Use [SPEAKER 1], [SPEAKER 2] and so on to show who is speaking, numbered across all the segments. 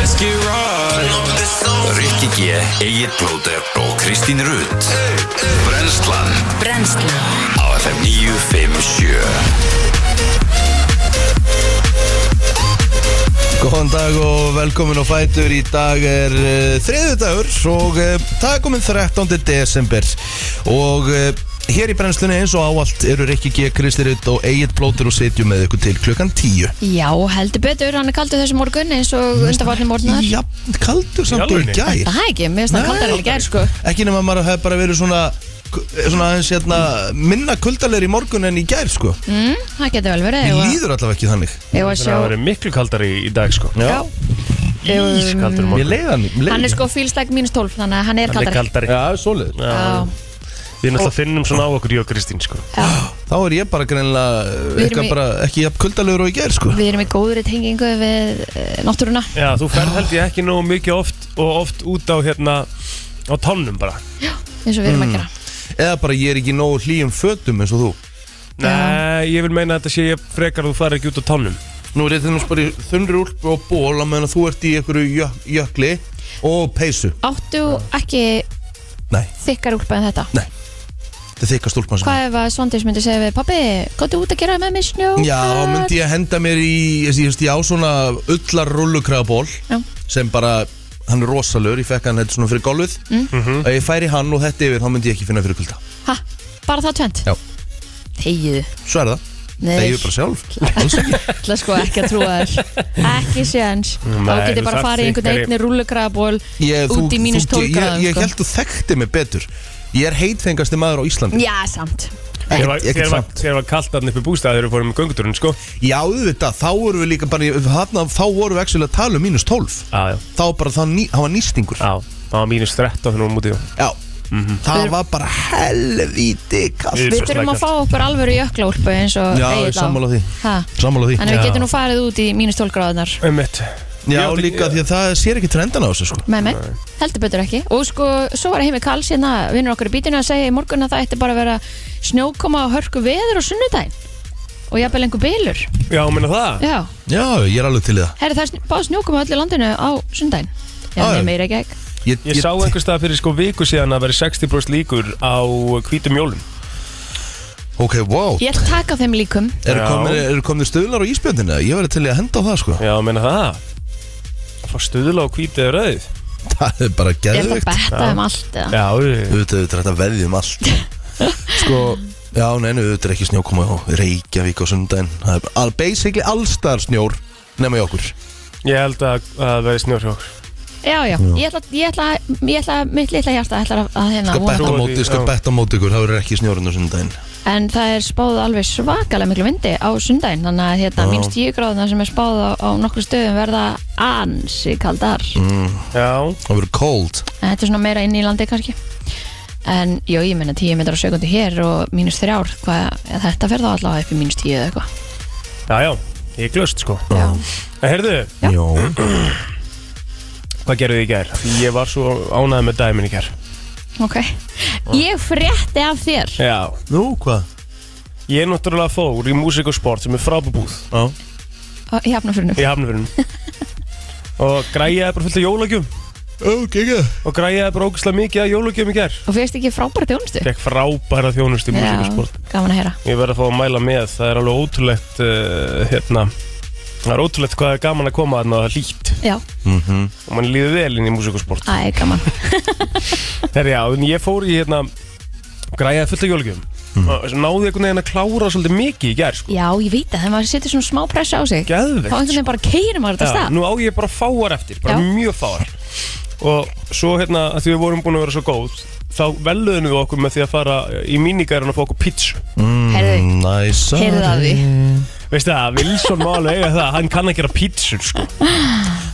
[SPEAKER 1] ekki ráð Rikki G, Egil Blóter og Kristín Rutt Brenslan
[SPEAKER 2] Brennslan
[SPEAKER 1] á FM 957
[SPEAKER 3] Góðan dag og velkomin á Fætur Í dag er uh, þriðu dagur og uh, það er komin 13. desember og uh, hér í brennslunni eins og áallt eru Rikki G. Kristirit og Egil Blótur og sitjum með ykkur til klukkan 10
[SPEAKER 2] Já, heldur betur, hann er kaldur þessu morgun eins og undanfarni morgunar
[SPEAKER 3] Já, kaldur samt og í
[SPEAKER 4] alvörunni?
[SPEAKER 3] gær
[SPEAKER 2] Það er ekki, mér finnst það
[SPEAKER 3] Nei.
[SPEAKER 2] kaldar en í gær sko
[SPEAKER 3] Ekki nema maður hefði bara verið svona svona aðeins hérna minna kuldalegri í morgun en í gær sko
[SPEAKER 2] mm, Það getur vel verið
[SPEAKER 3] Mér
[SPEAKER 2] ef að-
[SPEAKER 3] líður allavega ekki þannig
[SPEAKER 2] ef að
[SPEAKER 4] Það
[SPEAKER 2] sjá
[SPEAKER 4] verður miklu kaldar í, í dag sko
[SPEAKER 2] Já.
[SPEAKER 4] Ískaldur
[SPEAKER 3] Mér
[SPEAKER 4] morgun
[SPEAKER 3] leiði hann mér leið
[SPEAKER 2] Hann er sko fílstak mínus 12 þannig að hann er
[SPEAKER 4] Hann er
[SPEAKER 2] kaldar
[SPEAKER 4] kaldari
[SPEAKER 3] Já, svoleiðis
[SPEAKER 2] Já,
[SPEAKER 4] Við náttúrulega finnum svona á okkur, ég og Kristín sko
[SPEAKER 2] já.
[SPEAKER 3] Þá er ég bara greinilega uh,
[SPEAKER 2] Við erum
[SPEAKER 3] eitthvað
[SPEAKER 2] í-
[SPEAKER 3] bara ekki jafn kuldalegur og í gær sko
[SPEAKER 2] Við erum í góðri tengingu við eh, náttúruna
[SPEAKER 4] Já, þú ferð held ég ekki nógu mikið oft og oft út á hérna á tónnum bara
[SPEAKER 2] eins og við erum
[SPEAKER 3] Mm.
[SPEAKER 2] að gera
[SPEAKER 3] Eða bara ég er ekki nógu hlýjum fötum eins og þú
[SPEAKER 4] Nei, ég vil meina að þetta sé ég frekar að þú farir ekki út á tónnum
[SPEAKER 3] Nú er þetta bara í þunnri úlpu og ból á meðan að þú ert í einhverju jök, jökli og peysu
[SPEAKER 2] Áttu ekki
[SPEAKER 3] Nei,
[SPEAKER 2] þykkar úlpa en þetta?
[SPEAKER 3] Nei. þetta er þykka stúlpan sem
[SPEAKER 2] Hvað ef að Svandís myndi segja við Pappi, góttu út að gera með mér snjó
[SPEAKER 3] Já, myndi ég henda mér í, ég, ég, ég á svona ullar rullukraðaból
[SPEAKER 2] Já.
[SPEAKER 3] sem bara, hann er rosalur, ég fekk hann þetta svona fyrir golfið mm. og ég færi hann og þetta yfir, þá myndi ég ekki finna fyrir kulda
[SPEAKER 2] Ha, bara það tvent?
[SPEAKER 3] Já.
[SPEAKER 2] Þegiðu
[SPEAKER 3] Svo er það, það er ég bara sjálf Alls ekki.
[SPEAKER 2] ætla sko ekki að trúa þér Ekki séans Þá
[SPEAKER 4] Nei,
[SPEAKER 2] getur bara
[SPEAKER 4] það
[SPEAKER 2] að fara í einhvern
[SPEAKER 4] þykkari-
[SPEAKER 2] einni rúllukraðaból
[SPEAKER 3] ég,
[SPEAKER 2] Út í mínus sko. 12
[SPEAKER 3] Ég,
[SPEAKER 2] gráðum
[SPEAKER 3] ég held þú þekkti mig betur Ég er heitfengasti maður á Íslandi
[SPEAKER 2] Já, samt
[SPEAKER 4] Þér var,
[SPEAKER 3] Ekkert- ekkert
[SPEAKER 4] þér var,
[SPEAKER 3] samt.
[SPEAKER 4] þér var kalt þarna upp í bústað þegar við fórum með gönguturinn sko
[SPEAKER 3] Já, auðvitað, þá vorum við líka bara í- þarna, þá vorum við actually að tala um mínus 12
[SPEAKER 4] Já, já,
[SPEAKER 3] þá bara það, ný, það var nýstingur
[SPEAKER 4] já Það var mínus hérna 13 þegar við mútið
[SPEAKER 3] Já, það var bara helvíti
[SPEAKER 4] Við-
[SPEAKER 3] kallt
[SPEAKER 2] Við
[SPEAKER 4] svo
[SPEAKER 2] þurfum að
[SPEAKER 4] slækjast.
[SPEAKER 2] fá okkur alvöru jöklaúlpu eins og
[SPEAKER 3] Já,
[SPEAKER 2] Egill
[SPEAKER 3] ég
[SPEAKER 2] á.
[SPEAKER 3] sammála því
[SPEAKER 2] Ha,
[SPEAKER 3] Sammála því
[SPEAKER 2] Þannig við
[SPEAKER 4] Já.
[SPEAKER 2] getum nú farið út í mínus 12 gráðunar
[SPEAKER 4] Um mitt
[SPEAKER 3] Já,
[SPEAKER 4] Ég átti-
[SPEAKER 3] líka því að það sér ekki trendan á þessu sko
[SPEAKER 2] Með mig, heldur betur ekki Og sko, svo var heimi Karls hérna Vinnur okkur í bítinu að segja í morgun að það ætti bara að vera Snjókoma og hörku veður og sunnudaginn Og jafnvel einhver bylur
[SPEAKER 4] Já, meina það
[SPEAKER 2] Já,
[SPEAKER 3] Já, ég er alveg til í það
[SPEAKER 2] herri það er sn- báð snjókoma á öllu landinu á sunnudaginn Já,
[SPEAKER 3] Já, já.
[SPEAKER 2] nema í Reykjavík
[SPEAKER 3] Ég,
[SPEAKER 4] Ég sá einhvers stað fyrir sko viku síðan að veri 60% líkur á hvítum jólum
[SPEAKER 3] Ok, wow
[SPEAKER 2] Ég ætla að taka þeim líkum
[SPEAKER 3] Eru
[SPEAKER 4] Já.
[SPEAKER 3] komnir, er komnir stöðlar á íspjöndinu? Ég verði til í að henda á það sko
[SPEAKER 4] Já, meina það Fá stuðla og hvítið rauð
[SPEAKER 3] Það er bara
[SPEAKER 2] Ég ætla að
[SPEAKER 3] geðvegt
[SPEAKER 2] betta
[SPEAKER 4] Já.
[SPEAKER 2] þeim allt eða.
[SPEAKER 4] Já, við-
[SPEAKER 3] Auðvitað auðvitað er þetta veðjum um allt Sko, já, neina, auðvitað er ekki snjókoma á Reykjavík og sundaginn Það er all, basically allstar snjór nema í okkur Sko,
[SPEAKER 4] ég held að að það veri snjórhjók
[SPEAKER 2] Já, já, ég ætla, ég ætla, ég ætla mitt litla hjarta ætla að, að hérna
[SPEAKER 3] Skal
[SPEAKER 2] vona
[SPEAKER 3] betta
[SPEAKER 4] trúa
[SPEAKER 3] á
[SPEAKER 4] því,
[SPEAKER 3] móti, skal
[SPEAKER 4] já.
[SPEAKER 3] betta á móti ykkur, það verður ekki snjórun á sundaginn
[SPEAKER 2] það. En það er spáð alveg svakalega miklu vindi á sundaginn Þannig að hérna,
[SPEAKER 3] Já.
[SPEAKER 2] minnst 10 gráðuna sem er spáð á, á nokkur stöðum verða ansi kaldar
[SPEAKER 4] Mm. Já,
[SPEAKER 3] Það verður cold
[SPEAKER 2] En þetta er svona meira inn í landi kannski En jú, ég meina 10 metrar á sekundi hér og mínus 3 ár hvað, ja, Þetta fer þá allavega upp í mínus 10 eða eitthvað
[SPEAKER 4] já, já, ég glöst sko
[SPEAKER 2] Já.
[SPEAKER 4] En heyrðu,
[SPEAKER 2] Já.
[SPEAKER 3] Jó
[SPEAKER 4] hvað gerðu þið í gær? Ég var svo ánægð með dæmin í gær
[SPEAKER 2] Ok Ég frétti af þér
[SPEAKER 4] Já,
[SPEAKER 3] Nú, hvað?
[SPEAKER 4] ég er náttúrulega fór í músík og sport sem er frábúbúð
[SPEAKER 3] Já
[SPEAKER 2] á- í hafnafyrunum
[SPEAKER 4] í hafnafyrunum Og græjaði bara fullt af jólagjum
[SPEAKER 3] Ok, ekki
[SPEAKER 4] Og græjaði bara ógæslega mikið af jólagjum í gær
[SPEAKER 2] Og fyrst ekki frábæra þjónustu
[SPEAKER 4] Fekk frábæra þjónust í músík og um sport
[SPEAKER 2] gaman að heyra
[SPEAKER 4] Ég verð að fá að mæla með, það er alveg ótrúlegt uh, hérna Það er ótrúlegt hvað er gaman að koma þarna og það er hlýtt
[SPEAKER 2] Já,
[SPEAKER 4] og mann líður vel inn í músík og sport
[SPEAKER 2] það er gaman
[SPEAKER 4] Herri, já, en ég fór í hérna græjaði fullt af jólugjöfum
[SPEAKER 3] Mm.
[SPEAKER 4] og svo náði einhvern veginn að klára svolítið mikið í gerð sko.
[SPEAKER 2] Já, ég veit að þegar maður setur svona smá pressa á sig
[SPEAKER 4] Geðveikt, sko.
[SPEAKER 2] Þá einhvern veginn bara keirir maður þetta af stað
[SPEAKER 4] nú á ég bara fáar eftir, bara
[SPEAKER 2] Já.
[SPEAKER 4] mjög fáar og svo hérna að því við vorum búin að vera svo góð þá velðunum við okkur með því að fara í mínigærun og fá okkur pítsu
[SPEAKER 2] Herðu,
[SPEAKER 3] Næsa
[SPEAKER 2] heyrðu það því
[SPEAKER 4] veistu það, Wilson má alveg eiga það hann kann að gera pítsur sko.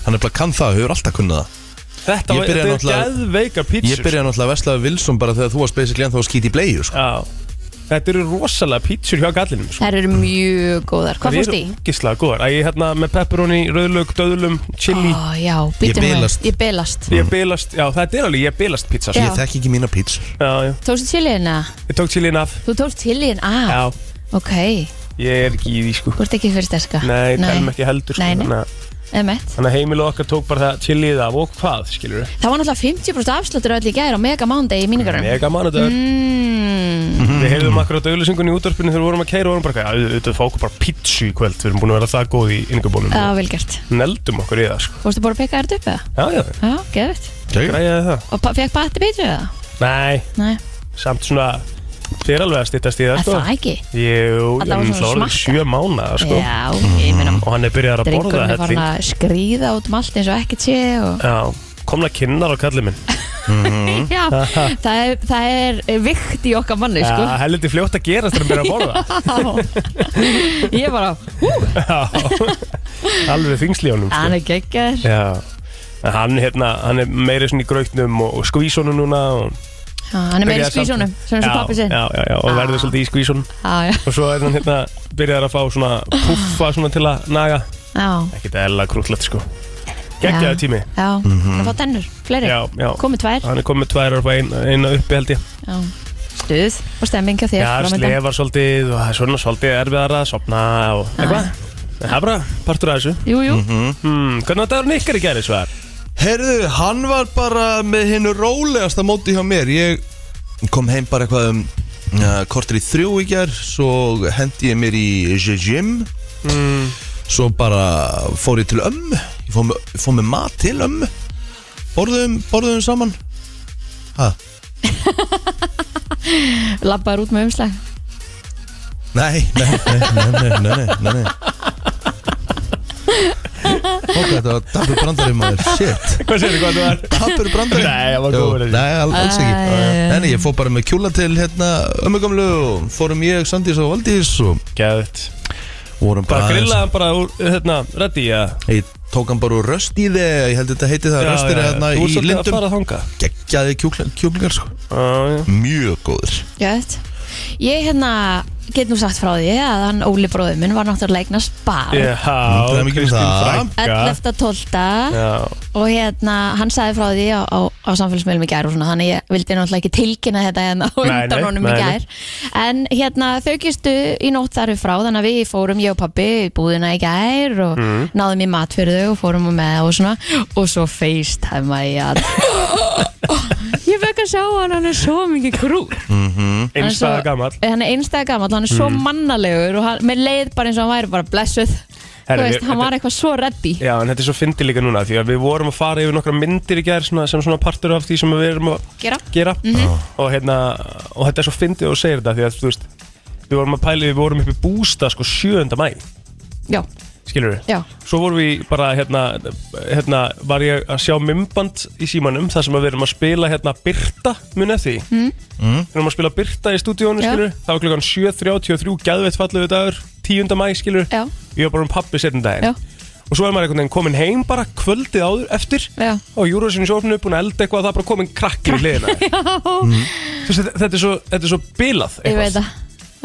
[SPEAKER 3] Hann er bara kann það, hefur alltaf kunnað það
[SPEAKER 4] þetta
[SPEAKER 3] Ég
[SPEAKER 4] var-
[SPEAKER 3] byrjaði
[SPEAKER 4] þetta er
[SPEAKER 3] náttúrulega-
[SPEAKER 4] geðveikar pítsur
[SPEAKER 3] Ég byrjaði náttúrulega að vesla við Wilson bara þegar þú varst basically ennþá að skýti í bleiðu sko.
[SPEAKER 4] Já, þetta eru rosalega pítsur hjá gallinum sko.
[SPEAKER 2] Þær eru mjög góðar, hvað fórst í?
[SPEAKER 4] Það eru ógislega góðar Æ, ég hérna með pepperoni, rauðlaug, döðlum, chili
[SPEAKER 2] Ó, já, býtum við.
[SPEAKER 3] bilast.
[SPEAKER 2] Ég bilast
[SPEAKER 4] Ég bilast, já þetta er alveg, ég bilast pizza sko.
[SPEAKER 2] Já.
[SPEAKER 3] Ég þekki ekki mína pítsur
[SPEAKER 4] já, já,
[SPEAKER 2] Tókstu chiliðin að?
[SPEAKER 4] ég tók chilin af
[SPEAKER 2] Þú tókst chiliðin að?
[SPEAKER 4] Já,
[SPEAKER 2] Ok,
[SPEAKER 4] ég er ekki í því sko
[SPEAKER 2] þú ert ekki fyrir sterska
[SPEAKER 4] Nei, telum ekki heldur sko.
[SPEAKER 2] Nei, nei.
[SPEAKER 4] Þannig að
[SPEAKER 2] Emmett.
[SPEAKER 4] Þannig að heimilið okkar tók bara það chillið af og hvað, skilur við?
[SPEAKER 2] Það var náttúrulega 50% afsláttur öll í gæri á Mega Monday í míningarum.
[SPEAKER 4] Mega mánudagur.
[SPEAKER 2] Mm,
[SPEAKER 4] Við heyrðum akkur á döglesingunni í útvarpinu þegar við vorum að kæra og vorum bara, að auðvitað fá okkur bara pítsu í kvöld, við erum búin að vera það góð í yngabólum.
[SPEAKER 2] það var vel gert.
[SPEAKER 4] Neldum okkur í það, sko.
[SPEAKER 2] Fórstu bara að peka þetta upp eða?
[SPEAKER 4] Já, já,
[SPEAKER 2] Já, geðvitt.
[SPEAKER 4] græjaði það.
[SPEAKER 2] Og pa- fekk batti betur eða?
[SPEAKER 4] Nei,
[SPEAKER 2] Nei,
[SPEAKER 4] samt svona, þið er alveg að stittast í það,
[SPEAKER 2] að
[SPEAKER 4] sko.
[SPEAKER 2] það ekki.
[SPEAKER 4] Jú,
[SPEAKER 2] Alla var
[SPEAKER 4] en
[SPEAKER 2] svona
[SPEAKER 4] það var
[SPEAKER 2] smakka.
[SPEAKER 4] sjö mánuða, sko.
[SPEAKER 2] Já, ég meina,
[SPEAKER 4] Og hann er byrjar að borða
[SPEAKER 2] drengurinn er farin
[SPEAKER 4] helling.
[SPEAKER 2] að skríða út um allt eins og ekkert sé og...
[SPEAKER 4] Já, komna kinnar á kallið minn. Mm.
[SPEAKER 2] Já, það er, það er vikt í okkar manni, sko.
[SPEAKER 4] Já, heldur fljótt að gerast þegar hann byrjar að borða.
[SPEAKER 2] ég bara, hú,
[SPEAKER 4] Já, alveg þingsli á honum, sko.
[SPEAKER 2] hann er geggar.
[SPEAKER 4] Já, en hann, hérna, hann er meira svona í grautnum og, og skvísunum núna og,
[SPEAKER 2] Hann er meira í skvísunum, sem er svo pappi sinn. Ah.
[SPEAKER 4] Já, já, já, og verður svolítið í skvísunum
[SPEAKER 2] Já, já,
[SPEAKER 4] Og svo er hann hérna, byrjar að fá svona puffa svona til að naga
[SPEAKER 2] já.
[SPEAKER 4] Ekkert eðla krúllett sko Gekkjaði tími
[SPEAKER 2] Já, mm -hmm. að fá tennur, fleiri
[SPEAKER 4] Mhm. Já, já,
[SPEAKER 2] Komið tvær,
[SPEAKER 4] hann er komið tvær og ein, eina uppi held ég
[SPEAKER 2] já. stuð og stemming hjá þér
[SPEAKER 4] Já,
[SPEAKER 2] framundan.
[SPEAKER 4] slefar svolítið og það er svona svolítið erfiðara að sopna og eitthvað En Það er bara partur af þessu
[SPEAKER 2] Jú, jú,
[SPEAKER 4] hmm, Hvernig var dagurinn ykkar í gerði svar?
[SPEAKER 3] Herðu, hann var bara með hennu rólegasta móti hjá mér Ég kom heim bara eitthvað um uh, kortir í þrjú í ger Svo hendi ég mér í gym Svo bara fór ég til ömmu Ég fór, með- fór með mat til ömmu Borðum, borðum saman Hæ?
[SPEAKER 2] labbaður út með umslag
[SPEAKER 3] Nei, nei, nei, nei, nei, nei, nei, nei, nei. Ok, þetta var Dabur Brandari maður, shit
[SPEAKER 4] Hvað segir þið hvað það var?
[SPEAKER 3] Tappur brandari
[SPEAKER 4] Nei, það var
[SPEAKER 3] Jú,
[SPEAKER 4] góður þessi.
[SPEAKER 3] Nei, al- alls ekki
[SPEAKER 2] Æ, já, já.
[SPEAKER 3] En ég fór bara með kjúla til hérna ömmugamlu og fórum ég, Sandís og Valdís og
[SPEAKER 4] Gæðið
[SPEAKER 3] vorum bara
[SPEAKER 4] Bara
[SPEAKER 3] aðeins-
[SPEAKER 4] grillaði hann bara úr, hérna, reddi að
[SPEAKER 3] Ég tók hann bara úr röst í þig Ég held þetta heiti það röstir hérna
[SPEAKER 4] Þú ert
[SPEAKER 3] í
[SPEAKER 4] svolítið að
[SPEAKER 3] lindum
[SPEAKER 4] fara að þanga
[SPEAKER 3] Gekkjaði kjúklingar sko Mjög góður
[SPEAKER 2] Gjöðt Ég hérna get nú sagt frá því að hann Óli bróður minn var náttúrulega eignast bar
[SPEAKER 4] Já,
[SPEAKER 3] Það er mikið um
[SPEAKER 4] Kristín
[SPEAKER 3] það.
[SPEAKER 4] frænka
[SPEAKER 2] 11.12
[SPEAKER 4] Já,
[SPEAKER 2] og hérna hann sagði frá því á, á, á samfélagsmiðlum í gær og svona þannig ég vildi náttúrulega ekki tilkynna þetta hérna á
[SPEAKER 4] Nei, nei,
[SPEAKER 2] undan honum í
[SPEAKER 4] nei, nei.
[SPEAKER 2] gær en hérna þau gistu í nótt þar frá þannig að við fórum ég og pabbi í búðina í gær og
[SPEAKER 4] Mhm.
[SPEAKER 2] náðum í mat fyrir þau og fórum með og svona og svo facetime ég að ég fekk að sjá hann hann er svo mikið krú
[SPEAKER 4] einstæða Mhm.
[SPEAKER 2] svo-
[SPEAKER 4] gammal
[SPEAKER 2] hann er einstæða gammal, hann er svo mannalegur og hann, mér leið bara eins og hann væri bara blessuð Þú
[SPEAKER 4] Herri,
[SPEAKER 2] veist,
[SPEAKER 4] við-
[SPEAKER 2] hann var
[SPEAKER 4] þetta-
[SPEAKER 2] eitthvað svo reddi
[SPEAKER 4] Já, en þetta er svo fyndi líka núna Því að við vorum að fara yfir nokkra myndir í gær svona, sem svona partur af því sem við erum að
[SPEAKER 2] gera
[SPEAKER 4] gera
[SPEAKER 2] Mhm.
[SPEAKER 4] og, hérna, og þetta er svo fyndið og segir þetta Því að þú veist, við vorum að pæli Við vorum upp í bústa sko 7. mæ
[SPEAKER 2] já,
[SPEAKER 4] Skilur við
[SPEAKER 2] já,
[SPEAKER 4] Svo vorum við bara, hérna, hérna Var ég að sjá mymband í símanum þar sem að við erum að spila, hérna, Byrta Munið eftir því Við erum að spila Byrta í
[SPEAKER 2] Mhm.
[SPEAKER 4] stúdíónu,
[SPEAKER 2] Já.
[SPEAKER 4] skilur Það var klukkan 7.33, geðveitt fallegu dagur 10. mæ, skilur
[SPEAKER 2] já,
[SPEAKER 4] Ég var bara um pappi setjum daginn
[SPEAKER 2] Já.
[SPEAKER 4] Og svo er maður einhvern veginn komin heim bara kvöldið áður eftir
[SPEAKER 2] já
[SPEAKER 4] á Eurovision sjófnu, búin að elda eitthvað það er bara komin krakkir í liðina
[SPEAKER 2] Já,
[SPEAKER 4] þetta, þetta, er svo, þetta er svo bilað sko.
[SPEAKER 2] ég veit það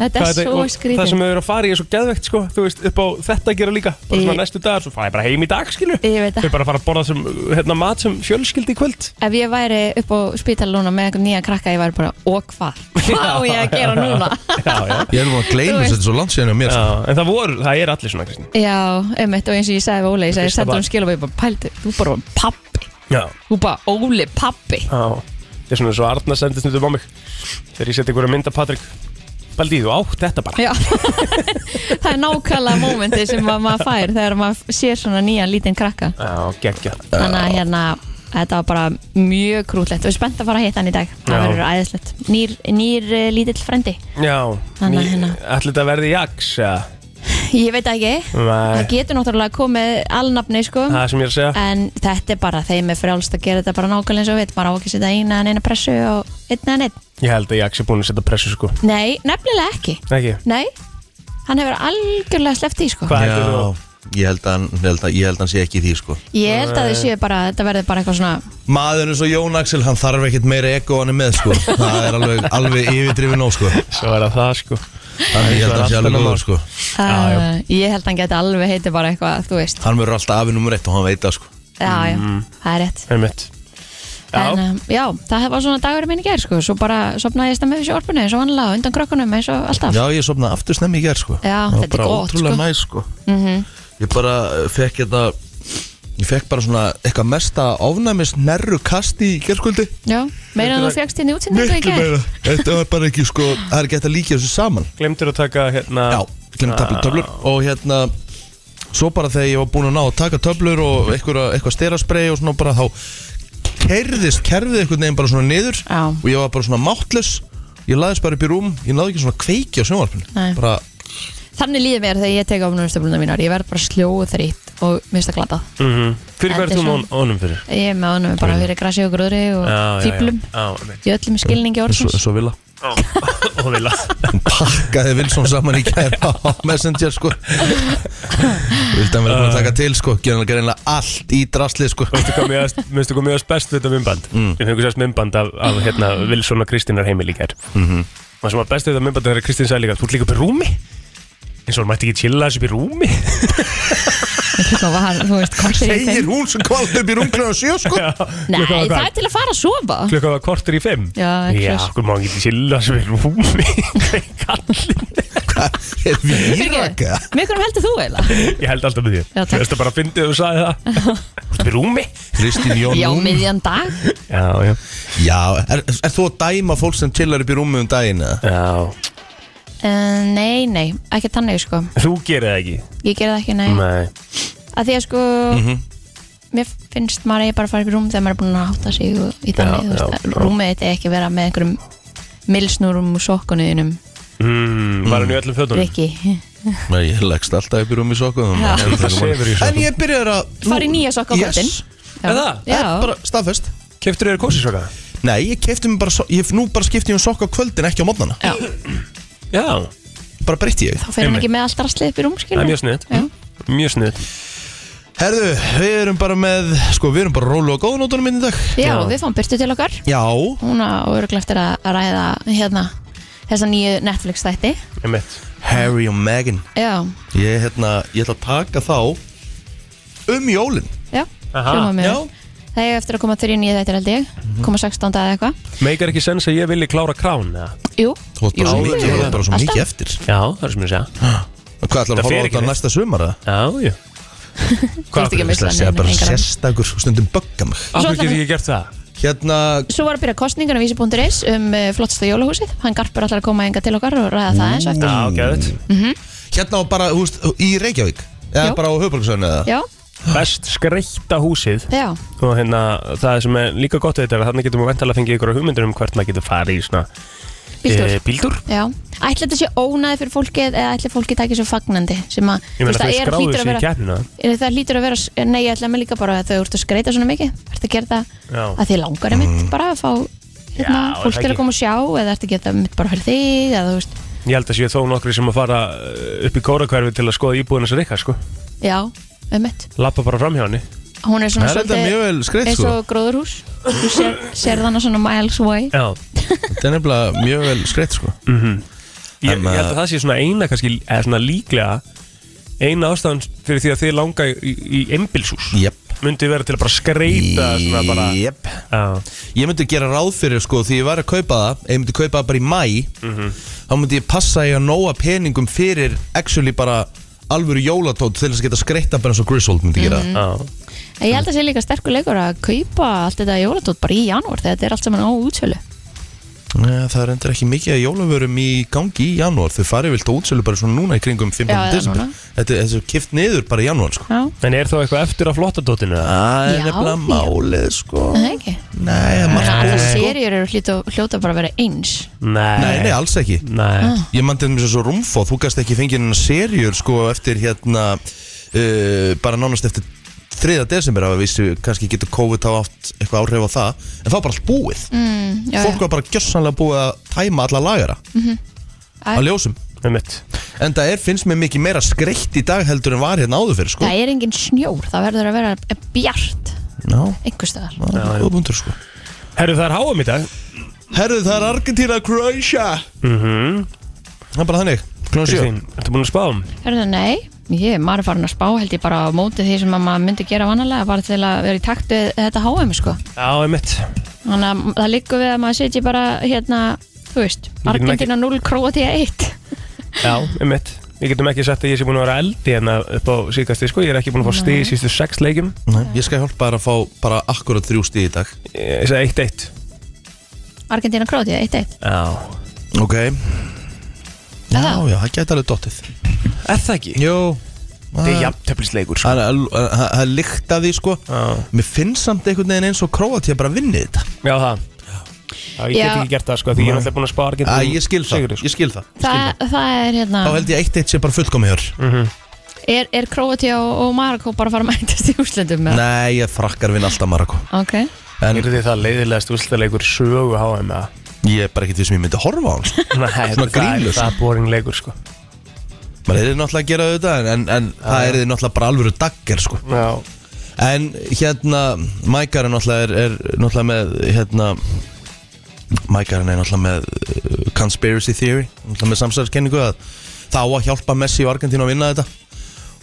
[SPEAKER 2] Þetta er svo
[SPEAKER 4] Það
[SPEAKER 2] skrítið
[SPEAKER 4] sem við erum að fara í er svo geðvegt sko, þú veist, upp á þetta að gera líka bara svona
[SPEAKER 2] Í-
[SPEAKER 4] næstu dagar, svo fara ég bara heim í dag skilu
[SPEAKER 2] Ég veit
[SPEAKER 4] Þau
[SPEAKER 2] það
[SPEAKER 4] bara að fara að borða sem, hérna, mat sem fjölskyldi í kvöld
[SPEAKER 2] Ef ég væri upp á spítalóna með einhvern nýja krakka Ég væri bara, og hvað? Hvað á ég að gera núna?
[SPEAKER 4] já, já.
[SPEAKER 3] Ég er nú að
[SPEAKER 2] Þú
[SPEAKER 3] gleyma þess að
[SPEAKER 2] veist.
[SPEAKER 3] þetta er svo langt síðan á mér
[SPEAKER 4] já,
[SPEAKER 3] sko.
[SPEAKER 4] en það voru, það er allir svona Kristín
[SPEAKER 2] Já, einmitt og eins og ég sagði við Óli Ég sagði,
[SPEAKER 4] Fyrsta
[SPEAKER 2] sendur
[SPEAKER 4] barn.
[SPEAKER 2] um skilabæði, bara pældu Þú bara var pappi,
[SPEAKER 4] Já,
[SPEAKER 2] þú bara Óli pappi
[SPEAKER 4] já, þetta er svona svo Arna sendist nýttum á mig þegar ég seti ykkur að mynda Patrik Baldi, þú átt þetta bara
[SPEAKER 2] Já, það er nákvæmlega mómenti sem að maður fær þegar maður sér svona nýjan lítinn krakka
[SPEAKER 4] Já, geggja
[SPEAKER 2] Þannig að hérna, þetta var bara mjög krútlegt og ég er spennt að fara að hitta hann í dag Það
[SPEAKER 4] Já.
[SPEAKER 2] verður æðislegt Nýr, nýr eh, lítill frendi
[SPEAKER 4] Já,
[SPEAKER 2] Þannig að hérna.
[SPEAKER 4] ætli þetta verði jaks ja.
[SPEAKER 2] Ég veit það ekki, það
[SPEAKER 4] Nei,
[SPEAKER 2] getur náttúrulega komið alnafni sko
[SPEAKER 4] það sem ég er að segja
[SPEAKER 2] En þetta er bara þeim er frjálst að gera þetta bara nákvæmlega eins og við Bara á ekki að setja eina en eina pressu og einn en einn
[SPEAKER 4] Ég held að jaks er búin að setja pressu sko
[SPEAKER 2] Nei, nefnilega ekki
[SPEAKER 4] Ekki,
[SPEAKER 2] Nei, hann hefur algjörlega sleppt í sko
[SPEAKER 4] hvað
[SPEAKER 3] Já,
[SPEAKER 4] heldur þú?
[SPEAKER 3] ég held að hann- ég held að- ég held að hann sé ekki í því sko
[SPEAKER 2] Ég held að þau séu bara, þetta verður bara eitthvað svona
[SPEAKER 3] Maðurinn svo Jón Axel, hann þarf ekkert meira ego hann er með sko Það er alveg, alveg yfirdrifin á sko
[SPEAKER 4] Svo er það það sko
[SPEAKER 3] Þannig ég held að hann sé alveg góður sko
[SPEAKER 4] já.
[SPEAKER 2] Uh, ég held að hann geti alveg heiti bara eitthvað, þú veist
[SPEAKER 3] Hann verður alltaf afi nummer eitt og hann veit það sko
[SPEAKER 2] Já, já, það er rétt
[SPEAKER 4] Einmitt Mm. Já,
[SPEAKER 2] En, um, já, það var svona dagurinn minn í gerð, sko Svo bara sopnaði ég stemmi fyrir sjórpunni eins og vanlega undan krökkunum eins og alltaf
[SPEAKER 3] Já, ég sopnaði aftur snemmi í gerð sko
[SPEAKER 2] Já,
[SPEAKER 3] Það var
[SPEAKER 2] þetta er
[SPEAKER 3] bara
[SPEAKER 2] gott,
[SPEAKER 3] ótrúlega
[SPEAKER 2] sko.
[SPEAKER 3] næs sko Ég bara eh, fekk þetta Ég fekk bara svona eitthvað mesta ofnæmis nærru kasti í gerskvöldi
[SPEAKER 2] Já, meira en þú fegst hérna í útsendingu í gær
[SPEAKER 3] Þetta var bara ekki sko, það er ekki hægt að líka þessu saman
[SPEAKER 4] Glemtir að taka hérna
[SPEAKER 3] Já, glemt töflur, töflur Og hérna, svo bara þegar ég var búin að ná að taka töflur og eitthvað, eitthvað styrasprey og svona bara þá kerðist kerfið einhvern veginn bara svona niður
[SPEAKER 2] Já.
[SPEAKER 3] og ég var bara svona máttlaus ég laðist bara upp í rúm, ég náði ekki svona kveiki á sjónvarpinu
[SPEAKER 2] Nei.
[SPEAKER 3] bara,
[SPEAKER 2] Þannig líður mér þegar ég tek ofnumstöfluna mínar Ég verð bara sljóð þrýtt og mista glatað
[SPEAKER 4] mm Fyrir
[SPEAKER 2] Þetta
[SPEAKER 4] hvað er
[SPEAKER 2] er
[SPEAKER 4] þú
[SPEAKER 2] svona-
[SPEAKER 4] með honum fyrir?
[SPEAKER 2] Ég er með honum bara fyrir grasi og gröðri og fýblum
[SPEAKER 4] Já, já, já,
[SPEAKER 2] í öllum skilningi
[SPEAKER 3] svo,
[SPEAKER 2] orðsins
[SPEAKER 3] svo vilja
[SPEAKER 4] já Og vilja
[SPEAKER 3] Hún pakkaði Wilson saman í kæra á Messenger sko Vildi hann vel búin að taka til sko Gjörðan að gera einlega allt í drasli sko
[SPEAKER 4] Minnstu hvað mjög, minnstu hvað mjög best við þetta mymband mm. Ég fengur sérst mymband af, af hérna, Wilson og Kristínar heimil í gær mm
[SPEAKER 3] Mhm.
[SPEAKER 4] -hmm. Það sem var best við þetta mymband þegar Kristín sagði líka Þú ert líka upp í rúmi eins og hún mætti ekki chilla þessu upp í rúmi
[SPEAKER 2] Klukkan var, þú veist, kortir í
[SPEAKER 3] Segir
[SPEAKER 2] fimm
[SPEAKER 3] hún sem kvalt upp í runglega sjö sko
[SPEAKER 2] Nei,
[SPEAKER 4] Klukkan var
[SPEAKER 2] það
[SPEAKER 4] hvað?
[SPEAKER 2] er til að fara að sofa
[SPEAKER 4] Klukka var kortur í fimm
[SPEAKER 2] Já, ekki
[SPEAKER 4] Já,
[SPEAKER 2] svo.
[SPEAKER 4] hún má ekki chilla þessu upp í rúmi Hvað er kallinn?
[SPEAKER 3] Hvað er við í raka?
[SPEAKER 2] Fyrirgeðu, Með hverjum heldur þú eiginlega?
[SPEAKER 4] Ég held alltaf með því
[SPEAKER 2] Já, takk.
[SPEAKER 4] Þú veist það bara að fyndið og sagði það Þú ert upp í rúmi
[SPEAKER 3] Kristín Jón
[SPEAKER 2] Já,
[SPEAKER 3] Lund.
[SPEAKER 2] miðjan dag
[SPEAKER 4] Já, já,
[SPEAKER 3] Já, er, er þú að dæma fólk sem chillar upp í rúmi um daginn eða?
[SPEAKER 4] já
[SPEAKER 2] uh, Nei, nei, ekki þannig sko
[SPEAKER 4] Þú gerir það ekki
[SPEAKER 2] Ég gerði það ekki, nei
[SPEAKER 4] Nei Mhm.
[SPEAKER 2] að því að sko mér finnst maður eigi bara að fara upp í rúm þegar maður er búin að hátta sig og- í þannig,
[SPEAKER 4] Já,
[SPEAKER 2] þú
[SPEAKER 4] já,
[SPEAKER 2] veist,
[SPEAKER 4] já.
[SPEAKER 2] að rúmið þetta er ekki að vera með einhverjum milsnúrum og sokkunuðinum
[SPEAKER 4] mm, Var hann í öllum fötunum?
[SPEAKER 2] Rikki,
[SPEAKER 3] Nei, ég leggst alltaf upp í rúmi sokkum
[SPEAKER 2] Já.
[SPEAKER 4] Það sefur í
[SPEAKER 3] En
[SPEAKER 4] svo
[SPEAKER 3] ég byrjar að
[SPEAKER 2] fara í nýja sokka á
[SPEAKER 3] Yes.
[SPEAKER 2] kvöldin
[SPEAKER 4] Er það?
[SPEAKER 2] Já,
[SPEAKER 3] Er Bara staðfest
[SPEAKER 4] Keftur þér kósi svaka?
[SPEAKER 3] Nei, ég kefti mér bara, so- ég, nú bara skipti ég um sokka á kvöldin, ekki á mótnana
[SPEAKER 2] já,
[SPEAKER 4] Já
[SPEAKER 3] Bara breytti ég
[SPEAKER 2] þá fer hann ekki með alltaf rastlið upp í rúm
[SPEAKER 4] Það
[SPEAKER 2] skilur
[SPEAKER 4] er mjög sniðt
[SPEAKER 2] Já.
[SPEAKER 4] Mjög sniðt
[SPEAKER 3] Herðu, við erum bara með, sko, við erum bara rólu og góðnótunum minn í dag
[SPEAKER 2] Já,
[SPEAKER 4] Já.
[SPEAKER 2] við fáum byrtu til okkar
[SPEAKER 3] Já,
[SPEAKER 2] hún á öruglega eftir að að ræða hérna þessa nýju Netflix þætti
[SPEAKER 4] Emmett
[SPEAKER 3] Harry og Meghan
[SPEAKER 2] Já,
[SPEAKER 3] Ég, hérna, ég ætla að taka þá um jólin
[SPEAKER 2] já,
[SPEAKER 4] Aha.
[SPEAKER 3] Já,
[SPEAKER 2] hljóma
[SPEAKER 3] Mhm.
[SPEAKER 2] mjög Það er eftir að koma þurri nýja þættir held ég koma 16. eða eitthvað
[SPEAKER 4] Meikar ekki sens að ég vilji klára krán eða?
[SPEAKER 2] Jú,
[SPEAKER 3] þú átt bara
[SPEAKER 2] jú,
[SPEAKER 3] svo
[SPEAKER 2] jú,
[SPEAKER 3] mikið,
[SPEAKER 2] jú.
[SPEAKER 3] þú átt bara svo mikið
[SPEAKER 2] Alltaf.
[SPEAKER 3] eftir
[SPEAKER 4] Já, það er sem ég segja
[SPEAKER 3] Hvað ætlar að
[SPEAKER 4] Það fer
[SPEAKER 3] horfa á
[SPEAKER 4] ekki
[SPEAKER 3] þetta
[SPEAKER 4] neitt.
[SPEAKER 3] næsta sumar eða?
[SPEAKER 4] Já, já
[SPEAKER 2] Þú ert ekki að missa
[SPEAKER 3] Það sé
[SPEAKER 2] neina,
[SPEAKER 3] bara
[SPEAKER 2] engan.
[SPEAKER 3] sérstakur, stundum bögga mig
[SPEAKER 2] Svo
[SPEAKER 4] Af hverju
[SPEAKER 2] ætlar
[SPEAKER 4] getur ég gert það?
[SPEAKER 3] Hérna,
[SPEAKER 2] Svo var að byrja kostningan á vísi.is um uh, flottsta jólahúsið. Hann garpur allar að koma enga til okkar og ræða það eins og eftir.
[SPEAKER 4] Já, gæðið
[SPEAKER 3] hérna á bara, þú veist, í Reykjavík
[SPEAKER 2] Já.
[SPEAKER 3] Eða bara á höfbruksöðinu eða
[SPEAKER 2] Já,
[SPEAKER 4] Best skreikta húsið
[SPEAKER 2] já,
[SPEAKER 4] Og hérna, það sem er líka gott við þetta er að Þannig getum við vantala að fengið ykkur hugmyndir um hvert maður getur farið í svona
[SPEAKER 2] bíltúr.
[SPEAKER 4] eh, Bíltúr
[SPEAKER 2] Já. Ætli þetta sé ónæði fyrir fólkið eða ætli fólkið takið svo fagnandi sem að,
[SPEAKER 4] Ég meina þau
[SPEAKER 2] það er
[SPEAKER 4] skráðu
[SPEAKER 2] hlýtur að
[SPEAKER 4] sig í
[SPEAKER 2] vera,
[SPEAKER 4] keppnina
[SPEAKER 2] er, það hlýtur að vera, nei, ég ætla að með líka bara að þau ert að skreita svona mikið, ert að gera það
[SPEAKER 4] Já. Mm.
[SPEAKER 2] að þið langar einmitt bara að fá hérna,
[SPEAKER 4] Já,
[SPEAKER 2] fólk til
[SPEAKER 4] það ekki.
[SPEAKER 2] að koma og sjá eða ert að gera það einmitt bara fyrir þig eða þú veist,
[SPEAKER 4] Ég held að séu þó nokkri sem að fara eh, upp í kórakverfi til að skoða íbúðina sér ykkar sko
[SPEAKER 2] já, einmitt.
[SPEAKER 4] Lappa bara fram hjá henni
[SPEAKER 2] Hún er svona
[SPEAKER 3] Það er þetta mjög vel skreitt
[SPEAKER 2] eins
[SPEAKER 3] sko
[SPEAKER 2] og gróðurhús, þú sér, sér þannig svona miles away.
[SPEAKER 4] Já,
[SPEAKER 3] Þetta er nefnilega mjög vel skreitt sko
[SPEAKER 4] ég,
[SPEAKER 3] En,
[SPEAKER 4] ég held að það sé svona eina kannski, eða svona líklega eina ástæðan fyrir því að þið langa í, í einbilshús
[SPEAKER 3] Jep
[SPEAKER 4] myndi vera til að bara skreita svona bara
[SPEAKER 3] Jep
[SPEAKER 4] já,
[SPEAKER 3] Ég myndi gera ráð fyrir sko því ég var að kaupa það ef ég myndi kaupa það bara í mæ þá myndi ég passa að ég að nóa peningum fyrir actually bara alvöru jólatótt til þess að geta skreitta bara eins og Griswold myndi gera
[SPEAKER 2] Mhm.
[SPEAKER 4] já.
[SPEAKER 2] En Ég held að sé líka sterkur leikur að kaupa allt þetta jólatót bara í janúar þegar þetta er allt saman á útsölu.
[SPEAKER 3] Nei, Eh, Það er endur ekki mikið að jólavörum í gangi í janúar þau farið vilt á útsölu bara svona núna í kringum 15.
[SPEAKER 2] Já, já,
[SPEAKER 3] desember
[SPEAKER 2] núna.
[SPEAKER 3] Þetta þetta er kift niður bara í janúar sko
[SPEAKER 2] Já,
[SPEAKER 4] En er þá eitthvað eftir á flottadótinu? eða?
[SPEAKER 3] Það er
[SPEAKER 2] Já,
[SPEAKER 3] nefnilega
[SPEAKER 2] já.
[SPEAKER 3] málið sko
[SPEAKER 2] það er ekki.
[SPEAKER 3] Nei, það er margt góð
[SPEAKER 2] Allar
[SPEAKER 3] sko
[SPEAKER 2] serjur eru hljóta, hljóta bara að vera eins.
[SPEAKER 4] Nei
[SPEAKER 3] Nei, nei, alls ekki
[SPEAKER 4] Nei.
[SPEAKER 2] Ah.
[SPEAKER 3] Ég man til þess að svo rúmfó, þú gast ekki fengið hennar serjur sko eftir hérna uh, bara nánast eftir 3. desember að vissu kannski getur COVID hafa átt eitthvað áhrif á það en það var bara allt búið
[SPEAKER 2] Mm, já, Mhm.
[SPEAKER 3] fólk var bara gjössanlega búið að tæma alla lagara
[SPEAKER 2] Æ.
[SPEAKER 3] á ljósum
[SPEAKER 4] Með mitt
[SPEAKER 3] en það er finnst mér mikið meira skreitt í dag heldur en var hérna áður fyrir
[SPEAKER 2] já.
[SPEAKER 3] sko
[SPEAKER 2] Það er engin snjór, það verður að vera bjart
[SPEAKER 3] Ná,
[SPEAKER 2] einhver staðar.
[SPEAKER 3] það
[SPEAKER 4] Já,
[SPEAKER 3] er
[SPEAKER 4] já.
[SPEAKER 3] góð bundur sko
[SPEAKER 4] Herru það er háum í dag
[SPEAKER 3] Herðu það er Argentina Croatia
[SPEAKER 4] Mhm.
[SPEAKER 3] Það er bara þannig Klón 7
[SPEAKER 4] Kristín, ertu búin að spá um?
[SPEAKER 2] Hörðu, nei, ég er maður farin að spá held ég bara á móti því sem að maður myndi gera vanalega bara til að vera í takt við þetta HM sko.
[SPEAKER 4] Já, með mitt
[SPEAKER 2] Þannig að það liggur við að maður setji bara hérna, þú veist,
[SPEAKER 4] getum ekki-
[SPEAKER 2] Argentina 0, Kroatia 1.
[SPEAKER 4] Já, með mitt Við getum ekki sagt að ég sé búin að vera eldi hérna upp á síðkasti sko, ég er ekki búin að fá stig í síðustu sex leikjum
[SPEAKER 3] Nei, ég skal hjálpa þér að fá bara akkurat þrjú stíð í dag
[SPEAKER 4] Ég sagði eitt eitt
[SPEAKER 2] Argentina Krótið, 1-1
[SPEAKER 4] Já
[SPEAKER 3] Ok Já,
[SPEAKER 2] það?
[SPEAKER 3] já, það geta alveg dottið
[SPEAKER 4] Er það ekki?
[SPEAKER 3] Jú
[SPEAKER 4] Þetta er
[SPEAKER 3] Það
[SPEAKER 4] jafntefnisleikur sko
[SPEAKER 3] það- það- það- það líkt að því sko
[SPEAKER 4] Já.
[SPEAKER 3] Mér finnst samt einhvern veginn eins og Króatía bara vinni þetta
[SPEAKER 4] Já það Já,
[SPEAKER 2] Já.
[SPEAKER 4] ég get ekki gert það sko, því ég er alltaf búin að spá
[SPEAKER 3] Æ,
[SPEAKER 4] Argentínu
[SPEAKER 3] ég skil það,
[SPEAKER 4] sigri, sko.
[SPEAKER 3] ég skil það
[SPEAKER 2] Þa, Það er hérna
[SPEAKER 3] Þá held ég eitt eitt sé bara fullkomið hér
[SPEAKER 2] Er, er Króatía og, og Marokko bara að fara að mætast í úslendum með?
[SPEAKER 3] Nei, ég frakkar vinn alltaf Marokko
[SPEAKER 2] Ok
[SPEAKER 3] En
[SPEAKER 4] Yrði það leiðilegast úrslutaleikur í sögu HM eða?
[SPEAKER 3] ég er bara ekkert því sem ég myndi horfa á hann sko.
[SPEAKER 4] Nei, það er-
[SPEAKER 3] grínlaus.
[SPEAKER 4] Það er boring leikur sko
[SPEAKER 3] Maður er náttúrulega að gera þetta En, en það er náttúrulega bara alvöru dagger sko.
[SPEAKER 4] Já
[SPEAKER 3] En hérna Mækar er náttúrulega, er, er náttúrulega með hérna Mækar er náttúrulega með uh, conspiracy theory, náttúrulega með samsæðiskenningu að það á að hjálpa Messi og Argentínu að vinna þetta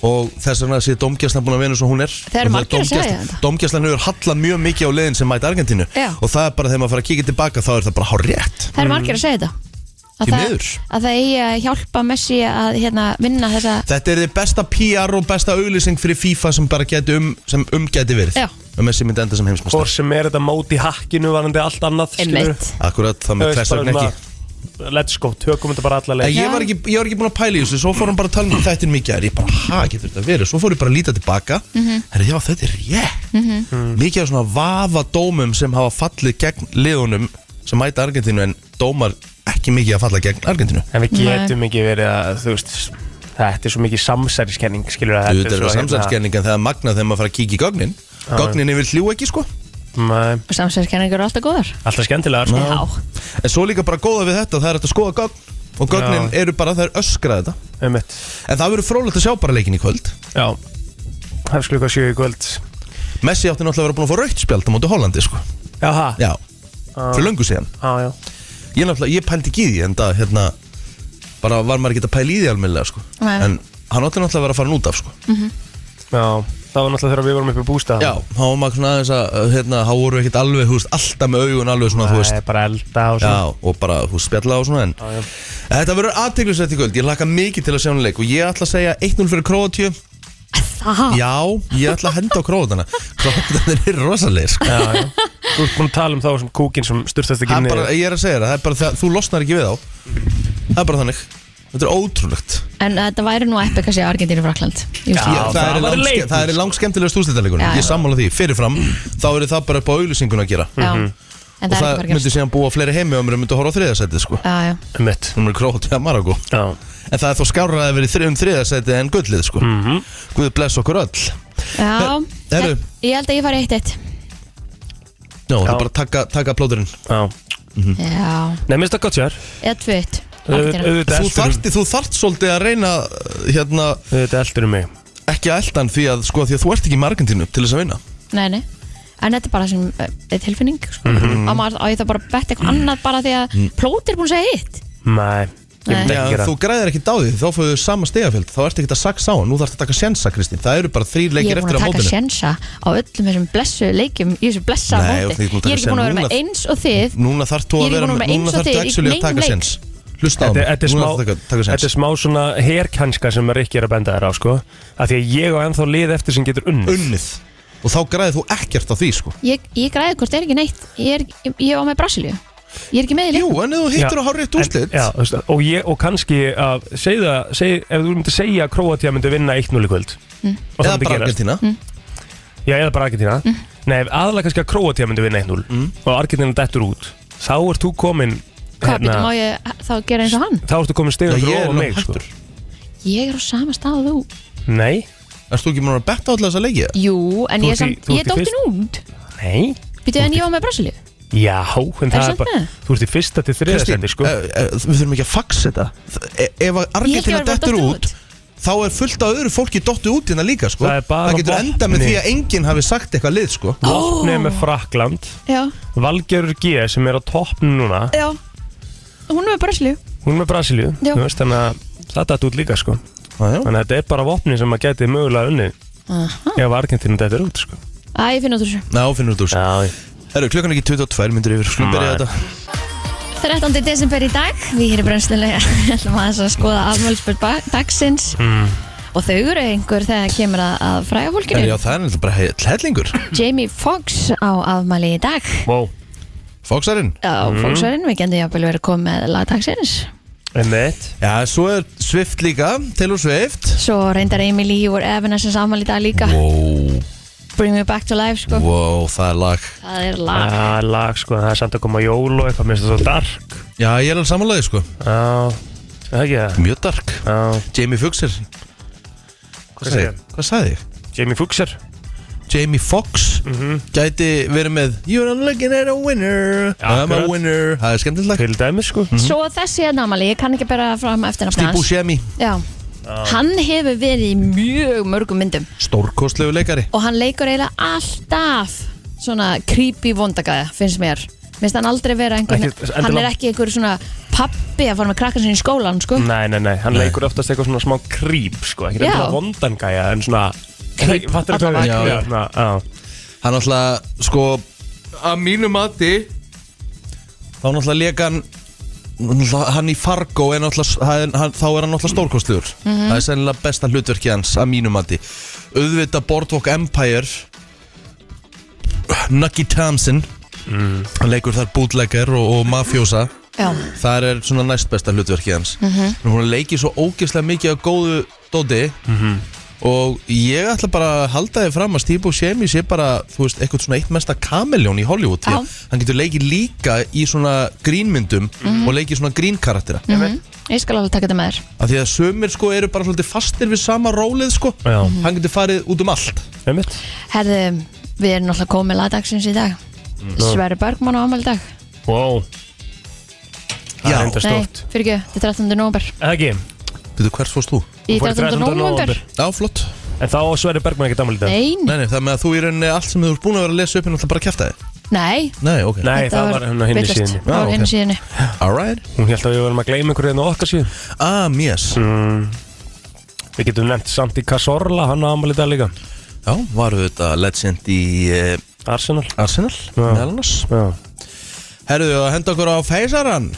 [SPEAKER 3] og þess vegna sé domgjastlan búin að vinna svo hún er
[SPEAKER 2] Það eru margir að segja þetta.
[SPEAKER 3] Domgjastlan hefur hallað mjög mikið á leiðin sem mæta Argentínu
[SPEAKER 2] Já.
[SPEAKER 3] og það er bara þegar maður fara að kíkja tilbaka þá er það bara hár rétt
[SPEAKER 2] Það er margir að segja þetta Að
[SPEAKER 3] Mm. Því
[SPEAKER 2] það,
[SPEAKER 3] miður.
[SPEAKER 2] að það eigi að hjálpa Messi að hérna, vinna þessa
[SPEAKER 3] Þetta er þið besta PR og besta auglýsing fyrir FIFA sem bara geti um, sem um geti verið
[SPEAKER 2] Já.
[SPEAKER 3] að Messi myndi enda sem heimsmest
[SPEAKER 4] Hvor sem er þetta móti hakkinu varandi allt annað skilurðu?
[SPEAKER 2] Einmitt.
[SPEAKER 3] Akkurat það
[SPEAKER 4] Það
[SPEAKER 3] með
[SPEAKER 4] er
[SPEAKER 3] þess
[SPEAKER 4] bara
[SPEAKER 3] vegna ekki
[SPEAKER 4] svona, Let's go, tökum þetta bara alla
[SPEAKER 3] En
[SPEAKER 4] leið
[SPEAKER 3] ég var, ekki, ég var ekki búin að pæla í þessu, svo fór hann bara að tala um þetta mikið að ég bara, ha, getur þetta verið, svo fór ég bara að líta tilbaka, herri, já, þetta er rétt, mikið af svona vafa dómum sem hafa fallið gegn liðunum sem mæta Argentínu en dómar ekki mikið að falla gegn Argentínu.
[SPEAKER 4] En við getum ekki verið að þú veist Þetta er svo mikið samsæriskenning skilur að
[SPEAKER 3] Þú veit, þetta er
[SPEAKER 4] hérna,
[SPEAKER 3] samsæðskenning en það er magnað þegar maður fara að kíkja í gögnin, gögnin yfir hljú ekki, sko.
[SPEAKER 4] samsæriskenning
[SPEAKER 2] samsverkenningur alltaf góðar
[SPEAKER 4] Alltaf skemmtilega sko.
[SPEAKER 2] Já,
[SPEAKER 3] En svo líka bara góða við þetta, það er hægt að skoða gögn og gögnin
[SPEAKER 4] Já.
[SPEAKER 3] eru bara, það er öskrað þetta.
[SPEAKER 4] Einmitt.
[SPEAKER 3] En það verður frólægt að sjá bara leikin í kvöld.
[SPEAKER 4] Já Það er klukka sjö í kvöld
[SPEAKER 3] Messi átti náttúrulega að vera búin að fá rautt spjald á móti Hollandi, sko.
[SPEAKER 4] Já, ha?
[SPEAKER 3] Já, fyrir löngu síðan.
[SPEAKER 4] Já, já
[SPEAKER 3] Ég náttúrulega, ég pældi ekki í því en það, hérna bara var maður ekki að pæla í því almennilega sko.
[SPEAKER 2] Nei.
[SPEAKER 3] en hann átti náttúrulega að vera að fara nút af sko.
[SPEAKER 4] Já, það var náttúrulega þegar við vorum upp í bústað
[SPEAKER 3] já, þá var maður svona aðeins að hérna, þá voru ekkert alveg, þú veist, alltaf með augun alveg svona, þú
[SPEAKER 4] Það
[SPEAKER 3] veist,
[SPEAKER 4] er bara elda og
[SPEAKER 3] já,
[SPEAKER 4] svona
[SPEAKER 3] og bara, þú veist, spjalla og svona en
[SPEAKER 4] Já, já.
[SPEAKER 3] þetta verður aðteglisvægt í kvöld, ég laka mikið til að sjá hann leik og ég ætla að segja 1-0 fyrir Króatíu
[SPEAKER 2] það
[SPEAKER 3] já, ég ætla að henda á Króatana Króatana er rosalegir sko.
[SPEAKER 4] Já, já. Þú ert búin að tala um þá sem kúkin sem styrtast ekki
[SPEAKER 3] Það er
[SPEAKER 4] niður
[SPEAKER 3] bara, ég er að segja þér það, það er bara, það, þú losnar ekki við þá það er bara þannig, þetta er ótrúlegt
[SPEAKER 2] En eh, þetta væri nú epic að sé Argentínu Frakland
[SPEAKER 3] Já,
[SPEAKER 4] Já,
[SPEAKER 3] það, það,
[SPEAKER 4] það
[SPEAKER 3] er
[SPEAKER 4] var
[SPEAKER 3] lang,
[SPEAKER 4] leikur.
[SPEAKER 3] það er langt skemmtilegast úrslitaleikunum
[SPEAKER 2] Já,
[SPEAKER 3] Ég
[SPEAKER 2] já.
[SPEAKER 3] sammála því, fyrirfram Þá eru það bara upp á auðlýsinguna að gera
[SPEAKER 2] Já, en
[SPEAKER 3] Mhm. Og
[SPEAKER 2] það er
[SPEAKER 3] það
[SPEAKER 2] ekki bara
[SPEAKER 3] myndi síðan búa fleiri heimi og mér myndi horfa á þriðasæti sko.
[SPEAKER 2] Já, já,
[SPEAKER 4] Einmitt.
[SPEAKER 3] Hún er krótt í Marokko
[SPEAKER 4] Já,
[SPEAKER 3] En það er þó skárra að verið þriðum þriðasæti um en gullið sko.
[SPEAKER 4] Mhm.
[SPEAKER 3] Guð bless okkur öll
[SPEAKER 2] já.
[SPEAKER 3] Herru.
[SPEAKER 2] Ég held að ég fari eitt eitt
[SPEAKER 3] Jó, það
[SPEAKER 4] Já.
[SPEAKER 3] er bara að taka, taka plóturinn
[SPEAKER 4] já
[SPEAKER 3] Mm.
[SPEAKER 2] Já,
[SPEAKER 4] Nei, minnst það gott sér
[SPEAKER 2] eða tvö eitt Argentínu
[SPEAKER 3] Þú
[SPEAKER 4] Auðvitað eltir um-
[SPEAKER 3] þarft, þú þarft svolítið að reyna hérna,
[SPEAKER 4] auðvitað eldur um mig
[SPEAKER 3] ekki að eldan því að, sko, því að þú ert ekki í margentinu til þess að vinna
[SPEAKER 2] Nei, nei En þetta er bara sem uh, tilfinning sko.
[SPEAKER 3] Mhm.
[SPEAKER 2] á, maður, á ég það bara að
[SPEAKER 3] Mm.
[SPEAKER 2] betta eitthvað annað bara því að plót er búin að segja hitt
[SPEAKER 4] Nei, ég
[SPEAKER 2] Nei.
[SPEAKER 4] myndi
[SPEAKER 3] Já,
[SPEAKER 4] ekki
[SPEAKER 3] en
[SPEAKER 4] gera
[SPEAKER 3] þú græðir ekki dáðið, þá fóðu sama stegafjöld þá ert ekki að saksa á, hann. nú þarf að taka sjensa Kristín, það eru bara þrý
[SPEAKER 2] Ég er
[SPEAKER 3] leikir
[SPEAKER 2] búin
[SPEAKER 3] eftir á
[SPEAKER 2] að taka
[SPEAKER 3] mótinu
[SPEAKER 2] sjensa á öllum þessum blessu leikjum í þessu blessa
[SPEAKER 3] Nei, þú ert
[SPEAKER 2] móti
[SPEAKER 3] ekki búin að taka
[SPEAKER 2] Ég er ekki búin að vera
[SPEAKER 3] séns. Núna-
[SPEAKER 2] með eins og þið
[SPEAKER 3] Núna þarf þú að
[SPEAKER 2] Ég er
[SPEAKER 3] vera
[SPEAKER 2] ekki búin að vera eins
[SPEAKER 3] Núna
[SPEAKER 2] og
[SPEAKER 3] þarf þú
[SPEAKER 2] þig í
[SPEAKER 3] actually að
[SPEAKER 2] neinum
[SPEAKER 3] taka
[SPEAKER 2] leik.
[SPEAKER 3] sens Hlusta á
[SPEAKER 4] Þetta
[SPEAKER 3] mig,
[SPEAKER 4] er- þetta er
[SPEAKER 3] núna
[SPEAKER 4] smá,
[SPEAKER 3] þarf þú að taka
[SPEAKER 4] þetta er
[SPEAKER 3] sens
[SPEAKER 4] smá svona herkanska sem Rikki er að benda þér á sko. að því að ég á ennþá lið eftir sem getur unnið
[SPEAKER 3] Unnið Og þá græðir þú ekkert á því sko
[SPEAKER 2] Ég, ég græði hvort það er ekki neitt Ég, er, ég, ég var með Brasilíu Ég er ekki með í
[SPEAKER 3] Jú,
[SPEAKER 2] leik
[SPEAKER 3] en ef þú hittur
[SPEAKER 4] Já,
[SPEAKER 3] á hárétt
[SPEAKER 4] en-
[SPEAKER 3] úrslit
[SPEAKER 4] já, þú veist, og, ég, og kannski að segja, segja, ef þú myndir segja að Kroatia myndi vinna 1-0 í kvöld og það
[SPEAKER 3] Eða
[SPEAKER 4] myndi
[SPEAKER 3] bara
[SPEAKER 4] gerast
[SPEAKER 3] Argentina
[SPEAKER 2] Mm.
[SPEAKER 4] já, eða bara Argentina nei, aðlega kannski að Kroatia myndi vinna 1-0
[SPEAKER 3] Mm.
[SPEAKER 4] og Argentina dettur út þá ert þú komin hérna,
[SPEAKER 2] Hvað býtum á ég þá að gera eins og hann?
[SPEAKER 4] þá ert þú komin
[SPEAKER 3] Já,
[SPEAKER 4] stegum
[SPEAKER 3] ég er
[SPEAKER 4] frá
[SPEAKER 3] nú
[SPEAKER 4] mig sko.
[SPEAKER 3] hættur.
[SPEAKER 2] Ég er á sama stað og þú
[SPEAKER 4] nei,
[SPEAKER 3] Erst þú ekki múin að betta á alltaf þessa leiki?
[SPEAKER 2] Jú, en
[SPEAKER 4] Þú
[SPEAKER 2] ég,
[SPEAKER 4] ert í-
[SPEAKER 2] samt,
[SPEAKER 4] þú
[SPEAKER 2] ég
[SPEAKER 4] ert í
[SPEAKER 2] dótti
[SPEAKER 4] fyrst-
[SPEAKER 2] nút
[SPEAKER 4] nei
[SPEAKER 2] Býtu en ég var með Brasilíu
[SPEAKER 4] já, en það er
[SPEAKER 2] samt
[SPEAKER 4] bara
[SPEAKER 2] með?
[SPEAKER 4] þú ert í fyrsta til þriða
[SPEAKER 3] Kristín,
[SPEAKER 4] sendi sko.
[SPEAKER 3] eh, eh, við þurfum ekki að faxa þetta Þ- e- Ef að
[SPEAKER 2] Ég ekki
[SPEAKER 3] Argentina
[SPEAKER 2] að vera
[SPEAKER 3] dettur
[SPEAKER 2] dottur
[SPEAKER 3] út Þá er fullt af öðru fólki dottu út hérna líka sko
[SPEAKER 4] Það er bara
[SPEAKER 3] getur enda með
[SPEAKER 4] vopni.
[SPEAKER 3] því að enginn hafi sagt eitthvað lið sko
[SPEAKER 4] Vopnið er með Frakland
[SPEAKER 2] Já,
[SPEAKER 4] Valgerur G sem er á toppnum núna
[SPEAKER 2] já Hún er með Brasilíu
[SPEAKER 4] Hún er með Brasilíu
[SPEAKER 2] Já.
[SPEAKER 4] þú veist, Þannig að það datt út líka sko.
[SPEAKER 3] Já, já.
[SPEAKER 4] Þannig að þetta er bara vopni sem að geti mögulega unnið
[SPEAKER 2] Aha.
[SPEAKER 4] Ef Argentínu þetta er út sko.
[SPEAKER 2] Æ, ég finn út úr þessu
[SPEAKER 3] Ná, finnur þú sko. úr þessu.
[SPEAKER 4] Já,
[SPEAKER 3] Herru, klukkan er ekki 22 myndir yfir Skulum byrja
[SPEAKER 4] Nei.
[SPEAKER 3] þetta
[SPEAKER 2] Þau 13. desember í dag Við hér í brennslulega ætlum aðeins að skoða afmælspöld dagsins
[SPEAKER 4] Hmm.
[SPEAKER 2] Og þau eru einhver þegar kemur að, að fræga
[SPEAKER 3] En
[SPEAKER 2] fólkinu
[SPEAKER 3] já, það er náttúrulega bara he- hellingur
[SPEAKER 2] Jamie Foxx á afmæli í dag
[SPEAKER 4] Wow.
[SPEAKER 3] Foxarinn
[SPEAKER 2] Á mm. Foxarinn, við gendum jafnvel verið að koma með lag dagsins
[SPEAKER 4] Emmett
[SPEAKER 3] Já, svo er Swift líka, Taylor Swift
[SPEAKER 2] Svo reyndar Emily Hugh Evanescence afmæli í dag líka
[SPEAKER 3] Wow,
[SPEAKER 2] Bring me back to life sko
[SPEAKER 3] wow, það er lag
[SPEAKER 2] Það er lag
[SPEAKER 4] ah, Lag sko, það er samt að koma jól og eitthvað Mér finnst það svo dark
[SPEAKER 3] Já, ég er alveg samanlega, sko
[SPEAKER 4] Já, er það ekki það
[SPEAKER 3] Mjög dark
[SPEAKER 4] Já,
[SPEAKER 3] Jamie Fuxer Hvað
[SPEAKER 4] sagði
[SPEAKER 3] sagði
[SPEAKER 4] ég?
[SPEAKER 3] ég? Hvað sagði ég?
[SPEAKER 4] Jamie Fuxer
[SPEAKER 3] Jamie Foxx
[SPEAKER 4] Mhm.
[SPEAKER 3] gæti verið með You're looking at a winner I'm a
[SPEAKER 4] Akkurat.
[SPEAKER 3] winner Það er skemmtilegt lag
[SPEAKER 4] Til dæmis sko
[SPEAKER 2] Svo þessi er námali, ég kann ekki bera fram eftir nafni
[SPEAKER 3] Steve
[SPEAKER 2] hans
[SPEAKER 3] Buscemi,
[SPEAKER 2] Já Hann hefur verið í mjög mörgum myndum
[SPEAKER 3] stórkostlegu leikari
[SPEAKER 2] og hann leikur eiginlega alltaf svona creepy vondagæða finnst mér finnst hann aldrei vera einhvern
[SPEAKER 4] Ekki-
[SPEAKER 2] hann er
[SPEAKER 4] endilega-
[SPEAKER 2] ekki einhver svona pappi að fara með krakkan sinni í skólan sko
[SPEAKER 4] Nei, nei, nei, hann leikur oftast eitthvað svona smá krýp sko, ekki
[SPEAKER 2] Já.
[SPEAKER 4] eitthvað vondangæja en svona
[SPEAKER 2] Creep,
[SPEAKER 4] fattar þetta
[SPEAKER 2] allavega.
[SPEAKER 4] já,
[SPEAKER 3] Já,
[SPEAKER 4] já,
[SPEAKER 3] já.
[SPEAKER 4] svona, já.
[SPEAKER 3] Hann alltaf, sko að mínu mati þá náttúrulega leika hann náttúrulega hann í Fargo en náttúrulega- það er- hann- þá er hann náttúrulega stórkostlegur það er sennilega besta hlutverki hans að mínu mati auðvitað Boardwalk Empire Nucky Thompson hann leikur þar bootlegger og, og mafjósa
[SPEAKER 2] já,
[SPEAKER 3] Það er svona næst besta hlutverkið hans mm -hmm. Hún leikir svo ógeðslega mikið af góðu dóti Og ég ætla bara að halda þið fram að Steve Buscemi sé bara, þú veist, eitthvað svona eitt mesta kameljón í Hollywood því að
[SPEAKER 2] Já.
[SPEAKER 3] Hann getur leikið líka í svona grínmyndum og leikið svona grínkarakterra mm
[SPEAKER 2] ég skal alveg taka þetta með þér
[SPEAKER 3] Af því að sömur sko eru bara svolítið fastir við sama rólið sko
[SPEAKER 4] Já.
[SPEAKER 3] Hann getur farið út um allt
[SPEAKER 4] Einmitt.
[SPEAKER 2] herðu, við erum náttúrulega komið með lagdagsins í dag
[SPEAKER 4] Mm.
[SPEAKER 2] Sverri Bergman á ámæli dag
[SPEAKER 4] Wow, það
[SPEAKER 3] Já,
[SPEAKER 4] er enda
[SPEAKER 2] nei,
[SPEAKER 4] stort
[SPEAKER 2] fyrir ekki, þetta er 13. november
[SPEAKER 4] Eða ekki,
[SPEAKER 3] veitu hvers fórst þú?
[SPEAKER 2] í
[SPEAKER 4] Hún fór í
[SPEAKER 2] 13.
[SPEAKER 4] 13.
[SPEAKER 2] november
[SPEAKER 4] nóvember.
[SPEAKER 3] Já, flott
[SPEAKER 4] en þá á Sverri Bergman ekki damalítið Nei,
[SPEAKER 2] nei,
[SPEAKER 3] Nei, nei, það með að þú í rauninni allt sem þú ert búin að vera að lesa upp er náttúrulega bara að kæfta þið
[SPEAKER 2] nei
[SPEAKER 3] Nei, ok,
[SPEAKER 4] nei það var hérna hennar hinn í
[SPEAKER 2] vitlaust.
[SPEAKER 4] síðinni
[SPEAKER 3] Já,
[SPEAKER 2] það var
[SPEAKER 3] ok.
[SPEAKER 2] hinn í síðinni
[SPEAKER 3] alright
[SPEAKER 4] Hún held að við varum að gleyma einhverju en á okkar síðan
[SPEAKER 3] Ah, yes
[SPEAKER 4] Við getum nefnt Santi Casorla, hann á amalítið líka
[SPEAKER 3] Já, var auðvitað legend í uh,
[SPEAKER 4] Arsenal
[SPEAKER 3] Arsenal meðal annars.
[SPEAKER 4] Já.
[SPEAKER 3] Herðu, að henda okkur á feysaran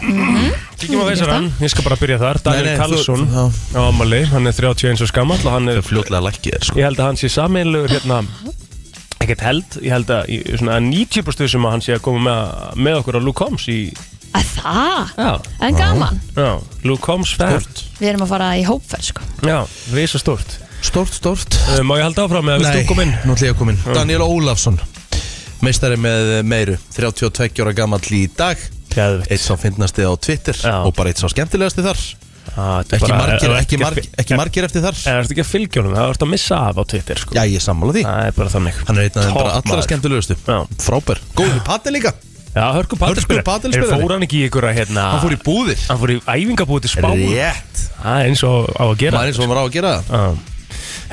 [SPEAKER 4] Kíkjum á veisarann, ég skal bara byrja þar
[SPEAKER 3] nei,
[SPEAKER 4] Daniel
[SPEAKER 3] þú-
[SPEAKER 4] Karlsson
[SPEAKER 3] já.
[SPEAKER 4] á amali, hann er 31 og skamall og hann er
[SPEAKER 3] Fljótlega lækkið er sko
[SPEAKER 4] Ég held að hann sé sameinlegur hérna ekkert held, ég held að í svona 90% sem að hann sé að koma með, með okkur á Luke Combs í,
[SPEAKER 2] að það,
[SPEAKER 4] já,
[SPEAKER 2] en gaman
[SPEAKER 4] já Luke Combs fan,
[SPEAKER 2] við erum að fara í hópferð sko
[SPEAKER 4] já, risa stort
[SPEAKER 3] Stort, stort
[SPEAKER 4] Má ég halda áfram með að viltu koma inn?
[SPEAKER 3] nú ætlum ég að koma inn Daniel Ólafsson Meistari með eh, meiru 32 ára gammal í dag
[SPEAKER 4] Geðveikt.
[SPEAKER 3] Eitt sá fyndnasti á Twitter
[SPEAKER 4] Já.
[SPEAKER 3] Og bara eitt sá skemmtilegasti þar
[SPEAKER 4] Ah, þetta er
[SPEAKER 3] Ekki
[SPEAKER 4] bara-
[SPEAKER 3] margir,
[SPEAKER 4] ef- ef-
[SPEAKER 3] ekki margir, ekki margir eftir þar
[SPEAKER 4] Ef þú ert ekki að fylgja honum, það ert að missa af á Twitter sko.
[SPEAKER 3] Já, ég er sammála því
[SPEAKER 4] Það er bara þannig
[SPEAKER 3] Hann er einn af þeim bara
[SPEAKER 4] Topp
[SPEAKER 3] allra
[SPEAKER 4] maður.
[SPEAKER 3] skemmtilegustu
[SPEAKER 4] Já.
[SPEAKER 3] Frábær Góður patti líka
[SPEAKER 4] Já, Hörku
[SPEAKER 3] Hörku
[SPEAKER 4] Padelspilari
[SPEAKER 3] padelspilari.
[SPEAKER 4] Fór hann ekki í ykkur að hérna
[SPEAKER 3] Hann fór í búðir
[SPEAKER 4] Hann fór í æfingabúið til spáin
[SPEAKER 3] Rétt
[SPEAKER 4] Það er eins og á að gera
[SPEAKER 3] Maður eins og maður á að gera það
[SPEAKER 4] Já.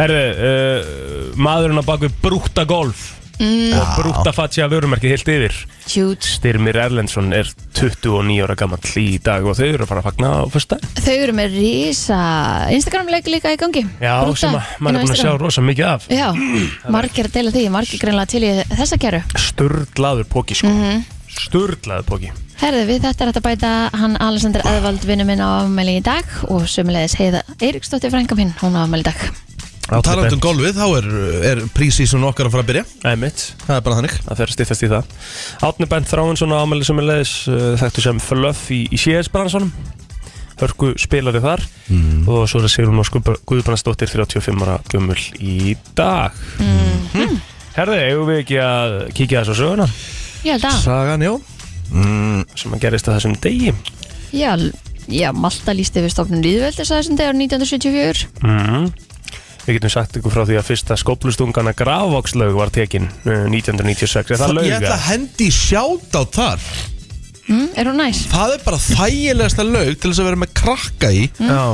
[SPEAKER 4] Herðu, uh, maðurinn á bakvið brúta golf
[SPEAKER 3] Mm.
[SPEAKER 4] og brúta fatja vörumerki heilt yfir
[SPEAKER 2] Huge.
[SPEAKER 4] Styrmir Erlendsson er 29 ára gammal í dag og þau eru að fara að fagna á fyrsta
[SPEAKER 2] Þau eru með rísa Instagram-leik líka í gangi
[SPEAKER 4] Já,
[SPEAKER 2] Brúta
[SPEAKER 4] sem að
[SPEAKER 2] inn á
[SPEAKER 4] maður er búin að sjá
[SPEAKER 2] Instagram.
[SPEAKER 4] rosa mikið af
[SPEAKER 2] Já, margir að deila því, margir greinlega til í þessa kæru
[SPEAKER 4] Sturlaður póki sko mm Sturlaður póki
[SPEAKER 2] Herðu við, þetta er hægt að bæta hann Alexander Eðvald vinnu minn á afmæli í dag og sömulegis heiða Eiríksdóttir frængam hinn, hún á afmæli í dag
[SPEAKER 3] Og talandi um golfið, þá er, er prísísun okkar að fara að byrja
[SPEAKER 4] Æmitt,
[SPEAKER 3] Það er bara þannig
[SPEAKER 4] það fer að stýttast í það Átni Bent Þráinsson á ámæli sem er leiðis þekktu sem Fluff í, í CS-bransanum Hörku spilaði þar
[SPEAKER 3] Mm.
[SPEAKER 4] og svo er það Sigrun Ósk Guðbrandsdóttir 35 ára gömul í dag mm. Herði, eigum við ekki að kíkja þess á söguna
[SPEAKER 2] Ég held að,
[SPEAKER 3] Sagan, já
[SPEAKER 4] sem að gerist að þessum degi
[SPEAKER 2] já, já Malta lísti við stofnun Lýðveldis að þessum degur 1974
[SPEAKER 3] Mhm.
[SPEAKER 4] mm. Við getum sagt ykkur frá því að fyrsta skóplustungana Gravokslaug var tekin eh, 1996, er það
[SPEAKER 3] Ég ætla
[SPEAKER 4] lauga?
[SPEAKER 3] að hendi sjátt á þar
[SPEAKER 2] mm, Er hún næs?
[SPEAKER 3] Það er bara þægilegasta laug til þess að vera með krakka í
[SPEAKER 4] Já,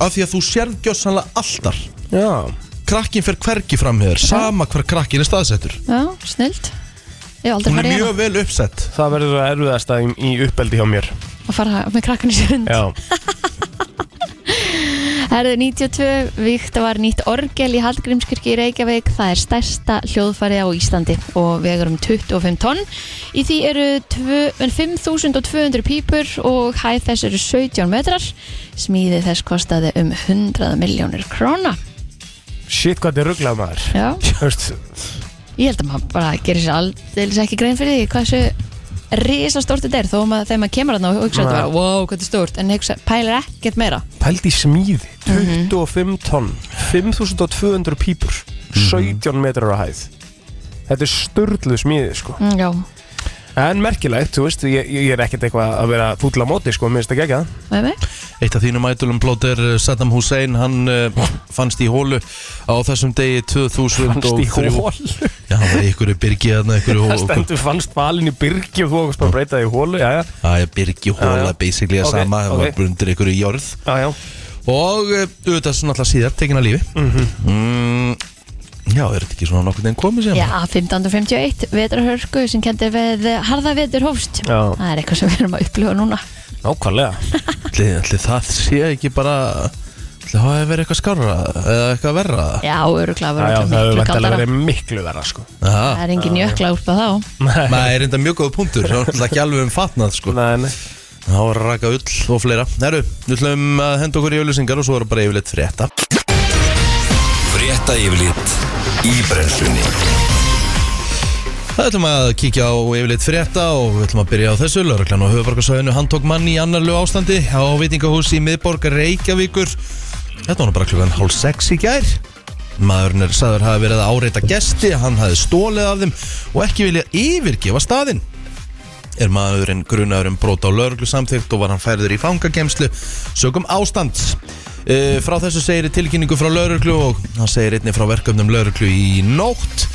[SPEAKER 3] Af því að þú sérð gjössanlega alltar
[SPEAKER 4] já
[SPEAKER 3] Krakkin fer hvergi fram hér Sama hver krakkin er staðsettur
[SPEAKER 2] Já, snilt Ég hef aldrei
[SPEAKER 3] Hún er
[SPEAKER 2] farið
[SPEAKER 3] mjög
[SPEAKER 2] hérna
[SPEAKER 3] vel uppsett
[SPEAKER 4] Það verður að erfiðast að í uppeldi hjá mér
[SPEAKER 2] að fara með krakkan í sund
[SPEAKER 4] Já,
[SPEAKER 2] Herðu 92, víkt var nýtt orgel í Hallgrímskirkju í Reykjavík. Það er stærsta hljóðfærið á Íslandi og vegur um 25 tonn. Í því eru tvö- en 5.200 pípur og hæð þess eru 17 metrar. Smíði þess kostaði um 100 miljónir króna.
[SPEAKER 4] Shit, hvað þetta er rugglað maður
[SPEAKER 2] Já.
[SPEAKER 4] Just,
[SPEAKER 2] Ég held að maður bara gerir sér aldrei ekki grein fyrir því hvað þessu risastórt þetta er þó að maður, þegar maður kemur þarna og hugsa þetta
[SPEAKER 4] Nei.
[SPEAKER 2] bara, wow, hvað þetta er stórt en hugsa, pælar ekkert meira
[SPEAKER 4] Pældi í smíði 25 tonn 5200 pípur 17 metrar á hæð Þetta er störlu smíði sko
[SPEAKER 2] mm, Já,
[SPEAKER 4] En merkilegt, þú veist, ég, ég er ekkert eitthvað að vera fúll á móti sko, minnst ekki ekki það
[SPEAKER 2] með mig
[SPEAKER 3] Eitt af þínum ædolum plóter Saddam Hussein, hann uh, fannst í hólu á þessum degi 2003
[SPEAKER 4] Fannst í hól
[SPEAKER 3] Já, það er ykkur byrgi þarna, ykkur
[SPEAKER 4] Það stendur fannst valin í byrgi og þú okkur spara breyta því í hólu Já, já,
[SPEAKER 3] Það er byrgi
[SPEAKER 4] Já,
[SPEAKER 3] hóla
[SPEAKER 4] já.
[SPEAKER 3] basically að
[SPEAKER 4] Ok,
[SPEAKER 3] sama, það
[SPEAKER 4] ok.
[SPEAKER 3] var undir ykkur jörð
[SPEAKER 4] já, já.
[SPEAKER 3] Og uh, auðvitað svona alltaf síðar, tekin að lífi mm Já, er þetta ekki svona nokkur en komið sér?
[SPEAKER 2] Já, 1551, vetrarhörku sem kendir við harða vetur hófst
[SPEAKER 4] Já.
[SPEAKER 2] Það er eitthvað sem við erum að upplifa núna
[SPEAKER 4] Nákvæmlega
[SPEAKER 3] Ætli, ætli það sé ekki bara ætli það hafi verið eitthvað skárra eða eitthvað verra
[SPEAKER 2] Já, öruglega
[SPEAKER 4] Já, já,
[SPEAKER 2] verður
[SPEAKER 4] það hefur
[SPEAKER 2] miklu
[SPEAKER 4] vantilega
[SPEAKER 2] kaldara
[SPEAKER 4] verið miklu verra sko
[SPEAKER 2] Það
[SPEAKER 3] Aha.
[SPEAKER 2] er engin jökla úr það þá
[SPEAKER 3] maður er enda mjög góð punktur það var náttúrulega ekki alveg um fatnað sko
[SPEAKER 4] Nei, nei
[SPEAKER 3] það var raka ull og fleira Herru, við ætlum að henda okkur í auðlýsingar og svo er bara yfirleitt frétta
[SPEAKER 1] Frétta yfirlit í brennslunni
[SPEAKER 3] Það ætlum að kíkja á yfirleitt frétta og við ætlum að byrja á þessu lauruglan og höfubarkasvæðinu hann tók mann í annarlu ástandi á veitingahúsi í miðborg Reykjavíkur Þetta var nú bara klukkan hálf sex í gær Maðurinn er sagður hafi verið að áreita gesti, hann hafi stólið af þeim og ekki vilja yfirgefa staðinn er maðurinn grunaður um brot á lauruglu samþygt og var hann færður í fangagemslu sögum ástand e, frá þessu segir í tilkynningu frá lauruglu og hann segir einnig frá verkefnum lauruglu í nótt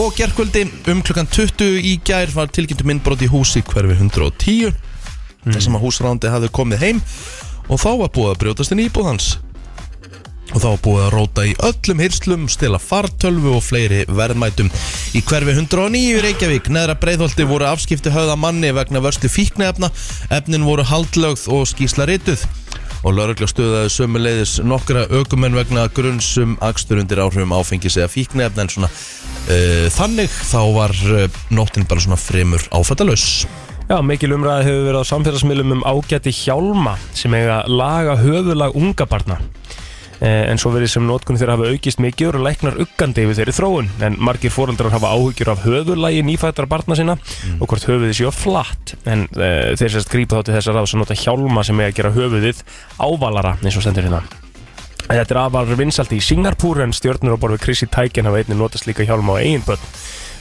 [SPEAKER 3] og gerkvöldi um klukkan 20 í gær var tilkynntum innbrot í húsi hverfi 110 þar sem að húsrándi hafði komið heim og þá var búið að brjótast inn í íbúð hans og þá var búið að róta í öllum hyrslum, stila fartölvu og fleiri verðmætum. Í hverfi 109 í Reykjavík, neðra breiðholti voru afskipti höfða manni vegna vörstu fíknefna, efnin voru haldlögð og skísla rituð og laurugla stuðaði sömuleiðis nokkra aukumenn vegna grunnsum akstur undir áhrifum áfengis eða fíknefna en svona uh, þannig þá var uh, nóttin bara svona fremur áfættalaus.
[SPEAKER 4] Já, mikil umræði hefur verið á samfélagsmiðlum um ágæti hjálma sem eiga laga höfulag unga barna. Eh, En svo verið sem notkun þeirra hafa aukist mikið og eru læknar uggandi yfir þeirri þróun en margir fóreldrar hafa áhyggjur af höfulagi nýfættar barna sinna og hvort höfuðið séu flatt en e, þeir sérst grípa þá til þess að ráðs að nota hjálma sem eiga að gera höfuðið ávalara eins og stendur hérna. En Þetta er afar vinsalt í Singapúr en stjórnur á borð við Chrissy Teigen hafa einnig notast líka hjálma á eigin börn.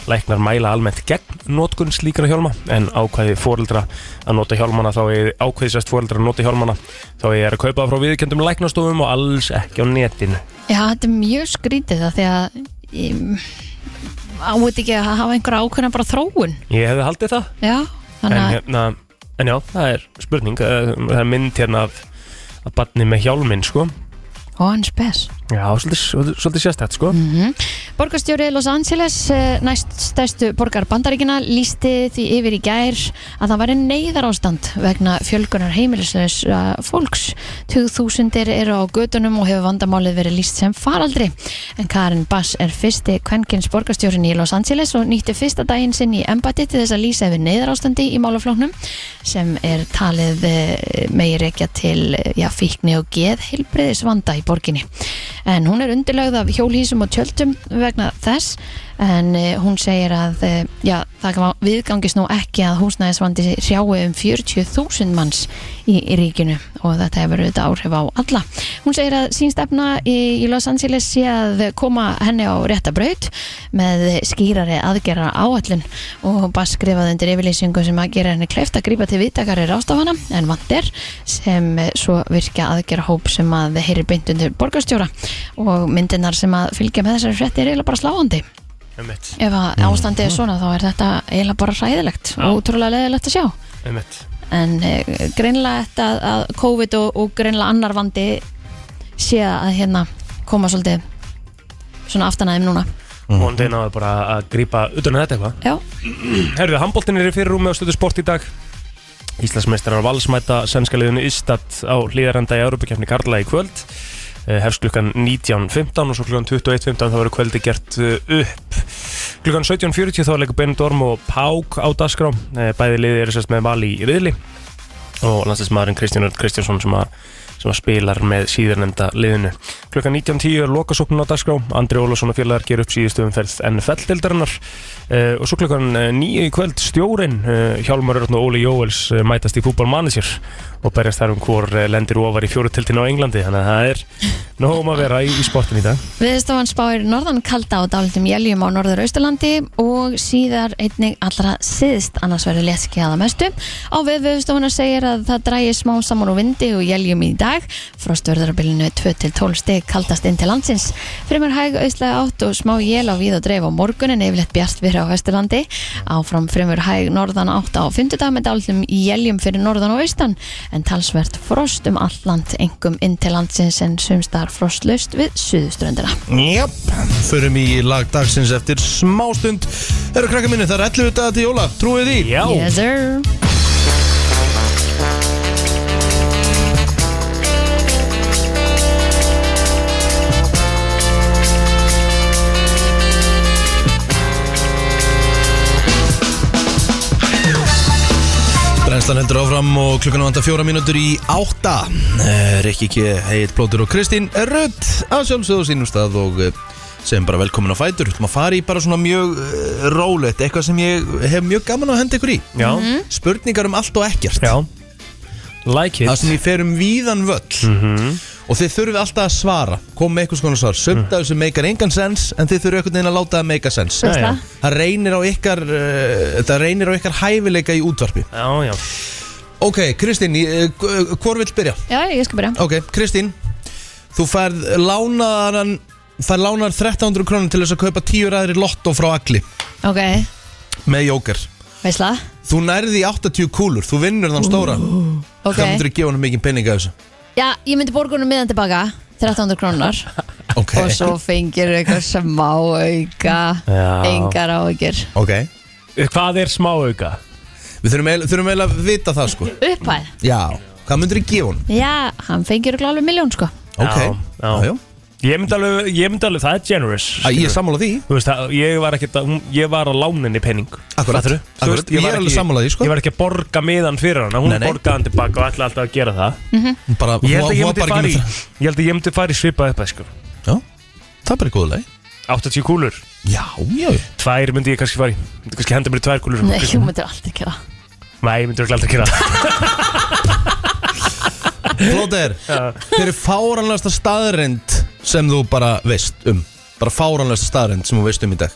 [SPEAKER 4] Læknar mæla almennt gegn notkun slíkra hjálma en ákvæði fóreldra að nota hjálmana þá er ákvæðisvæst fóreldra að nota hjálmana þá er að kaupa það frá viðkjöndum læknastofum og alls ekki á netinu.
[SPEAKER 2] Já, þetta er mjög skrítið það því að ég- á þetta ekki að hafa einhverja ákveðna bara þróun
[SPEAKER 4] Ég hefði haldið það
[SPEAKER 2] Já, þannig
[SPEAKER 4] en,
[SPEAKER 2] að
[SPEAKER 4] hérna, en já, það er spurning eh, það er mynd hérna af, af barni með hjálminn sko.
[SPEAKER 2] og hans best
[SPEAKER 4] Já, svolítið, svolítið, svolítið sérstætt sko. Mm.
[SPEAKER 2] Borgarstjóri Los Angeles, eh, næst stærstu borgar bandaríkina, lísti því yfir í gær að það væri neyðar ástand vegna fjölgunar heimilisleis fólks. 2000 eru á gödunum og hefur vandamálið verið líst sem faraldri. En Karin Bass er fyrsti kvenkins borgarstjórin í Los Angeles og nýtti fyrsta daginn sinn í embati til þess að lýsa yfir neyðar ástandi í málaflóknum sem er talið eh, megi rekja til eh, já, fíkni og geð heilbreyðisvanda í borginni. En hún er undirlögð af hjólhísum og tjöldum vegna þess en eh, hún segir að eh, já, það kan viðgangist nú ekki að húsnæðisvandi hrjái um 40.000 manns í, í ríkinu og þetta hefur auðvitað áhrif á alla. Hún segir að sín stefna í, í Los Angeles sé að koma henni á rétta braut með skýrari aðgerra áallun og hún bara skrifaði undir yfirlýsingu sem að gera henni kleift að grípa til viðtakari rástafana en vandir sem eh, svo virkja aðgerra hóp sem að heyri beint undir borgarstjóra og myndinar sem að fylgja með þessari frétti er eiginlega bara sláandi
[SPEAKER 4] Einmitt,
[SPEAKER 2] ef að ástandi er svona þá er þetta eiginlega bara ræðilegt
[SPEAKER 4] Já.
[SPEAKER 2] og útrúlega leðilegt að sjá
[SPEAKER 4] einmitt.
[SPEAKER 2] en eh, greinlega þetta að- að COVID og, og greinlega annar vandi sé að hérna koma svolítið svona aftanæðum núna
[SPEAKER 4] Mm. Vonandi náðu bara að grípa utan að þetta eitthvað
[SPEAKER 2] Já,
[SPEAKER 4] Herðu, handbóltin er í fyrirrúmi á stöðu sport í dag Íslandsmeistarar valsmæta sennskaliðinu Ístat á hlýðarenda í Európa-kefni Karla í kvöld Eh, hefst klukkan 19.15 og svo klukkan 21.15 þá verður kvöldi gert eh, upp klukkan 17.40 þá leikur Ben Dorm og Pák á Dasgrá bæði liði eru sérst með val í riðli og landslýsmaðurinn Kristján Örn Kristjánsson sem að sem að spilar með síðarnemnda liðinu. Klukkan 19.10 er lokasóknun á dagskrá, Andri Ólafsson og félagar ger upp síðustu umferð NFL-dildarinnar uh, og svo klukkan eh, 9 í kvöld stjórin, uh, Hjálmar Örn og Óli Jóels uh, mætast í fútbolmanager og berjast þar um hvor eh, lendir ofar í fjóruteltinu á Englandi, þannig að það er nógum að vera í, í sportin í dag.
[SPEAKER 2] Viðstofan spáir norðan kalda og dálítum jæljum á norður-austurlandi og síðar einnig allra síðst annars verður léttski aða mestu. Á við viðstofana segir að það drægi smá saman og vindi og jæljum í dag. Frost verður að bylinu 2-12 stig kaldast inn til landsins. Fremur hæg auðslega átt og smá jél á víð og dreif á morgun en yfirleitt bjart virra á vesturlandi. Áfram fremur hæg norðan átt á 5. dag með dálítum jæljum fyrir norðan og austan en talsvert frost um allt land engum inn til landsins en sumstar frostlaust við suðuströndina.
[SPEAKER 3] Jáp, förum í lag dagsins eftir smástund Herru krakka minni, það er 11 dagar til jóla, trúið því?
[SPEAKER 4] Já,
[SPEAKER 2] Yes sir.
[SPEAKER 3] Brennslan heldur áfram og klukkan vanda fjóra mínútur í átta Eh, Rikki K, Heit Plótur og Kristín Rutt að sjálfsögðu á sínum stað og eh, segjum bara velkomin á fætur Þú maður fari í bara svona mjög eh, rólegt eitthvað sem ég hef mjög gaman að henda ykkur í
[SPEAKER 4] já,
[SPEAKER 3] Spurningar um allt og ekkert
[SPEAKER 4] já. Like
[SPEAKER 3] Það
[SPEAKER 4] it.
[SPEAKER 3] sem ég fer um víðan völl
[SPEAKER 4] Mhm.
[SPEAKER 3] Og þið þurfið alltaf að svara Kom með eitthvað svona svar Sumt af þessu meikar engan sens En þið þurfið einhvern veginn að láta það meika sens
[SPEAKER 2] Veist
[SPEAKER 4] Mm. Já, já.
[SPEAKER 2] það?
[SPEAKER 3] Það reynir á ykkar uh, Það reynir á ykkar hæfileika í útvarpi
[SPEAKER 4] Já, já.
[SPEAKER 3] Ok, Kristín, uh, hvor vill byrja?
[SPEAKER 2] Já, ég skal byrja.
[SPEAKER 3] Ok, Kristín Þú færð lánaðan Færð lánar 1300 krónur til þess að kaupa 10 ræðri lotto frá Agli
[SPEAKER 2] Ok,
[SPEAKER 3] Með jóker
[SPEAKER 2] veist það?
[SPEAKER 3] Þú nærði í 80 kúlur, þú vinnur þann stóra
[SPEAKER 2] Ok.
[SPEAKER 3] Það myndur að gefa hann mikið pening af þessu
[SPEAKER 2] Já, ég myndi borgunum miðan tilbaka, 1300 krónar
[SPEAKER 3] Ok,
[SPEAKER 2] og svo fengir eitthvað smá auka,
[SPEAKER 4] Já.
[SPEAKER 2] engar áhyggjur.
[SPEAKER 3] okay.
[SPEAKER 4] Hvað er smáauka?
[SPEAKER 3] Við þurfum eiginlega- þurfum eiginlega að vita það sko
[SPEAKER 2] Uppæð?
[SPEAKER 3] Já, hvað myndur að gefa hann?
[SPEAKER 2] Já, hann fengir eitthvað alveg miljón sko.
[SPEAKER 3] Ok,
[SPEAKER 4] Já, já.
[SPEAKER 3] já, já.
[SPEAKER 4] Ég myndi alveg, ég myndi alveg, það er generous.
[SPEAKER 3] Æ, Ég er sammála því
[SPEAKER 4] Þú veist að ég var ekki að, hún- ég var að lána henni penning
[SPEAKER 3] Akkurat,
[SPEAKER 4] Fattarðu? Þú
[SPEAKER 3] akkurat.
[SPEAKER 4] ég
[SPEAKER 3] Ég
[SPEAKER 4] var
[SPEAKER 3] er
[SPEAKER 4] ekki-
[SPEAKER 3] alveg sammála því, sko.
[SPEAKER 4] Ég var ekki að borga miðan fyrir hana, hún
[SPEAKER 3] Nei, nei.
[SPEAKER 4] borgaði hann tilbaka og ætlaði alltaf að gera það
[SPEAKER 3] Hún bara,
[SPEAKER 4] Ég held
[SPEAKER 3] hún-
[SPEAKER 4] að ég
[SPEAKER 3] hún var
[SPEAKER 4] myndi
[SPEAKER 3] bara
[SPEAKER 4] fara
[SPEAKER 3] ekki
[SPEAKER 4] í,
[SPEAKER 3] með það.
[SPEAKER 4] ég held að ég myndi fara í svipað upp sko.
[SPEAKER 3] Já, það er bara góðuleg
[SPEAKER 4] 80 kúlur,
[SPEAKER 3] Já, já, já
[SPEAKER 4] tvær myndi ég kannski fara í Myndi kannski henda mér í tvær kúlur
[SPEAKER 2] Nei, þú myndir alltaf gera það.
[SPEAKER 4] Nei, ég myndi örugglega aldrei gera það
[SPEAKER 3] Plóter, hver er fáranlegasta staðrind sem þú bara veist um? Bara fáranlegasta staðrind sem þú veist um í dag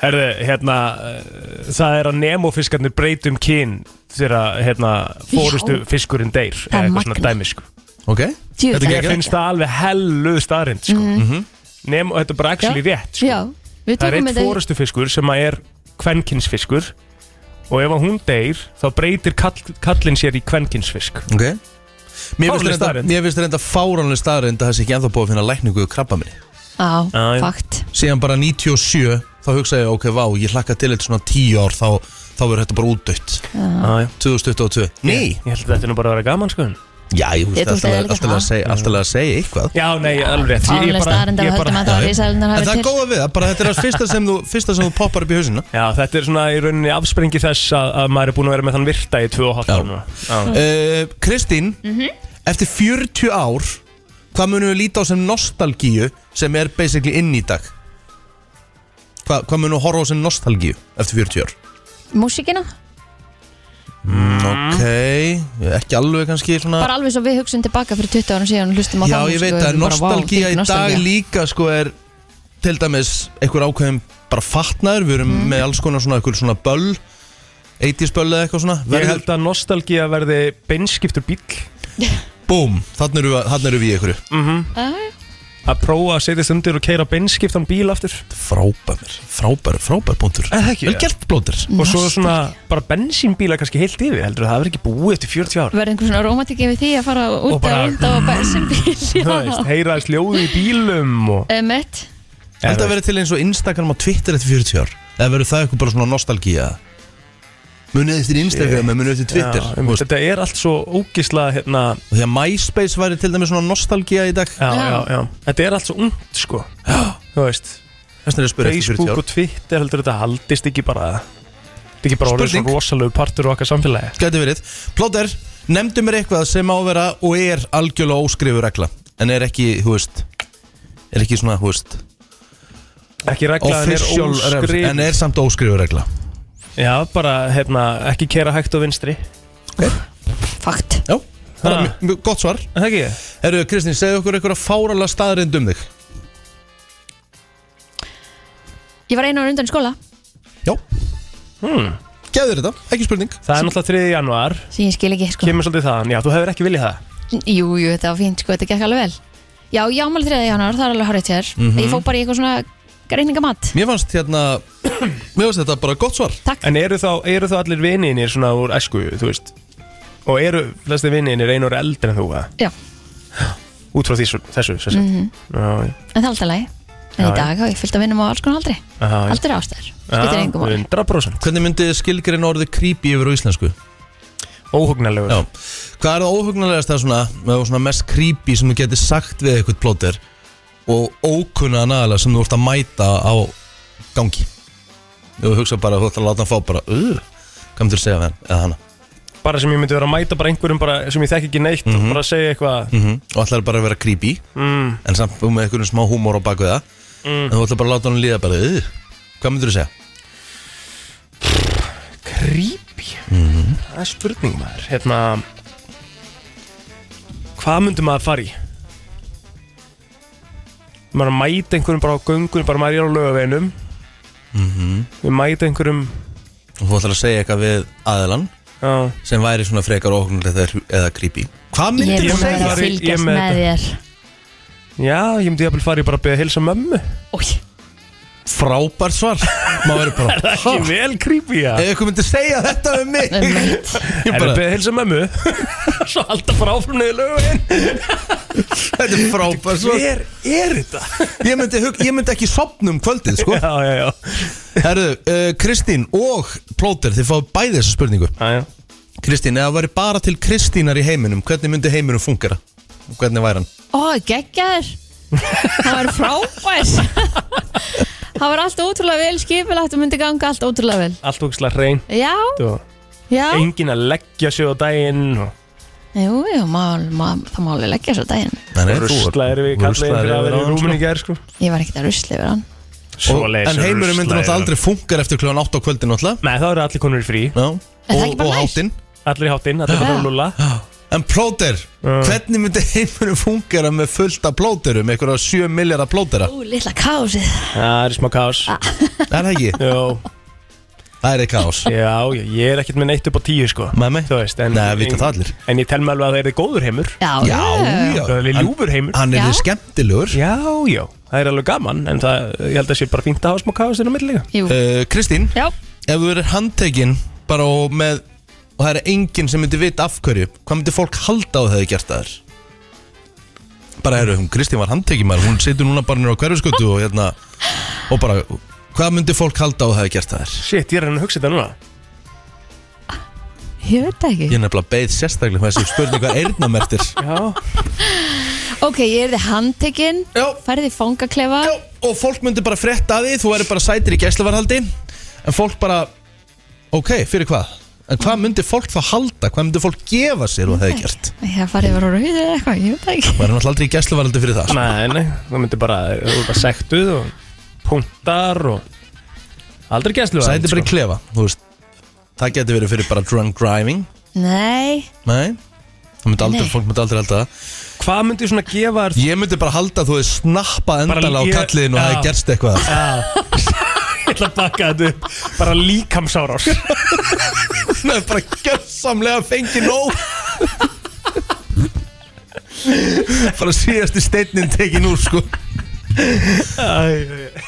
[SPEAKER 4] Herðu, hérna, uh, það er að nemofiskarnir breytum um kyn þegar, hérna, fórustu
[SPEAKER 2] Já.
[SPEAKER 4] fiskurinn deyr
[SPEAKER 2] Það er
[SPEAKER 4] eða eitthvað svona
[SPEAKER 2] magnað.
[SPEAKER 4] dæmi, sko.
[SPEAKER 3] Ok?
[SPEAKER 2] Djú,
[SPEAKER 3] Þetta er
[SPEAKER 2] það
[SPEAKER 4] Ég
[SPEAKER 2] er
[SPEAKER 4] finnst það alveg helluð staðrind, sko Nemo, þetta er bara actually
[SPEAKER 2] Mhm. Já.
[SPEAKER 4] rétt, sko
[SPEAKER 2] Já, við
[SPEAKER 4] Það er
[SPEAKER 2] tókum
[SPEAKER 4] einn
[SPEAKER 2] þetta í...
[SPEAKER 4] fórustufiskur sem að er kvenkinsfiskur og ef að hún deyr þá breytir kall, kallin sér í kvenkinsfisk
[SPEAKER 3] Ok Mér
[SPEAKER 4] Fáránleg
[SPEAKER 3] finnst reynda,
[SPEAKER 4] staðreynd.
[SPEAKER 3] mér finnst reynda fáranlega staðrind að það sé ekki ennþá búið að finna lækningu í krabba minni
[SPEAKER 2] Á,
[SPEAKER 4] Já, já.
[SPEAKER 2] fakt.
[SPEAKER 3] Síðan bara 97, þá hugsaði ég, ok, vá, ég hlakka til þetta svona 10 ár, þá, þá verður þetta bara útdött
[SPEAKER 4] ah, já.
[SPEAKER 3] 2022 Nei!
[SPEAKER 4] Ég held að þetta er nú bara að vera gaman sko
[SPEAKER 3] Já, ég
[SPEAKER 2] Ég
[SPEAKER 3] veist
[SPEAKER 2] tók
[SPEAKER 3] alltaf
[SPEAKER 2] það
[SPEAKER 3] að-
[SPEAKER 2] líka
[SPEAKER 3] alltaf að
[SPEAKER 2] það.
[SPEAKER 3] segja- alltaf að segja eitthvað
[SPEAKER 4] Já, nei, alveg rétt Ég- ég
[SPEAKER 2] Fálega
[SPEAKER 4] bara-
[SPEAKER 2] staðarenda
[SPEAKER 4] ég
[SPEAKER 2] við
[SPEAKER 4] bara-
[SPEAKER 2] höldum að það var ísælunar
[SPEAKER 3] En
[SPEAKER 2] hafi
[SPEAKER 3] það er góða við það, bara þetta er að fyrsta sem þú, fyrsta sem þú poppar upp í hausina
[SPEAKER 4] Já, þetta er svona í rauninni afsprengi þess að, að maður er búin að vera með þann virta í 2,5
[SPEAKER 3] Já.
[SPEAKER 4] ára núna. Já.
[SPEAKER 3] Uh, Kristín,
[SPEAKER 2] Mhm.
[SPEAKER 3] eftir 40 ár Hvað munum við líta á sem nostalgíu sem er basically inn í dag? Hva, hvað munum við horfa á sem nostalgíu eftir 40 ár?
[SPEAKER 2] Músikina,
[SPEAKER 3] Ok, ekki alveg kannski svona
[SPEAKER 2] Mhm. bara alveg svo við hugsun tilbaka fyrir 20 árum síðan og hlustum á
[SPEAKER 3] Já,
[SPEAKER 2] þá
[SPEAKER 3] ég
[SPEAKER 2] músík
[SPEAKER 3] veit
[SPEAKER 2] og sko,
[SPEAKER 3] að
[SPEAKER 2] erum bara, vá,
[SPEAKER 3] nostalgía
[SPEAKER 2] þvílík
[SPEAKER 3] í dag
[SPEAKER 2] nostalgía.
[SPEAKER 3] líka sko er til dæmis einhver ákveðin bara fatnaður Við erum
[SPEAKER 2] Mhm.
[SPEAKER 3] með alls konar svona, einhver svona böll 80s böll eða eitthvað svona
[SPEAKER 4] Ég
[SPEAKER 3] Verður,
[SPEAKER 4] held að nostalgía verði beinskiptur bíll
[SPEAKER 3] búm, þannig eru, þarna eru við í einhverju
[SPEAKER 2] Æ,
[SPEAKER 4] að prófa að setjast undir og keira beinskiptan bíl aftur
[SPEAKER 3] Frábær, frábær, frábær punktur
[SPEAKER 4] Er það ekki?
[SPEAKER 3] Vel gert blótur
[SPEAKER 4] og svo svona bara bensínbíla kannski heilt yfir heldur það verði ekki búið eftir 40 ára
[SPEAKER 2] verður einhver svona romantik yfir því að fara
[SPEAKER 4] Og
[SPEAKER 2] út
[SPEAKER 4] bara-
[SPEAKER 2] að unda og bensinbíl
[SPEAKER 4] Þú veist,
[SPEAKER 2] já. Eh,
[SPEAKER 4] heyraðist ljóði í bílum og
[SPEAKER 2] Emmett,
[SPEAKER 3] Þetta verður til eins og Instagram og Twitter eftir 40 ár Eða verður það eitthvað bara svona nostalgía munið eftir Instagram, yeah. munið eftir Twitter
[SPEAKER 4] Já,
[SPEAKER 3] þú
[SPEAKER 4] einmitt,
[SPEAKER 3] veist.
[SPEAKER 4] Þetta er allt svo ógisla hérna,
[SPEAKER 3] Og því að MySpace væri til dæmis svona nostalgía í dag
[SPEAKER 4] já,
[SPEAKER 2] Já.
[SPEAKER 4] já, já. Þetta er allt svo ungt sko Þú veist,
[SPEAKER 3] Þess vegna er að spyrja eftir 40
[SPEAKER 4] Facebook
[SPEAKER 3] ár
[SPEAKER 4] og Twitter heldur þetta haldist ekki bara Þetta er ekki bara orðið
[SPEAKER 3] Spurning.
[SPEAKER 4] svona rosalegu partur á okkar samfélagi
[SPEAKER 3] Gæti verið Plóter, nefndu mér eitthvað sem á að vera og er algjörlega óskrifu regla En er ekki, þú veist Er ekki svona, þú veist
[SPEAKER 4] Ekki regla en er
[SPEAKER 3] Official refs-
[SPEAKER 4] óskrif
[SPEAKER 3] En er samt óskrifu regla
[SPEAKER 4] Já, bara hérna, ekki kera hægt og vinstri
[SPEAKER 2] Fakt
[SPEAKER 3] Já, það er
[SPEAKER 4] Ha.
[SPEAKER 3] mjög- mjög gott svar
[SPEAKER 4] Er Það ekki?
[SPEAKER 3] Herru, Kristín, segðu okkur eitthvað fáralega staðrind um þig
[SPEAKER 2] Ég var einu ára undan í skóla
[SPEAKER 3] Já hmm. Gæður þetta, ekki spurning
[SPEAKER 4] Það er náttúrulega 3. januar
[SPEAKER 2] sem ég skil ekki sko.
[SPEAKER 4] Kemur svolítið þaðan, já, þú hefur ekki viljað það
[SPEAKER 2] Jú, jú, þetta var fínt sko, þetta gekk alveg vel Já, ég ámæli 3. januar, það er alveg horrið þér
[SPEAKER 4] Mhm.
[SPEAKER 2] mm Ég fór bara í eitthvað svona greiningamat
[SPEAKER 3] Mér fannst hérna Mér fannst þetta bara gott svar
[SPEAKER 2] Takk,
[SPEAKER 4] En eru þá, eru þá allir vininir svona úr æsku, þú veist Og eru flesti vininir einu ára eldri en þú, eða?
[SPEAKER 2] já,
[SPEAKER 4] út frá þessu, þessu sem sagt Já,
[SPEAKER 2] en það er alltaf lagi En
[SPEAKER 4] Já,
[SPEAKER 2] í
[SPEAKER 4] já.
[SPEAKER 2] dag hafa ég fyllt að vinna á alls konar aldrei
[SPEAKER 4] já, já.
[SPEAKER 2] Aldrei ástæður, skiptir engum máli
[SPEAKER 4] 100%
[SPEAKER 3] Hvernig myndið skilgrein orðið creepy yfir á íslensku?
[SPEAKER 4] óhugnalegur
[SPEAKER 3] Já Hvað er það óhugnulegast það svona Það var svona mest creepy sem þú getur sagt við eitthvað plóter Og ókunnaðan aðalega sem þú ert að mæta á gangi Þú hugsa bara, þú ætlar að láta hann fá bara uh, Hvað myndir segja við hann eða hana
[SPEAKER 4] bara sem ég myndi vera að mæta bara einhverjum bara, sem ég þekk ekki neitt
[SPEAKER 3] Mhm.
[SPEAKER 4] og bara segja eitthvað
[SPEAKER 3] mm Og ætlar bara að vera creepy
[SPEAKER 4] mm,
[SPEAKER 3] En samt með einhvern smá húmór á baku það En þú ætlar bara að láta hann líða bara uh, Hvað myndir segja? Mhm.
[SPEAKER 4] creepy það er spurning maður hérna hvað myndi maður fara í maður að mæta einhverjum bara á göngunum bara maður er á lögaveginum mm
[SPEAKER 3] Mhm.
[SPEAKER 4] við mæta einhverjum
[SPEAKER 3] Og þú ætlar að segja eitthvað við aðalan
[SPEAKER 4] já,
[SPEAKER 3] Sem væri svona frekar óhugnulegt eða creepy Hvað
[SPEAKER 2] Ég er
[SPEAKER 3] myndir
[SPEAKER 2] búin að
[SPEAKER 3] segja?
[SPEAKER 2] vera að
[SPEAKER 4] Ég- ég
[SPEAKER 2] fylgjast
[SPEAKER 4] með
[SPEAKER 2] með þér
[SPEAKER 4] já ég myndi jafnvel fara í bara að beða heilsa mömmu
[SPEAKER 2] Ói,
[SPEAKER 3] Frábært svar Má verið bara
[SPEAKER 4] ekki vel creepy ja.
[SPEAKER 3] Ef ykkur myndi segja þetta um mig
[SPEAKER 2] Einmitt.
[SPEAKER 3] Eh, Ég
[SPEAKER 4] Er
[SPEAKER 3] bara,
[SPEAKER 4] það beðið heilsa mömmu? Svo alltaf bara áfram niður lögin
[SPEAKER 3] Þetta er frábær svo.
[SPEAKER 4] Hver er þetta?
[SPEAKER 3] ég, myndi, hug- ég myndi ekki sopna um kvöldið sko.
[SPEAKER 4] Já, já, já
[SPEAKER 3] Herðu, uh, Kristín og Plóter Þið fáið bæði þessa spurningu
[SPEAKER 4] Æja
[SPEAKER 3] Kristín, ef það væri bara til Kristínar í heiminum Hvernig myndi heiminum fungera? Og Hvernig væri hann?
[SPEAKER 2] Ó, geggjaður Það var frábær Það var allt ótrúlega vel skipilagt og myndi ganga allt ótrúlega vel
[SPEAKER 4] Allt ógislega reynt
[SPEAKER 2] Já,
[SPEAKER 4] og
[SPEAKER 2] já
[SPEAKER 4] enginn að leggja sig á daginn og
[SPEAKER 2] Jú, jú, mál, mál, það máli leggja svo daginn
[SPEAKER 3] Nei, nei, þú-
[SPEAKER 4] ruslaðir
[SPEAKER 3] ruslaður
[SPEAKER 4] við kalleginn fyrir að vera í
[SPEAKER 3] yfir á hann,
[SPEAKER 4] rúminni gær sko
[SPEAKER 2] Ég var ekkert að rusli yfir hann
[SPEAKER 3] sko. Og- En heimurinn myndi náttúrulega aldrei fungar eftir kljóðan 8 á kvöldin náttúrulega
[SPEAKER 4] Nei, þá eru allir konur í frí
[SPEAKER 3] Já.
[SPEAKER 2] Er það
[SPEAKER 3] Og,
[SPEAKER 2] ekki bara
[SPEAKER 3] og
[SPEAKER 2] nær?
[SPEAKER 3] hátinn
[SPEAKER 4] Allir í hátinn, allir bara
[SPEAKER 2] Já.
[SPEAKER 4] lúla
[SPEAKER 3] En plóter, hvernig myndi heiminum fungera með fullta plóterum, einhverja 7 miljardar plótera?
[SPEAKER 2] Ú, litla kásið
[SPEAKER 4] Það er smá kás
[SPEAKER 3] Er það ekki?
[SPEAKER 4] Jó,
[SPEAKER 3] Það er eitthvað ás
[SPEAKER 4] já, já, ég er ekkert með neitt upp á tíu sko
[SPEAKER 3] Nei, nei.
[SPEAKER 4] Þú veist, en
[SPEAKER 3] Nei, það vita það allir.
[SPEAKER 4] En ég tel með alveg að það er góður heimur
[SPEAKER 2] Já,
[SPEAKER 3] Já, já.
[SPEAKER 4] Það er
[SPEAKER 3] Hann-
[SPEAKER 4] ljúfur heimur
[SPEAKER 3] Hann er
[SPEAKER 2] Já.
[SPEAKER 3] skemmtilegur
[SPEAKER 4] Já, já, það er alveg gaman En það, ég held að sé bara fínt að hafa smá kás inn á milli líka
[SPEAKER 2] Jú,
[SPEAKER 3] Uh, Kristín,
[SPEAKER 2] já
[SPEAKER 3] ef þú verður handtekinn bara og með og það er enginn sem myndi vita af hverju hvað myndi fólk halda á þau gert það þér? Bara eru, hún Kristín var handtekinn maður hún situr núna bara nýra á hverfiskötu og hérna og bara, hvað myndi fólk halda á þau gert það þér?
[SPEAKER 4] Shit, ég er að reyna að hugsa þetta núna
[SPEAKER 2] Ég veit það
[SPEAKER 3] Ég
[SPEAKER 2] ekki
[SPEAKER 3] er nefnilega beið sérstaklega með þessi spurning hvað eirnamertir
[SPEAKER 4] Já,
[SPEAKER 2] Ok, ég er þið handtekinn
[SPEAKER 3] Já.
[SPEAKER 2] Færði fangaklefa
[SPEAKER 3] Já, og fólk myndi bara frétta að því þú væri bara sætir í gæsluvarhaldi en fólk bara, ok, fyrir hvað? En hvað myndi fólk þá halda? Hvað myndi fólk gefa sér og það hefði gert?
[SPEAKER 2] Ég hef farið yfir ára hýðið eða eitthvað, ég veit það ekki
[SPEAKER 3] Var hann alltaf aldrei í gæsluvarhaldi fyrir það? sko.
[SPEAKER 4] Nei, nei, það myndi bara, þú ert bara sektuð og punktar og aldrei sko. gæslu
[SPEAKER 3] Sæti bara í klefa, þú veist Það getur verið fyrir bara drunk driving
[SPEAKER 2] Nei,
[SPEAKER 3] Nei Það myndi aldrei,
[SPEAKER 2] Nei.
[SPEAKER 3] fólk myndi aldrei halda það
[SPEAKER 4] Hvað myndi svona gefa þér
[SPEAKER 3] Ég myndi bara halda að þú hefði snappað
[SPEAKER 4] Bara
[SPEAKER 3] endala á
[SPEAKER 4] ég-
[SPEAKER 3] kalliðin og
[SPEAKER 4] Já.
[SPEAKER 3] hefði gerst eitthvað
[SPEAKER 4] Ég ætla að baka þetta upp Bara líkamsárás
[SPEAKER 3] Það er bara gjörsamlega fengið nóg Bara síðasti steinin tekin úr sko
[SPEAKER 2] já,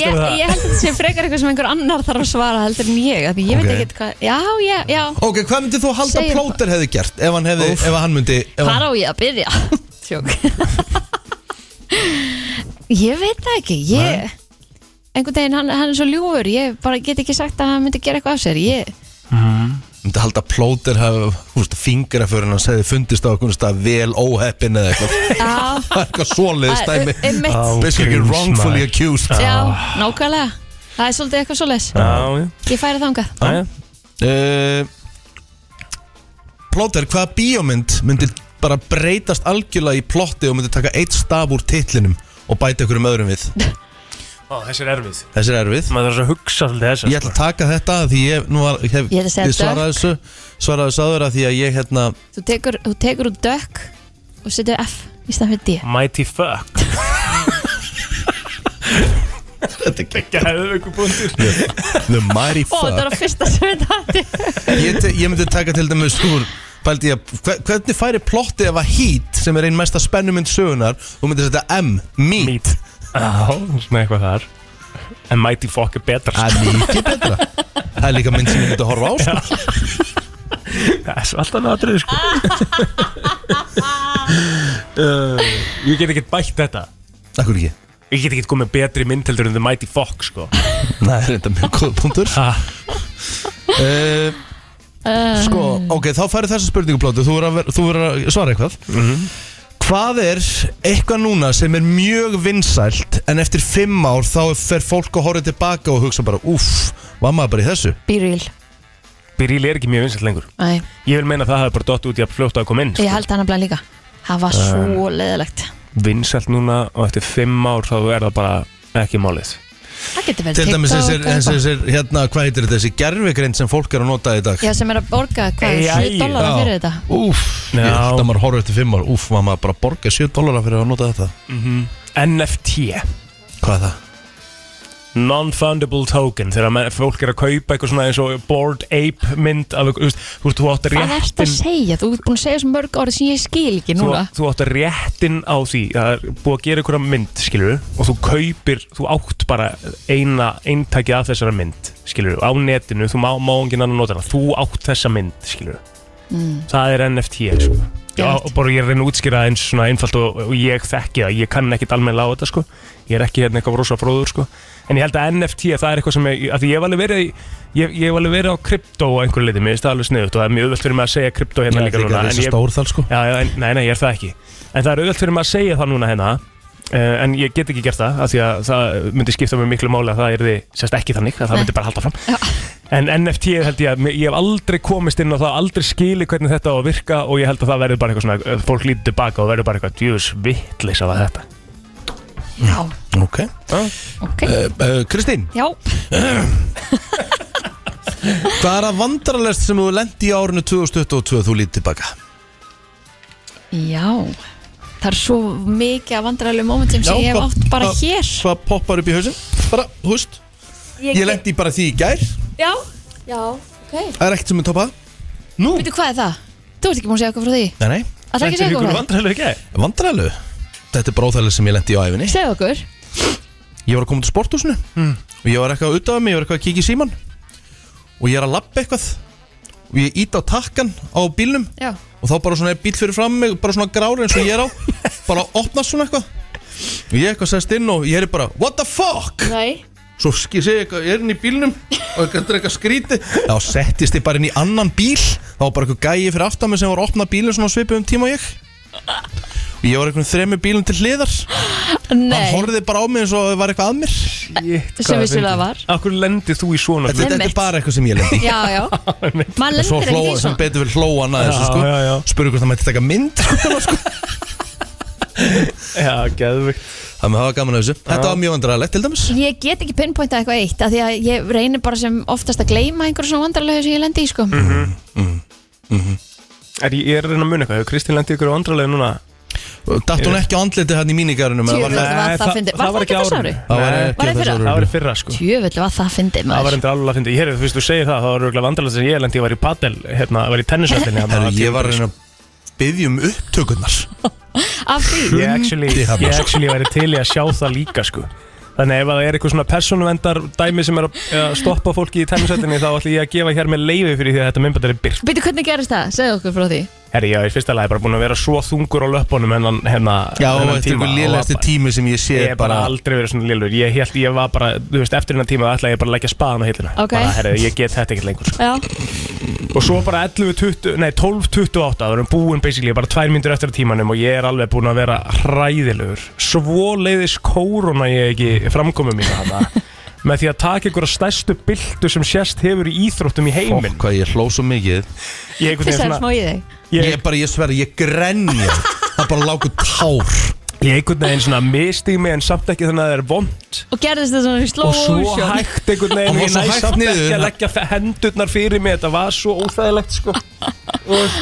[SPEAKER 2] ég,
[SPEAKER 4] líst
[SPEAKER 2] ég
[SPEAKER 4] þér á
[SPEAKER 2] held
[SPEAKER 4] það?
[SPEAKER 2] að þetta sé frekar eitthvað sem einhver annar þarf að svara heldur en ég, af því ég veit
[SPEAKER 3] Ok.
[SPEAKER 2] ekki hvað Já, já, já,
[SPEAKER 3] Ok, hvað myndi þú halda
[SPEAKER 2] Segir
[SPEAKER 3] að Plóter hefði gert ef hann, hefði, ef hann myndi ef hann,
[SPEAKER 2] hvar á ég að byrja? Tjók Ég veit það ekki, ég einhvern veginn, hann, hann er svo ljúfur ég bara get ekki sagt að hann myndi gera eitthvað af sér ég,
[SPEAKER 3] myndi halda að plóter hafa, þú veist, fingra fyrir hann að segði fundist á okkur stað vel óheppin eða eitthvað
[SPEAKER 2] já,
[SPEAKER 3] Það er eitthvað svoleiðis
[SPEAKER 2] Að-
[SPEAKER 3] dæmi
[SPEAKER 2] einmitt.
[SPEAKER 4] Á,
[SPEAKER 3] Basically
[SPEAKER 4] grís,
[SPEAKER 3] wrongfully
[SPEAKER 4] maður.
[SPEAKER 3] accused
[SPEAKER 2] já, nákvæmlega það er svolítið eitthvað svo les
[SPEAKER 4] Já, já,
[SPEAKER 2] ég færi þangað
[SPEAKER 4] já, já.
[SPEAKER 3] uh, Plóter, hvaða bíómynd myndi bara breytast algjörlega í plotti og myndi taka eitt staf úr titlinum og bæta ykkur um öðrum við
[SPEAKER 4] Ó, þessi er erfið
[SPEAKER 3] Þessi er erfið
[SPEAKER 4] Maður þarf að hugsa svolítið sko. þess
[SPEAKER 3] Ég ætla að taka þetta af því ég, nú var, hef,
[SPEAKER 2] Ég ætla að segja
[SPEAKER 3] svaraði þessu svaraði þessu aður að því að ég hérna
[SPEAKER 2] þú tekur, þú tekur út dökk og setur F í stað fyrir D
[SPEAKER 4] Mighty fuck Þetta er geðveikur punktur.
[SPEAKER 3] The mighty
[SPEAKER 2] ó, það
[SPEAKER 3] fuck
[SPEAKER 2] var fyrsta sem við dætti
[SPEAKER 3] ég, te- ég myndi taka til dæmis úr Bældi ég, að- hve- hvernig færi plotti ef að Heat sem er einn mesta spennumynd sögunar og myndi setja M, Meat
[SPEAKER 4] Meat Já, svona eitthvað þar En Mighty fuck er betra
[SPEAKER 3] Það er mikið betra Það er líka mynd sem ég myndi að horfa á sko.
[SPEAKER 4] Það er svo alltaf sko. náttúrulega sko uh, Ég get ekki bætt þetta
[SPEAKER 3] Akkur ekki
[SPEAKER 4] Ég get ekki komið betri mynd heldur en The Mighty Fuck sko
[SPEAKER 3] Nei, það er þetta mjög góð punktur
[SPEAKER 4] Ha,
[SPEAKER 3] uh,
[SPEAKER 2] Eh.
[SPEAKER 3] Sko, ok, þá færi þessa spurningu plóti Þú verður að, ver- þú verður að svara eitthvað Hvað er eitthvað núna sem er mjög vinsælt En eftir fimm ár þá fer fólk að horfa tilbaka og hugsa bara Úff, var maður bara í þessu?
[SPEAKER 2] býrýl,
[SPEAKER 4] Byrjil er ekki mjög vinsælt lengur
[SPEAKER 2] næ,
[SPEAKER 4] Ég vil meina að það hafi bara dott út í að fljóta að koma inn sko.
[SPEAKER 2] ég held hann að blæða líka það var svo leðilegt
[SPEAKER 4] Vinsælt núna og eftir fimm ár þá er það bara ekki málið
[SPEAKER 2] það getur verið
[SPEAKER 3] Til dæmis
[SPEAKER 2] TikTok
[SPEAKER 3] þessir,
[SPEAKER 2] og eitthvað.
[SPEAKER 3] þessir hérna, hvað heitir þetta, þessi gerfigreind sem fólk er að nota í dag
[SPEAKER 2] Já, sem er að borga hvað,
[SPEAKER 4] Jæja.
[SPEAKER 2] 7 dollara
[SPEAKER 3] Já.
[SPEAKER 2] fyrir þetta
[SPEAKER 3] Úff, ég
[SPEAKER 4] Já.
[SPEAKER 3] held að maður horfa eftir fimm ár Úff, var maður bara að borga 7 dólarar fyrir að nota þetta
[SPEAKER 4] NFT
[SPEAKER 3] Hvað er það?
[SPEAKER 4] Non-fundable token Þegar menn, fólk er að kaupa eitthvað svona eins og Bored ape mynd af, einhver- þú veist, Þú veist, þú átt
[SPEAKER 2] Hvað er þetta að
[SPEAKER 4] réttin
[SPEAKER 2] segja? Þú ert búin að segja svo mörg orð sem ég skil ekki
[SPEAKER 4] Þú,
[SPEAKER 2] núna
[SPEAKER 4] þú átt réttin á því Það er búið að gera einhverja mynd, skilur Og þú kaupir, þú átt bara eina Eintaki af þessara mynd, skilur Á netinu, þú má, má engin annan nota hana Þú átt þessa mynd, skilur
[SPEAKER 2] Mm.
[SPEAKER 4] Það er NFT, sko Já,
[SPEAKER 2] Geralt.
[SPEAKER 4] og bara ég er að reyna að útskýra það eins svona einfalt og, og ég þekki það, ég kann ekkit almennilega á þetta sko Ég er ekki hérna eitthvað rosa fróður sko En ég held að NFT, það er eitthvað sem ég, að því ég hef alveg verið, í- ég, ég hef alveg verið á krypto á einhverju leiti, mér finnst það alveg sniðut og það er mjög öðvöld fyrir mig að segja krypto hérna
[SPEAKER 3] Ég
[SPEAKER 4] líka
[SPEAKER 3] ætla ekki
[SPEAKER 4] núna
[SPEAKER 3] að
[SPEAKER 4] en
[SPEAKER 3] lesa
[SPEAKER 4] ég,
[SPEAKER 3] stór þal sko
[SPEAKER 4] já, já, en, nei, nei, ég er það ekki En það er auðvelt fyrir maður að segja það núna hérna Uh, en ég get ekki gert það af því að það myndi skipta mig miklu máli að það er því sérst ekki þannig að það
[SPEAKER 2] Nei.
[SPEAKER 4] myndi bara halda fram en NFT held ég að mér- ég hef aldrei komist inn á það aldrei skili hvernig þetta á að virka og ég held að það verður bara eitthvað svona eh, fólk lítur tilbaka og verður bara eitthvað djús vittlis af þetta
[SPEAKER 2] Já,
[SPEAKER 3] Ok
[SPEAKER 2] ok
[SPEAKER 3] Eh, eh, Kristín,
[SPEAKER 2] Já,
[SPEAKER 3] hvað er að vandrarlest sem þú lendi í árinu 2022 þú lítið tilbaka?
[SPEAKER 2] já Það er svo mikið af vandrarlegum momentum sem ég hef
[SPEAKER 3] hvað-
[SPEAKER 2] átt bara
[SPEAKER 3] hvað-
[SPEAKER 2] hér
[SPEAKER 3] Hvað poppar upp í hausinn? Bara, húst, ég lendi í bara því í gær Það
[SPEAKER 2] Já, já, ok
[SPEAKER 3] er ekkert sem er toppað Nú?
[SPEAKER 2] Veitu hvað er það? Þú ert ekki búin að segja eitthvað frá því
[SPEAKER 3] Nei, nei,
[SPEAKER 2] Það er ekki að segja eitthvað frá því?
[SPEAKER 4] vandræðilega ekki
[SPEAKER 3] vandrarlegu Þetta er bróðalega sem ég lendi í á æfinni
[SPEAKER 2] Segðu okkur
[SPEAKER 3] Ég var að koma til sporthúsinu Og ég var eitthvað að utaða mig, ég var eitthvað að kíkja í síman Og ég er að labba eitthvað Og ég ít á takkan á bílnum
[SPEAKER 2] Já,
[SPEAKER 3] og þá bara svona er bíl fyrir fram mig bara svona grári eins og ég er á bara opnast svona eitthvað og ég eitthvað sest inn og ég er bara what the fuck
[SPEAKER 2] nei
[SPEAKER 3] svo sk- ég segi eitthvað ég er inn í bílnum og þetta er eitthvað skríti þá settist ég bara inn í annan bíl þá var bara eitthvað gæi fyrir aftan mig sem var að opna bílinn svona svipið um tíma og ég og ég var eitthvað þremi bílum til hliðar hann
[SPEAKER 2] Nei,
[SPEAKER 3] horfði bara á mig eins og það var eitthvað að mér
[SPEAKER 2] sem vissulega var
[SPEAKER 4] Akkur lendir þú í svona
[SPEAKER 3] þetta, þetta er
[SPEAKER 2] Einmitt.
[SPEAKER 3] bara eitthvað sem ég lendi í.
[SPEAKER 2] Já, já Man
[SPEAKER 3] En svo
[SPEAKER 2] lendir ekki
[SPEAKER 3] hlóa,
[SPEAKER 2] í
[SPEAKER 3] sem
[SPEAKER 2] svona
[SPEAKER 3] betur fyrir hlóa hana þessu
[SPEAKER 4] Já,
[SPEAKER 3] sko
[SPEAKER 4] já, já.
[SPEAKER 3] spurði hvort það mætti taka mynd
[SPEAKER 4] Já, geðvikt
[SPEAKER 3] það með hafa gaman af þessu þetta var mjög vandræðilegt til dæmis
[SPEAKER 2] Ég get ekki pinpointa eitthvað eitt af því að ég reynir bara sem oftast að gleyma einhverjum svona vandrarlegu sem ég lendi í sko
[SPEAKER 4] Mhm. Er ég ég er að reyna að muna eitthvað, hefur Kristín lendið ykkur vandræðilega núna?
[SPEAKER 3] Datt hún ekki á andliti hann í mínigarunum Það
[SPEAKER 2] Tjöfull var
[SPEAKER 4] Nei,
[SPEAKER 2] það
[SPEAKER 4] það-
[SPEAKER 2] fyndið
[SPEAKER 4] það
[SPEAKER 2] Var
[SPEAKER 4] var
[SPEAKER 2] það ekki
[SPEAKER 4] ekki á
[SPEAKER 2] þess ári?
[SPEAKER 4] árinu.
[SPEAKER 3] var
[SPEAKER 4] Nei,
[SPEAKER 3] ekki
[SPEAKER 2] var í
[SPEAKER 3] á þessu
[SPEAKER 2] fyrra?
[SPEAKER 3] ári.
[SPEAKER 4] Það var í fyrra sko
[SPEAKER 2] Tjöfull var það fyndið
[SPEAKER 4] Það var
[SPEAKER 2] maður
[SPEAKER 4] endur alveg að finna, ég hefði, þú veist, þú segir það, það var röglega vandralega sem ég lendi, ég var í padel, hérna, var í tennisvellinni. þarna
[SPEAKER 3] Herru,
[SPEAKER 4] á
[SPEAKER 3] ég var að
[SPEAKER 4] tímabili,
[SPEAKER 3] reyna að byggja um upptökurnar
[SPEAKER 2] Af því
[SPEAKER 4] sko. Ég actually,
[SPEAKER 3] Hrundi þarna,
[SPEAKER 4] ég
[SPEAKER 3] sko.
[SPEAKER 4] actually væri til í að sjá það líka, sko. Þannig ef það er eitthvað svona persónuvendar dæmi sem er að að stoppa fólki í tæmisættinni þá ætla ég að gefa hér með leiði fyrir því að þetta myndbætt er byrt.
[SPEAKER 2] Býtu, hvernig gerist það? Segðu okkur frá því
[SPEAKER 4] Herri, já, í fyrsta lagi er bara búin að vera svo þungur á löpunum hennan, hérna, hennan,
[SPEAKER 3] Já, þetta er ykkur lélægsti tími sem ég sé
[SPEAKER 4] Ég hef bara aldrei verið svona lélur Ég held ég var bara, þú veist, eftir hennar tíma ætla ég bara að leggja spaðan á hillina
[SPEAKER 2] Ok.
[SPEAKER 4] Bara, herri, ég get þetta ekkert lengur sko.
[SPEAKER 2] Já,
[SPEAKER 4] Og svo bara 11.20, nei 12.28 Það erum búin basically, bara tvær myndur eftir af tímanum Og ég er alveg búin að vera hræðilegur Svo leiðis kórona ég ekki framkomu mín hana Með því að taka einhverja stærstu byltu sem sérst hefur í íþróttum í
[SPEAKER 3] Fokk,
[SPEAKER 4] heiminn
[SPEAKER 3] hvað ég hló svo mikið
[SPEAKER 4] Ég einhvern
[SPEAKER 2] þess
[SPEAKER 4] veginn
[SPEAKER 2] að smá
[SPEAKER 4] svona-
[SPEAKER 2] í þig
[SPEAKER 3] Ég,
[SPEAKER 4] Ég-
[SPEAKER 3] bara, ég sver, ég grenja Það bara lágu tár
[SPEAKER 4] ég einhvern veginn svona misti mig en samt ekki þannig að það er vond
[SPEAKER 2] Og gerðist það svona í slow
[SPEAKER 4] og svo
[SPEAKER 2] motion.
[SPEAKER 4] hægt einhvern
[SPEAKER 3] Og
[SPEAKER 4] veginn
[SPEAKER 3] var
[SPEAKER 4] ég
[SPEAKER 3] svo hægt
[SPEAKER 4] næst samt ekki
[SPEAKER 3] niður.
[SPEAKER 4] að leggja fe- hendurnar fyrir mig þetta var svo óþægilegt sko og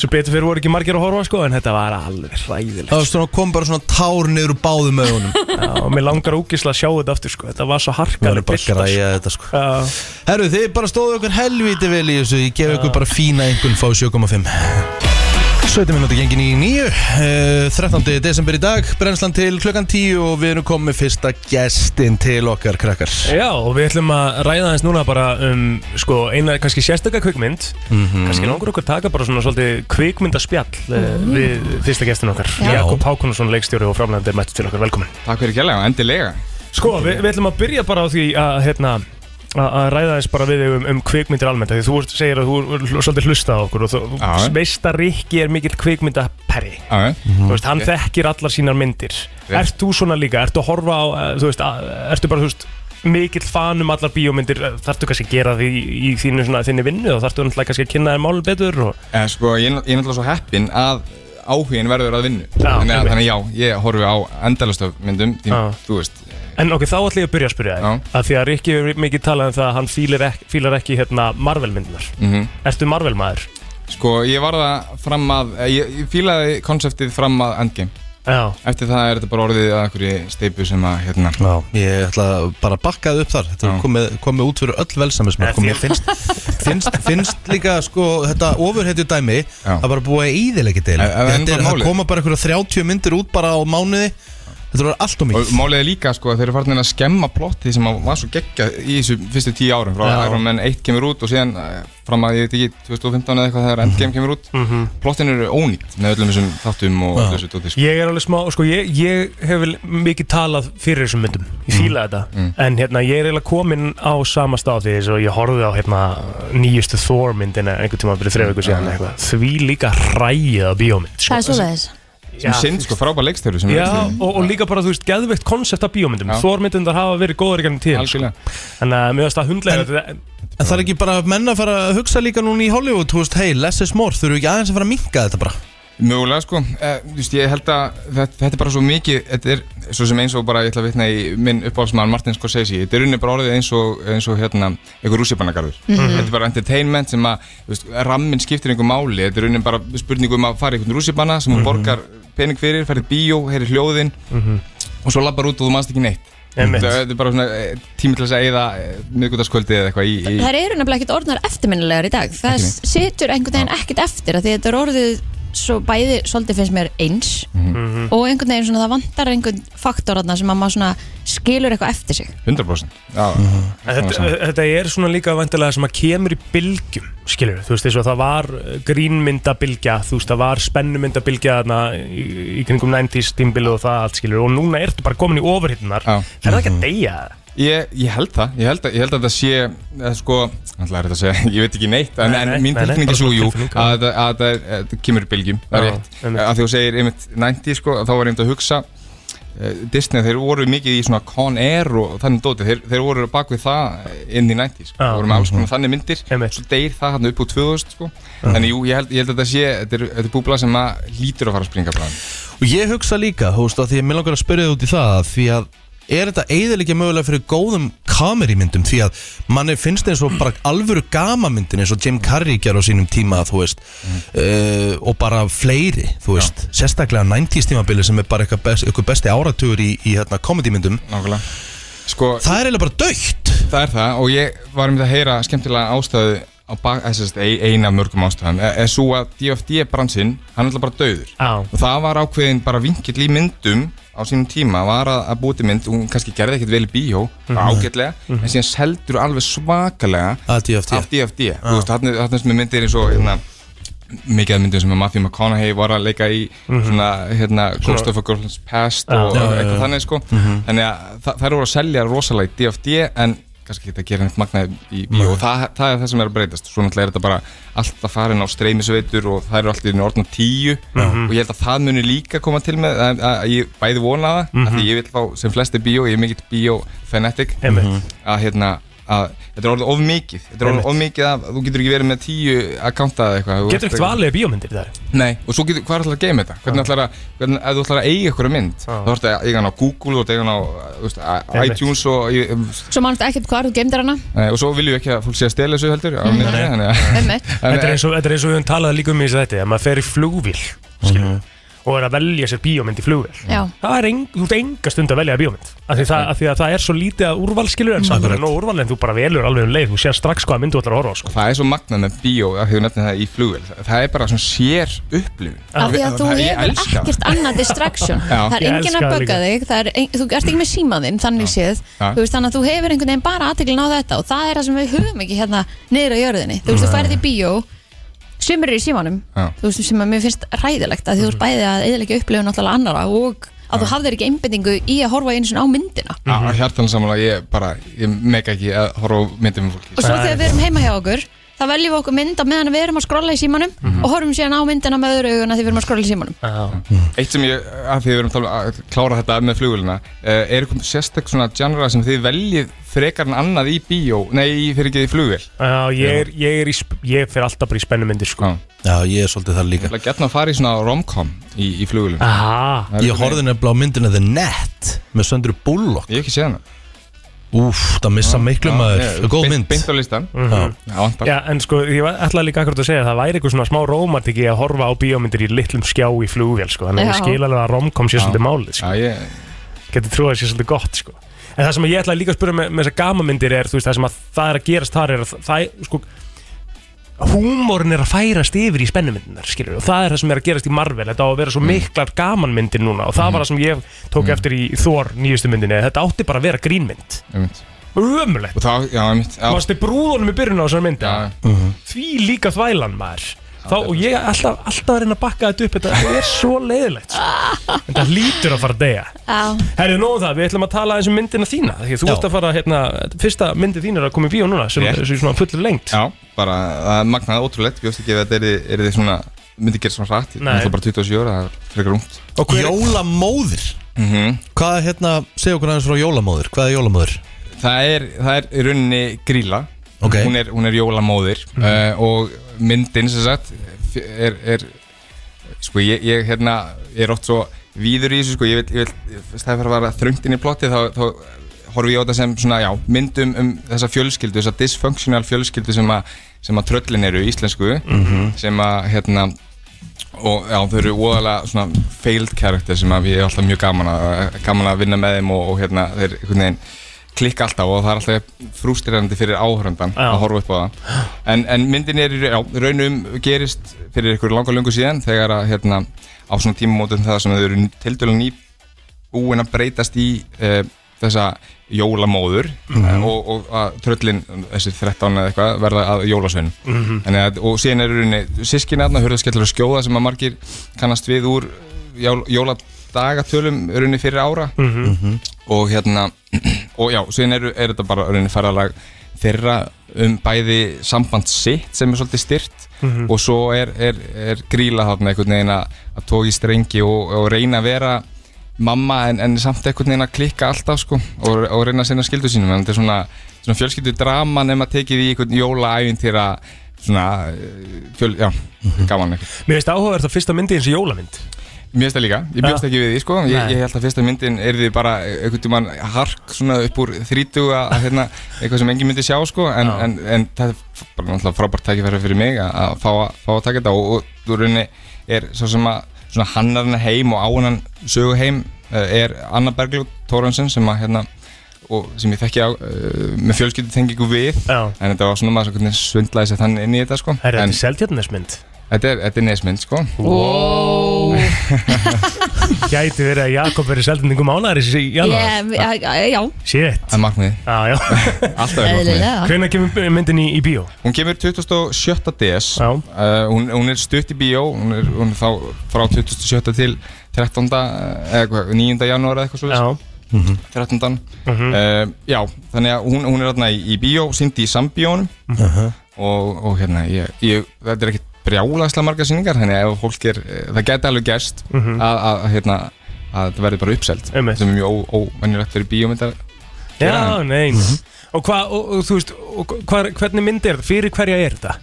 [SPEAKER 4] svo betur fyrir voru ekki margir að horfa sko en þetta var alveg
[SPEAKER 3] Það
[SPEAKER 4] ræðilegt
[SPEAKER 3] var svona, kom bara svona tár niður úr báðum augunum
[SPEAKER 4] Já, og mér langar ógislega að sjá þetta aftur sko þetta var svo
[SPEAKER 3] Það
[SPEAKER 4] harkaleg
[SPEAKER 3] er bara að græja þetta sko
[SPEAKER 4] uh,
[SPEAKER 3] Herru, þið bara stóðu okkur helvíti vel í þessu Ég gef ykkur bara fína einhvern fá 7,5 17 minúti gengin í nýju uh, 13. desember í dag Brennslan til klukkan 10 og við erum komið fyrsta gestin til okkar krakkar
[SPEAKER 4] já og við ætlum að ræða hans núna bara um sko eina kannski sérstakka kvikmynd
[SPEAKER 3] Mhm.
[SPEAKER 4] kannski langar okkur að taka bara svona svolítið kvikmyndaspjall uh, við fyrsta gestin okkar
[SPEAKER 2] Já.
[SPEAKER 4] Jakob Hákonarsson leikstjóri og framlegandi mættu til okkar velkomin
[SPEAKER 5] Takk fyrir kjærlega, endilega
[SPEAKER 4] Sko, við, við ætlum að byrja bara á því að, hérna, að að ræða þess bara við þig um, um kvikmyndir almennt af Því þú ert- segir að þú er hl- svolítið hlusta á okkur og þú
[SPEAKER 5] Já.
[SPEAKER 4] þú veist að Rikki er mikill kvikmyndaperri
[SPEAKER 5] Já,
[SPEAKER 4] Þú veist, hann þekkir allar sínar myndir
[SPEAKER 5] Rétt.
[SPEAKER 4] Ert þú svona líka, ertu að horfa á, eh, þú veist, að, ertu bara, þú veist mikill fan um allar bíómyndir eh, þarftu kannski að gera því í, í þínu, svona, þinni vinnu og þarftu náttúrulega kannski að kynna þér málum betur og...
[SPEAKER 5] En sko, ég, ég er náttúrulega svo heppinn að áhugin verður að vinnu
[SPEAKER 4] Já,
[SPEAKER 5] þannig, að,
[SPEAKER 4] einmitt.
[SPEAKER 5] þannig að já, ég horfi á endalastaf myndum því,
[SPEAKER 4] Já.
[SPEAKER 5] Þú veist,
[SPEAKER 4] en ok, þá ætlum ég að byrja að spyrja
[SPEAKER 5] Já.
[SPEAKER 4] þig að því að Rikki hefur mikið talað um það að hann fílar ekki, fílar ekki hérna, Marvel myndunar
[SPEAKER 5] mm
[SPEAKER 4] Ertu Marvel maður?
[SPEAKER 5] sko, ég var það fram að eh, Ég, ég fílaði konseptið fram að endgame
[SPEAKER 4] Já,
[SPEAKER 5] Eftir það er þetta bara orðið að einhverju steipu sem að, hérna
[SPEAKER 3] Já, ég ætla bara að bakka það upp þar Þetta er
[SPEAKER 5] Já.
[SPEAKER 3] komið, komið út fyrir öll velsamismörk og mér finnst, finnst, finnst líka sko, þetta ofurhetju dæmi
[SPEAKER 5] Já.
[SPEAKER 3] að bara búa í íðilegi deil
[SPEAKER 5] En-
[SPEAKER 3] Þetta
[SPEAKER 5] en bara
[SPEAKER 3] er að
[SPEAKER 5] málið.
[SPEAKER 3] koma bara einhverja 30 myndir út bara á mánuði Þetta var allt og
[SPEAKER 5] Og
[SPEAKER 3] mikið
[SPEAKER 5] málið er líka, sko, að þeir eru farin að skemma plottið sem að var svo geggja í þessu fyrstu tíu árum frá
[SPEAKER 4] Já.
[SPEAKER 5] að Iron Man 1 kemur út og síðan eh, fram að, ég veit ekki, 2015 eða eitthvað
[SPEAKER 4] Mhm.
[SPEAKER 5] þegar endgame kemur út mm -hmm. Plottin eru ónýtt með öllum þessum þáttum og öllu þessu dóti, sko.
[SPEAKER 4] Ég er alveg smá, sko, ég, ég hef vel mikið talað fyrir þessum myndum
[SPEAKER 5] Mm.
[SPEAKER 4] Ég fíla þetta En hérna, ég er eiginlega kominn á sama stað því þess að ég horfði á hérna nýjustu Thor myndina einhvern tíma fyrir
[SPEAKER 5] Mm.
[SPEAKER 4] þrejum ykkur síðan eitthvað Því líka ræðið á bíómynd
[SPEAKER 2] Það
[SPEAKER 4] sko.
[SPEAKER 2] er svo leiðis
[SPEAKER 5] sem sinn sko frábæð leikstjóri sem
[SPEAKER 4] Já,
[SPEAKER 5] er leikstjóri.
[SPEAKER 4] og, og líka bara, þú veist, geðveikt konsept af bíómyndum
[SPEAKER 5] Já.
[SPEAKER 4] Thor myndundar hafa verið góðar í gennum tíð
[SPEAKER 5] Algjörlega.
[SPEAKER 4] Þannig að mér finnst það hundlega þetta-
[SPEAKER 3] En það er ekki bara menn að fara að hugsa líka núna í Hollywood, þú veist, hei, less is more, þurfum við ekki aðeins að fara að minka þetta bara
[SPEAKER 5] Mögulega sko, eh, þú veist, ég held að þetta, þetta er bara svo mikið, þetta er svo sem eins og bara ég ætla að vitna í minn uppáhaldsmann Martin Scorsese, þetta er unni bara orðið eins og, eins og hérna, einhver rússipannagarður. Þetta er bara entertainment sem að, þú veist, ramminn skiptir einhver máli, þetta er unni bara spurningu um að fara í einhvern rússipanna
[SPEAKER 4] Mhm.
[SPEAKER 5] sem hún borgar pening fyrir, ferði bíó, heyri hljóðin og svo lappar út og þú manst ekki neitt.
[SPEAKER 4] Einmitt.
[SPEAKER 5] Þetta þetta er bara svona eh, tími til þess að eigða miðgutaskvöldi eða eitthvað í, í
[SPEAKER 2] Það eru nefnilega ekkert orðnar eftirminnilegar í dag Það
[SPEAKER 5] Ekki neitt.
[SPEAKER 2] situr einhvern veginn ekkert eftir af Því þetta er orðið svo bæði svolítið finnst mér eins
[SPEAKER 4] Mhm.
[SPEAKER 2] Og einhvern veginn svona það vantar einhvern faktor þarna Sem að maður svona skilur eitthvað eftir sig
[SPEAKER 5] 100%. Já,
[SPEAKER 4] En Þetta, þetta er svona líka vantilega sem að kemur í bylgjum, skilur þú veist, eins og það var eh, grínmyndabilgja, þú veist, það var spennumyndabilgja þarna í, í kringum 90s tímbilu og það allt, skilur og núna ertu bara komin í ofurhittunar,
[SPEAKER 5] Já. Mhm.
[SPEAKER 4] er það ekki að deyja?
[SPEAKER 5] Ég, ég held það, ég held að, ég held að það sé, eða sko, alltaf er þetta að segja, ég veit ekki neitt, en,
[SPEAKER 4] Nei, nei,
[SPEAKER 5] en mín
[SPEAKER 4] nei, nei,
[SPEAKER 5] tilfinning
[SPEAKER 4] bara
[SPEAKER 5] er svo,
[SPEAKER 4] svona
[SPEAKER 5] jú,
[SPEAKER 4] tilfinning, já.
[SPEAKER 5] að þetta- að þetta er- að þetta kemur í bylgjum, það er
[SPEAKER 4] Já,
[SPEAKER 5] rétt.
[SPEAKER 4] einmitt.
[SPEAKER 5] Að því þú segir, einmitt, 90, sko, þá var ég einmitt að hugsa, eh, Disney, þeir voru mikið í svona Con Air og þannig dóti, þeir, þeir voru bak við það inn í 90, sko,
[SPEAKER 4] Já. Mhm.
[SPEAKER 5] þeir voru með alls konar þannig myndir,
[SPEAKER 4] Einmitt.
[SPEAKER 5] svo deyr það hann upp úr 2000, sko, þannig jú, ég held, ég held að þetta sé, þetta er, þetta er búbla sem að lítur að fara að springa blæðin.
[SPEAKER 3] Og ég hugsa líka, þú veist, að því að mér langar að spyrja þið út í það Því að er þetta eiðilegja mögulega fyrir góðum kamerímyndum Því að manni finnst eins og bara alvöru gamamyndin eins og Jim Carrey gerði á sínum tíma, þú veist uh, Og bara fleiri, þú veist Sérstaklega 90s tímabili sem er bara eitthvað best, eitthvað besti áratugur í, í hérna, komedímyndum
[SPEAKER 5] Nákvæmlega. Sko,
[SPEAKER 3] Það er eiginlega bara dögt
[SPEAKER 5] Það er það og ég var um að heyra skemmtilega ástæðu á bak, eh, eða sérst, eina af mörgum ástæðum Eh, er svo að DFD bransinn, hann er alltaf bara döður
[SPEAKER 4] Já,
[SPEAKER 5] og það var ákveðin bara vinkill í myndum á sínum tíma var að, að búti mynd hún kannski gerði ekkert vel í bíó ágætlega, en síðan seldur alveg svakalega
[SPEAKER 3] Að DFD.
[SPEAKER 5] af DFD
[SPEAKER 3] Ah.
[SPEAKER 5] þú veist, þarna þarna sem er myndir eins og hérna, mikið af myndum sem að Matthew McConaughey var að leika í svona, hérna, Ghost of a Girl's Past og
[SPEAKER 3] Mhm. Ah. Já, já,
[SPEAKER 5] eitthvað
[SPEAKER 3] já. Mhm.
[SPEAKER 5] þannig sko þannig að þa þær voru að selja rosalega í DFD en kannski geta að gera neitt magnaði í bíó og það, það er það sem er að breytast svo náttúrulega er þetta bara alltaf farin á streymisveitur og það eru alltaf í orðna tíu og ég held að það muni líka koma til með að, að, að ég bæði vona það af
[SPEAKER 3] Mhm.
[SPEAKER 5] því ég vil fá sem flesti bíó, ég er mikill bíó fanatic
[SPEAKER 4] Einmitt.
[SPEAKER 5] að hérna að þetta er orðið of mikið þetta er orðið of mikið að þú getur ekki verið með tíu akkánta eða eitthvað Þú
[SPEAKER 4] Getur
[SPEAKER 5] ert
[SPEAKER 4] ekkert valið bíómyndir þar
[SPEAKER 5] Nei, og svo getur, hvað er alltaf að geima þetta? Hvernig ætlar að, hvernig, ef þú ætlar að eiga ykkur mynd þá ætlar að eiga hann á Google, þú ætlar að eiga hann á þú veist, á
[SPEAKER 4] Einmitt.
[SPEAKER 5] iTunes og ég- um,
[SPEAKER 2] Svo mannst ekkert hvar þú geymdir hana
[SPEAKER 5] nei, og svo viljum við ekki að fólk sé að stela þessu heldur á myndinni, þannig að- eh,
[SPEAKER 2] Einmitt.
[SPEAKER 4] Mm. Þetta er eins og, þetta er eins og við höfum talað líka um í þessu þetta að maður fer í flugvíl mm
[SPEAKER 5] Mhm.
[SPEAKER 4] og er að velja sér bíómynd í flugvíl
[SPEAKER 2] Já.
[SPEAKER 4] það er eng, þú ert enga stund að velja bíómynd af því, það, af því að það er svo lítið að úrvalskilur en samt er nóg úrval en þú bara velur alveg um leið þú sér strax hvaða mynd þú ætlar að horfa á sko.
[SPEAKER 5] Það er svo magnað með bíó, að þú nefnir það í flugvel Það er bara svona sér upplifun
[SPEAKER 2] Af því að þú
[SPEAKER 5] Ég
[SPEAKER 2] hefur
[SPEAKER 5] elska það.
[SPEAKER 2] ekkert annað distraction
[SPEAKER 5] Já.
[SPEAKER 2] Það er
[SPEAKER 4] Ég
[SPEAKER 2] enginn að
[SPEAKER 4] elska það
[SPEAKER 2] bögga
[SPEAKER 4] líka.
[SPEAKER 2] þig það er, ein- Þú ert ekki með símaðinn, þannig séð
[SPEAKER 5] Já.
[SPEAKER 2] Þú veist, Þannig að þú hefur einhvern veginn bara aðteglin á þetta Og það er það sem við höfum ekki hérna niður á jörðinni Þú veist, þú færði í bíó Sumir eru í símanum
[SPEAKER 5] Já.
[SPEAKER 2] Þú veist, sem að mér finnst ræðilegt að því þú
[SPEAKER 4] Mhm.
[SPEAKER 2] ert bæði að eðilegja upplifun náttúrulega annara og að þú hafðir ekki einbendingu í að horfa einu sinni á myndina
[SPEAKER 4] Mhm.
[SPEAKER 5] Á hjartan samanlega, ég bara, ég mega ekki að horfa á myndum með fólki
[SPEAKER 2] og svo þegar við erum heima hjá okkur þá veljum við okkur mynd á meðan við erum að skrolla í símanum
[SPEAKER 5] Mhm.
[SPEAKER 2] og horfum síðan á myndina með öðru auguna þegar við erum að skrolla í símanum
[SPEAKER 5] Eitt sem ég, að því við erum að tala- um að klára þetta með flugulina eh, Er eitthvað sérstak svona genre sem þið veljið frekar en annað í bíó Nei, fyrir ekki í flugvel
[SPEAKER 4] Já, ég, er, ég, er í, sp- ég fer alltaf bara í spennumyndir sko.
[SPEAKER 5] Já.
[SPEAKER 3] Já, ég er svolítið þar líka
[SPEAKER 5] Það getna að fara í svona romcom í, í flugulina
[SPEAKER 4] Aha,
[SPEAKER 3] Ah, Ég horfði nefnilega á myndina The Net með Söndru Bullock
[SPEAKER 5] Ég hef ekki séð hana
[SPEAKER 3] Úf, það missa miklu maður Góð
[SPEAKER 5] ah, Beint-
[SPEAKER 3] mynd
[SPEAKER 5] Beint á listan
[SPEAKER 3] Já.
[SPEAKER 5] Já, vantar.
[SPEAKER 4] Já, en sko, ég var- ætlaði líka akkurat að segja að það væri eitthvað svona smá rómatik í að horfa á bíómyndir í litlum skjá í flugvél, sko, þannig að ég
[SPEAKER 2] Já.
[SPEAKER 4] skil alveg að romkom sér svolítið málið, sko,
[SPEAKER 5] Já, ég,
[SPEAKER 4] getur trúið að sér svolítið gott, sko. En það sem ég ætlaði líka að spyrja með, með þessar gamamyndir er, þú veist, það sem að það er að gerast þar er að það- það, er, sko, húmórin er að færast yfir í spennumyndinar, skilur, og það er það sem er að gerast í Marvel, þetta á að vera svo
[SPEAKER 5] Mm.
[SPEAKER 4] miklar gamanmyndir núna og það var það sem ég tók eftir í Thor nýjustu myndinni, þetta átti bara að vera grínmynd.
[SPEAKER 5] einmitt.
[SPEAKER 4] Ömurlegt.
[SPEAKER 5] Og það, já, einmitt Já,
[SPEAKER 4] Mástu brúðunum í byrjun á þessar myndi
[SPEAKER 5] Já.
[SPEAKER 4] Því líka þvælan maður Þá, og ég er alltaf, alltaf að reyna að bakka þetta upp Þetta er svo leiðilegt sko. En það hlýtur að fara að deyja
[SPEAKER 2] Já.
[SPEAKER 4] Herðu, nóg um það, við ætlum að tala eins um myndina þína Því að þú
[SPEAKER 3] Já.
[SPEAKER 4] ert að fara, hérna, fyrsta myndi þín er að koma í bíó núna sem
[SPEAKER 5] Rétt.
[SPEAKER 4] er svona fullur lengt
[SPEAKER 5] já bara, það er magnað ótrúlegt Bjóst ekki ef þetta er, er þið svona myndi gera svona rætt
[SPEAKER 4] Nei.
[SPEAKER 5] Það er bara 27 ára, það er frekar ungt
[SPEAKER 4] Og hver,
[SPEAKER 3] Jólamóðir
[SPEAKER 5] Mhm.
[SPEAKER 3] Hvað er hérna, segja okkur aðeins frá jólamóðir Hvað er jólamóðir?
[SPEAKER 5] Það er, það er í rauninni gríla
[SPEAKER 3] Ok.
[SPEAKER 5] hún, er, hún er jólamóðir uh, og myndin sem sagt f- er, er sko ég, ég hérna ég er oft svo víður í þessu sko ég vil, ég vil stæði fyrir að vera þröngt inn í plotti þá, þá horfi ég á þetta sem svona já, myndum um þessa fjölskyldu þessa dysfunctional fjölskyldu sem að sem að tröllin eru í íslensku sem að hérna og já, þau eru óðalega svona failed character sem að ég er alltaf mjög gaman að, gaman að vinna með þeim og, og hérna þeir einhvern veginn klikka alltaf og það er alltaf frústirandi fyrir áhörundan
[SPEAKER 4] Já.
[SPEAKER 5] að horfa upp á það en, en myndin er í ra- já, raunum gerist fyrir einhverju langa lungu síðan þegar að hérna á svona tímamótum það sem þau eru tildurlega ný búin að breytast í uh, þessa jólamóður eh, og, og að tröllin, þessi 13 eða eitthvað, verða að jólasvein mm að, og síðan er rauninni sískinna þarna, hörðaskellur og skjóða sem að margir kannast við úr jól, jóladagatölum rauninni fyrir ára og hérna og já, síðan er, er þetta bara rauninni ferðalag þeirra um bæði samband sitt sem er svolítið styrt og svo er, er, er gríla þarna einhvern veginn að, að tók í strengi og, og reyna að vera mamma en, en samt einhvern veginn að klikka alltaf sko og, og reyna að sinna skildu sínum en þetta er svona, svona fjölskyldu drama nema tekið í einhvern jólaævintýra svona eh, fjöl, já, gaman eitthvað
[SPEAKER 4] mér veist áhugavert að fyrsta myndi eins og jólamynd
[SPEAKER 5] Mér finnst það líka, ég bjóst
[SPEAKER 4] Já.
[SPEAKER 5] ekki við því sko ég,
[SPEAKER 4] Nei.
[SPEAKER 5] ég held að fyrsta myndin er því bara einhvern tímann hark svona upp úr þrítu að að, hérna, eitthvað sem engin myndi sjá sko en,
[SPEAKER 4] Já.
[SPEAKER 5] en, en það er f- bara náttúrulega frábært tækifæri fyrir mig að- að fá, að- fá að taka þetta og, og þú rauninni er svo sem að svona hannar hennar heim og á hennar sögu heim eh, er Anna Bergljóð Tórensen sem að hérna og sem ég þekki á uh, með fjölskyldu tengingu við
[SPEAKER 4] Já.
[SPEAKER 5] en þetta var svona maður svo hvernig svindlaði sér þannig inn í þetta sko
[SPEAKER 4] Herðu,
[SPEAKER 5] en
[SPEAKER 4] þetta er seltjarnesmynd
[SPEAKER 5] þetta er, þetta er nesmynd sko
[SPEAKER 2] Ó,
[SPEAKER 4] Gæti verið að Jakob verið seldendingum ánæðaris í januar
[SPEAKER 2] Ég- Já, já,
[SPEAKER 4] Shit
[SPEAKER 5] Það er markmiðið,
[SPEAKER 4] Já, já
[SPEAKER 5] alltaf er markmiðið
[SPEAKER 2] eðlilega
[SPEAKER 4] Hvenær kemur myndin í, í bíó?
[SPEAKER 5] Hún kemur 27. DS
[SPEAKER 4] Já.
[SPEAKER 5] uh, hún, hún er stutt í bíó Hún er, hún er þá frá 27. til 13. eða hvað, 9. janúar eða eitthvað svo
[SPEAKER 4] Já Mhm.
[SPEAKER 5] 13. uh, Já, þannig að hún, hún er þarna í, í bíó Sýndi í sambíónum og, og hérna, ég, ég, þetta er ekkit brjálagslega margar sýningar Þannig að ef fólk er, eh, það geti alveg gerst að, að, að, hérna, að þetta verði bara uppselt
[SPEAKER 4] Mhm. Einmitt.
[SPEAKER 5] Sem er mjög ó- óvenjulegt fyrir bíómyndar
[SPEAKER 4] Já, Mhm. nein Og hvað, og, og þú veist, og, hva, hvernig mynd er þetta? Fyrir hverja er þetta?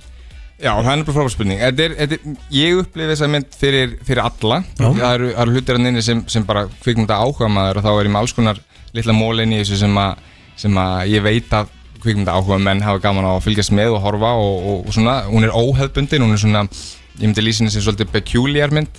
[SPEAKER 5] Já, það er bara frábær spurning þetta er, þetta er, Ég upplifi þessa mynd fyrir, fyrir alla Það eru, það eru hlutir hann inni sem, sem bara kvikmynda áhuga maður og þá er ég með alls konar litla mólin í þessu sem að, sem að ég veit að kvikmynda áhuga menn hafa gaman á að fylgjast með og horfa og, og, og svona, hún er óhefbundin hún er svona, ég myndi lýsa henni sem svolítið peculiar mynd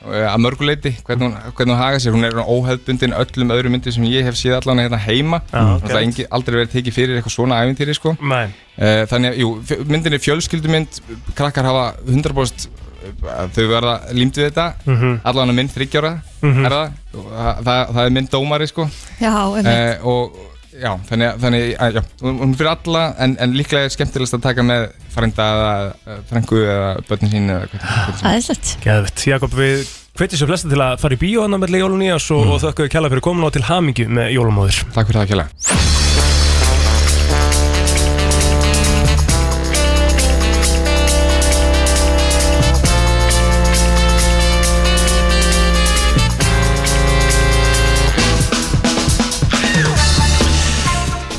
[SPEAKER 4] Já
[SPEAKER 5] eh, að mörguleiti, hvernig hún, hvernig hún haga sér hún er óhefbundin öllum öðrum myndum sem ég hef séð allan hérna heima
[SPEAKER 4] Já, ok.
[SPEAKER 5] það er engi, aldrei verið tekið fyrir eitthvað svona ævintýri sko.
[SPEAKER 4] Nei
[SPEAKER 5] Eh, Þannig að, jú, f- myndin er fjölskyldumynd Krakkar hafa 100% eh, Þau verða límt við þetta mm -hmm. Allan að mynd þryggjára mm -hmm. það, og það, það, það er mynd dómari sko
[SPEAKER 2] Já, einmitt.
[SPEAKER 5] eh, Og já, þannig að, þannig að já, hún hún er fyrir alla en, en líklega er skemmtilegast að taka með Frænda eða eh, frængu eða börnin sín eða hvernig, hvernig sem.
[SPEAKER 2] Æðislegt
[SPEAKER 4] Geðvitt, Jakob, við hvetjum svo flesta til að fara í bíó hann að melli jólun í oss og, og þökkum við kjalla fyrir komin og til hamingju með jólumóður
[SPEAKER 5] Takk fyrir það kjælega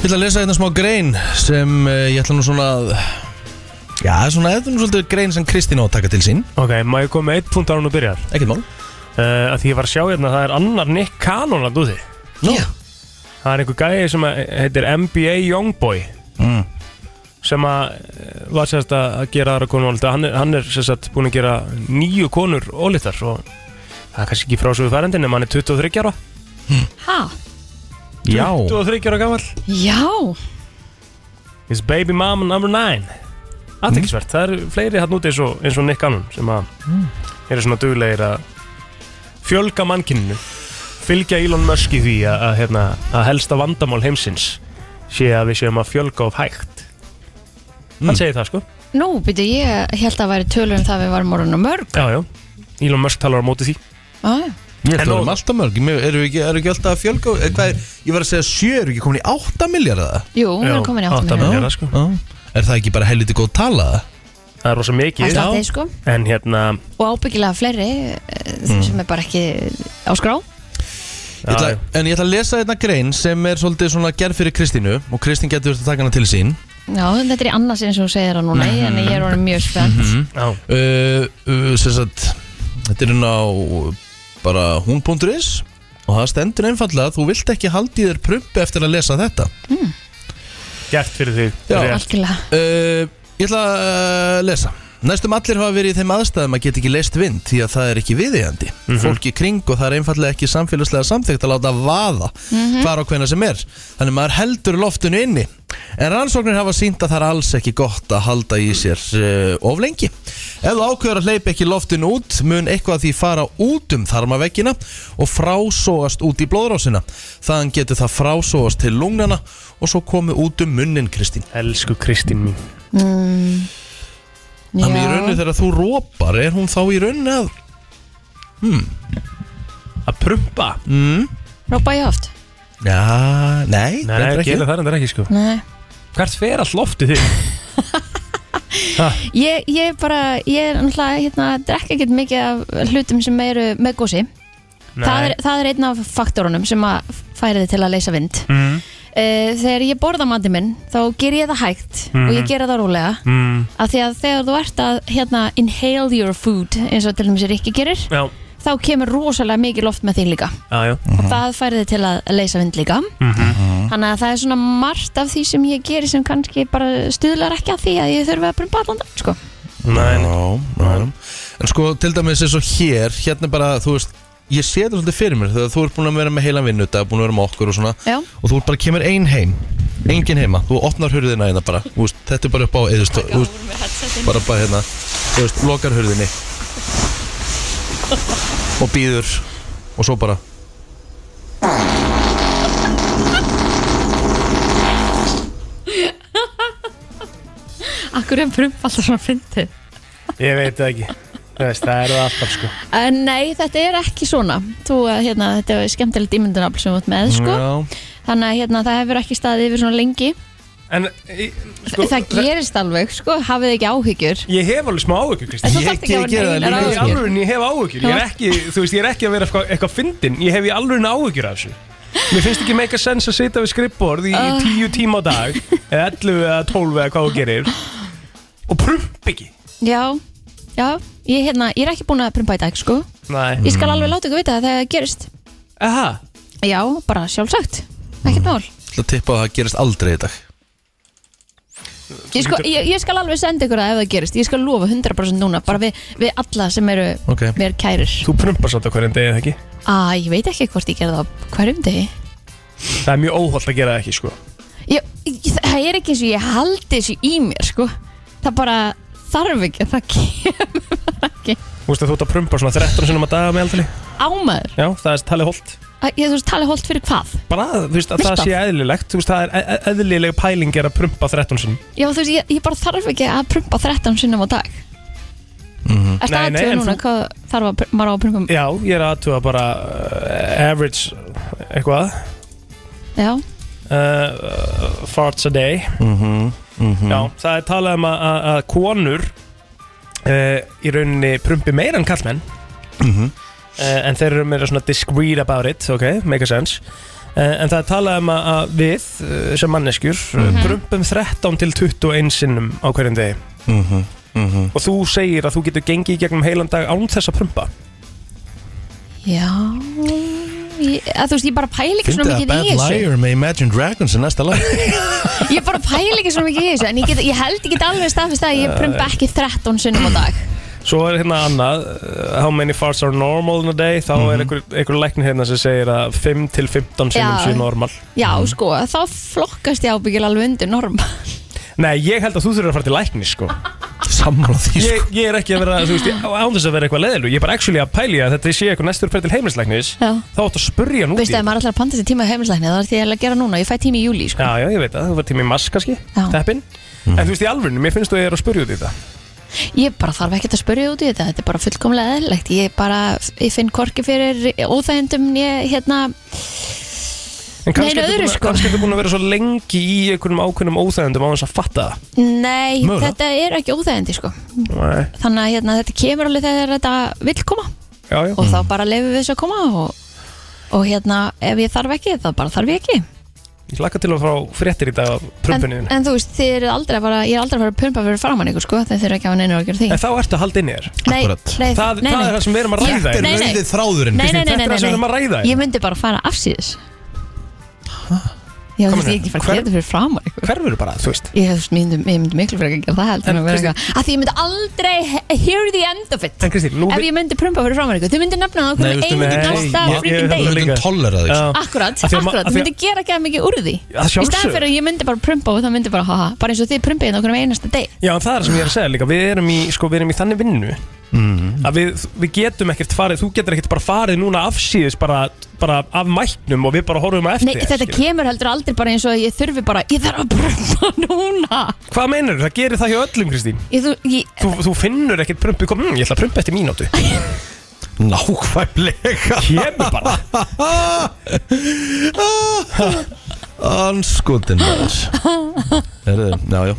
[SPEAKER 3] Ég ætla að lesa hérna smá grein sem uh, ég ætla nú svona að Já, svona, þetta er nú svolítið grein sem Kristín á að taka til sín
[SPEAKER 4] Ok, má ég koma með eitt punkt á hann og byrjar
[SPEAKER 3] Ekkert mál
[SPEAKER 4] uh, að því ég var að sjá hérna að það er annar Nick Cannon að úti
[SPEAKER 3] Nú,
[SPEAKER 4] það er einhver gæði sem að, heitir NBA Youngboy mm. sem að eh, var sérst að að gera aðra konur ólita hann, er- hann er sérst búin að gera nýju konur ólitar og það er kannski ekki frá svo við færendin en hann er 23 ára
[SPEAKER 2] Ha?
[SPEAKER 3] já
[SPEAKER 4] 23 ára gammal
[SPEAKER 2] Já,
[SPEAKER 4] his baby mom number 9 aðtekisvert, það eru fleiri hann úti eins og, eins og Nick Cannon sem að
[SPEAKER 3] Hmm.
[SPEAKER 4] eru svona duglegir að fjölga mannkinninu fylgja Elon Musk í því að, að, hérna, að helsta vandamál heimsins sé að við séum að fjölga of hægt
[SPEAKER 3] Hmm.
[SPEAKER 4] hann segir það sko
[SPEAKER 2] nú byrju ég held að væri tölur um það við varum orðin og mörg
[SPEAKER 4] já, já. Elon Musk talar á móti því
[SPEAKER 2] ah, já.
[SPEAKER 3] Ég ætla
[SPEAKER 4] En
[SPEAKER 3] að
[SPEAKER 4] nú-
[SPEAKER 3] vera alltaf mörg Mér- Eru ekki, er ekki alltaf að fjölga eh, hvað er, Ég var að segja sjö, eru ekki komin í átta miljardar
[SPEAKER 2] Jú, hún er komin í 8
[SPEAKER 4] átta
[SPEAKER 2] minútur
[SPEAKER 4] milljarða, sko.
[SPEAKER 3] Er það ekki bara helviti góð tala?
[SPEAKER 4] það er rosa
[SPEAKER 2] Það
[SPEAKER 4] mikið
[SPEAKER 2] er það sko
[SPEAKER 4] en hérna
[SPEAKER 2] Og ábyggilega fleiri eh, sem er bara ekki á skrá
[SPEAKER 3] Ég ætla,
[SPEAKER 4] já,
[SPEAKER 3] en ég ætla að lesa hérna grein sem er svolítið svona gerð fyrir Kristínu og Kristín getur þetta taka hana til sín
[SPEAKER 2] Já, þetta er í annars eins og hún segir það núna En ég er orðin mjög spennt
[SPEAKER 4] já,
[SPEAKER 3] uh, uh, sem sagt, þetta er hérna á uh, bara hún.is og það stendur einfallega að þú vilt ekki haldi þér prumpi eftir að lesa þetta
[SPEAKER 4] gert fyrir því
[SPEAKER 3] Já.
[SPEAKER 4] Rétt.
[SPEAKER 2] Algjörlega
[SPEAKER 3] uh, Ég ætla að eh, lesa Næstum allir hafa verið í þeim aðstæðum að geta ekki leist vind því að það er ekki viðeigandi Fólk í kring og það er einfallega ekki samfélagslega samþygt að láta vaða hvar og hvena sem er Þannig maður heldur loftinu inni En rannsóknir hafa sínt að það er alls ekki gott að halda í sér uh, of lengi Ef þú ákveður að hleypa ekki loftinu út mun eitthvað af því fara út um þarmaveggina og frásóast út í blóðrásina Þaðan getur það frásóast til lungnana og svo komið út um munnin Kristín
[SPEAKER 4] elsku Kristín mín
[SPEAKER 3] Þannig í rauninu
[SPEAKER 2] Já,
[SPEAKER 3] þegar þú rópar er hún þá í rauninu að
[SPEAKER 4] að prumpa
[SPEAKER 2] rópa ég oft
[SPEAKER 3] "Mm, Já, nei,
[SPEAKER 4] nei,
[SPEAKER 3] reyndar
[SPEAKER 4] gera það reyndar ekki sko
[SPEAKER 2] Nei
[SPEAKER 4] hvert fer all loftið þig
[SPEAKER 2] Ég, ég bara, ég er náttúrulega hérna, drekka ekkert mikið af hlutum sem eru með gósi það er, það er einn af faktorunum sem að færi þið til að leysa vind mm. Þegar ég borða mandi minn þá ger ég það hægt og ég gera það rólega
[SPEAKER 4] mm.
[SPEAKER 2] af því að þegar þú ert að hérna, inhale your food eins og til dæmis er ekki gerir
[SPEAKER 4] já,
[SPEAKER 2] þá kemur rosalega mikið loft með þig líka
[SPEAKER 4] já, já
[SPEAKER 2] og það færi þið til að leysa vind líka þannig að það er svona margt af því sem ég geri sem kannski bara stuðlar ekki að því að ég þurfi að brumba allan dag sko.
[SPEAKER 4] Nei, nei.
[SPEAKER 3] Já, já En sko, til dæmis eins og hér, hérna bara, þú veist Ég sé þetta svolítið fyrir mér þegar þú ert búin að vera með heilan vinnu Þetta búin að vera með okkur og svona
[SPEAKER 2] Já.
[SPEAKER 3] Og þú ert bara kemur ein heim Engin heima, þú opnar hurðina hérna bara þú veist, Þetta er bara upp á, eða þú veist, þú veist Bara bara hérna, þú veist, lokar hurðinni og býður og svo bara
[SPEAKER 2] Akkur er prump alltaf svona fyndið
[SPEAKER 4] Ég veit það ekki Þú veist, Það er það alltaf sko
[SPEAKER 2] En Nei, þetta er ekki svona Þú, eh, hérna, þetta er skemmtilegt ímyndunafl sem þú ert með sko.
[SPEAKER 3] Já,
[SPEAKER 2] Þannig að hérna, það hefur ekki staðið yfir svona lengi
[SPEAKER 4] En í- sko,
[SPEAKER 2] Það gerist alveg, sko, hafið ekki áhyggjur
[SPEAKER 4] Ég hef alveg smá áhugur, Kristi
[SPEAKER 2] En þú
[SPEAKER 3] Ég
[SPEAKER 2] þarft ekki að
[SPEAKER 3] geri-
[SPEAKER 2] vera
[SPEAKER 3] gera það
[SPEAKER 2] neinar
[SPEAKER 3] líka. sko.
[SPEAKER 4] Í
[SPEAKER 2] áhyggjur
[SPEAKER 4] alvörin ég hef áhugur Ég er ekki, þú veist, ég er ekki að vera eitthvað, eitthvað fyndin Ég hef í alvörin áhugur af þessu Mér finnst ekki meika sens að sitja við skrippborð í
[SPEAKER 2] Ah.
[SPEAKER 4] uh. tíu tíma á dag eða 11 eða 12 eða hvað þú gerir og prump ekki
[SPEAKER 2] Já, já, ég, hérna, ég er ekki búin að prumpa í dag, sko
[SPEAKER 4] Nei
[SPEAKER 2] Ég skal alveg láta ykkur vita að það gerist
[SPEAKER 4] Aha,
[SPEAKER 2] Já, bara sjálfsagt, ekkert mál
[SPEAKER 3] ætla að tippa að það gerist aldrei í dag
[SPEAKER 2] Ég, sko, ég, ég skal alveg senda ykkur það ef það gerist Ég skal lofa 100% núna Bara við, við alla sem eru
[SPEAKER 3] Ok.
[SPEAKER 2] mér kærir
[SPEAKER 4] þú prumpar svolítið á hverjum degi eða ekki
[SPEAKER 2] Æ, ég veit ekki hvort ég gerði það á hverjum degi
[SPEAKER 4] Það er mjög óholt að gera það ekki, sko
[SPEAKER 2] ég, ég, Það er ekki eins og ég haldi þessu í mér sko. Það bara þarf ekki að Það kemur bara ekki
[SPEAKER 4] Þú veist að þú ert að prumpa svona 13 sinum að daga með aldrei
[SPEAKER 2] Ámaður
[SPEAKER 4] Já, það er talið holt
[SPEAKER 2] Æ, Ég þú veist tala holt fyrir hvað
[SPEAKER 4] Bara, þú veist, að það
[SPEAKER 2] Alltaf.
[SPEAKER 4] sé eðlilegt Þú veist, það er e- e- eðlileg pæling er að prumpa 13 sinum
[SPEAKER 2] Já, þú veist, ég, ég bara þarf ekki að prumpa 13 sinnum á dag mm -hmm. Er
[SPEAKER 4] Mhm. Nei,
[SPEAKER 2] það
[SPEAKER 4] nei,
[SPEAKER 2] aðtöðu
[SPEAKER 4] en
[SPEAKER 2] núna
[SPEAKER 4] þú-
[SPEAKER 2] hvað þarf að pr- maður á að prumpa um?
[SPEAKER 4] Já, ég er aðtuga bara uh, average eitthvað
[SPEAKER 2] Já,
[SPEAKER 4] uh, farts a day
[SPEAKER 3] Mhm,
[SPEAKER 1] Mhm.
[SPEAKER 4] Já, það er talað um að, að- að konur uh, í rauninni prumpi meira en kallmenn uh, en þeir eru meira svona discreet about it ok, make a sense uh, en það er talað um að, að við uh, sem manneskjur prumpum 13 til 21 sinnum á hverjum degi og þú segir að þú getur gengið í gegnum heilan dag án þess að prumpa
[SPEAKER 2] já Ég, að þú veist, ég bara pæli ekki svona
[SPEAKER 3] Fyndi að
[SPEAKER 2] mikið
[SPEAKER 3] Bad
[SPEAKER 2] í þessu
[SPEAKER 3] Liar með Imagine Dragons er næsta lag
[SPEAKER 2] Ég bara pæla ekki svona mikið í þessu En ég, get, ég held ekki alveg staðfist að ég prumpa ekki 13 sinnum á dag
[SPEAKER 4] Svo er hérna annað, uh, how many farts are normal in a day, þá er einhver, einhver læknir hérna sem segir að 5 til 15 sinnum
[SPEAKER 2] Já.
[SPEAKER 4] sé normal.
[SPEAKER 2] Já, sko, þá flokkast ég ábyggil alveg undir norma
[SPEAKER 4] Nei, ég held að þú þurfir að fara til lækni, sko.
[SPEAKER 3] Sammála því
[SPEAKER 4] Ég, ég er ekki að vera, þú veist, ég- á- án þess að vera eitthvað leðilug, ég er bara actually að pæli að þetta sé eitthvað næstur fyrir til heimilislæknis,
[SPEAKER 2] Já.
[SPEAKER 4] þá áttu að spurja hann út
[SPEAKER 2] Veistu, ef maður ætlar að panta sér tíma í heimslækni Það er því ég ætla að gera núna, ég fæ tíma í júli, sko
[SPEAKER 4] Já, já, ég veit það, þú var tími í mask kannski,
[SPEAKER 2] Já.
[SPEAKER 4] teppin, en þú veist, í alvörinu, mér finnst þú að ég er að spurja út í það.
[SPEAKER 2] Ég bara þarf ekkert að spurja út í þetta Þetta er bara fullkomlega eðlilegt Ég bara, ég finn korki fyrir óþægendum Ég, hérna,
[SPEAKER 4] En kannski
[SPEAKER 2] Nei,
[SPEAKER 4] ertu
[SPEAKER 2] öðru,
[SPEAKER 4] búin að-
[SPEAKER 2] sko.
[SPEAKER 4] kannski ertu búin að vera svo lengi í einhverjum ákveðnum óþægindum á þess að fatta það.
[SPEAKER 2] nei,
[SPEAKER 4] Mögulega.
[SPEAKER 2] þetta er ekki óþægendi, sko
[SPEAKER 4] Nei.
[SPEAKER 2] Þannig að hérna, þetta kemur alveg þegar þetta vill koma
[SPEAKER 4] Já, já.
[SPEAKER 2] Og þá bara leifum við þess að koma og, og hérna, ef ég þarf ekki, þá bara þarf ég ekki
[SPEAKER 4] Ég hlakka til að fá fréttir í dag af prumpinu
[SPEAKER 2] en,
[SPEAKER 4] þínu.
[SPEAKER 2] en þú veist, þið eru aldrei að fara, ég er aldrei að fara að pumpa fyrir framann ykkur sko, þeir eru ekki að hafa neina að gera því
[SPEAKER 4] En þá ertu að halda inn í þér
[SPEAKER 2] Nei,
[SPEAKER 3] Akkurat.
[SPEAKER 2] nei,
[SPEAKER 4] Það,
[SPEAKER 2] nei,
[SPEAKER 4] það
[SPEAKER 2] nei.
[SPEAKER 4] er það sem við erum að ræða
[SPEAKER 2] Þetta
[SPEAKER 4] hérna.
[SPEAKER 2] nei, nei.
[SPEAKER 3] rauði þráðurinn
[SPEAKER 2] Nei, nei, nei,
[SPEAKER 4] Kristín,
[SPEAKER 2] nei,
[SPEAKER 4] þetta er það sem við erum að
[SPEAKER 2] nei,
[SPEAKER 4] ræða
[SPEAKER 2] nei.
[SPEAKER 4] hérna.
[SPEAKER 2] Ég myndi bara fara afsíðis Já, þú
[SPEAKER 4] Hvað
[SPEAKER 2] veist, ég er
[SPEAKER 4] meinar?
[SPEAKER 2] ekki að fara að gera
[SPEAKER 4] Hver-
[SPEAKER 2] þetta fyrir framann ykkur
[SPEAKER 4] Hverfur bara, þú veist
[SPEAKER 2] Ég, þú veist, ég myndi, ég myndi miklu fyrir að gera það heldur en að vera eitthvað Af því ég myndi aldrei he- hear the end of it
[SPEAKER 4] En Kristín, nú
[SPEAKER 2] Ef ég myndi prumpa fyrir framann ykkur Þið myndi nefna það
[SPEAKER 3] Nei,
[SPEAKER 2] okkur
[SPEAKER 3] veistu,
[SPEAKER 2] einu
[SPEAKER 4] nei,
[SPEAKER 2] næsta
[SPEAKER 4] ég- ég-
[SPEAKER 2] freaking
[SPEAKER 4] ég-
[SPEAKER 2] day
[SPEAKER 4] ég-
[SPEAKER 3] Þú tollera því
[SPEAKER 4] Já.
[SPEAKER 3] sko.
[SPEAKER 2] Akkurat,
[SPEAKER 4] Af því að ma-
[SPEAKER 2] akkurat,
[SPEAKER 4] af
[SPEAKER 2] þú
[SPEAKER 4] því að-
[SPEAKER 2] myndi gera ekki mikið úr því
[SPEAKER 4] Að
[SPEAKER 2] Í staðan
[SPEAKER 4] sjálfsögðu.
[SPEAKER 2] fyrir að ég myndi bara prumpa og það myndi bara haha Bara eins og þið prumpið hérna okkur um einasta day
[SPEAKER 4] Já, en það er það sem ég er að segja líka Við erum í, sko, við erum í þannig vinnu Að við, við getum ekkert farið Þú getur ekkert bara farið núna afsíðis bara, bara af mæknum og við bara horfum að eftir
[SPEAKER 2] Nei,
[SPEAKER 4] þér,
[SPEAKER 2] þetta
[SPEAKER 4] skilur.
[SPEAKER 2] kemur heldur aldrei bara eins og að ég þurfi bara Ég þarf að prumpa núna
[SPEAKER 4] Hvað meinar þú? Það gerir það hjá öllum, Kristín
[SPEAKER 2] ég, þú, ég,
[SPEAKER 4] Þú, þú finnur ekkert prumpu kom, mm, Ég ætla að prumpa eftir mínútu
[SPEAKER 3] Nákvæmlega
[SPEAKER 4] Kemur bara
[SPEAKER 3] Anskutin Herðu, já, já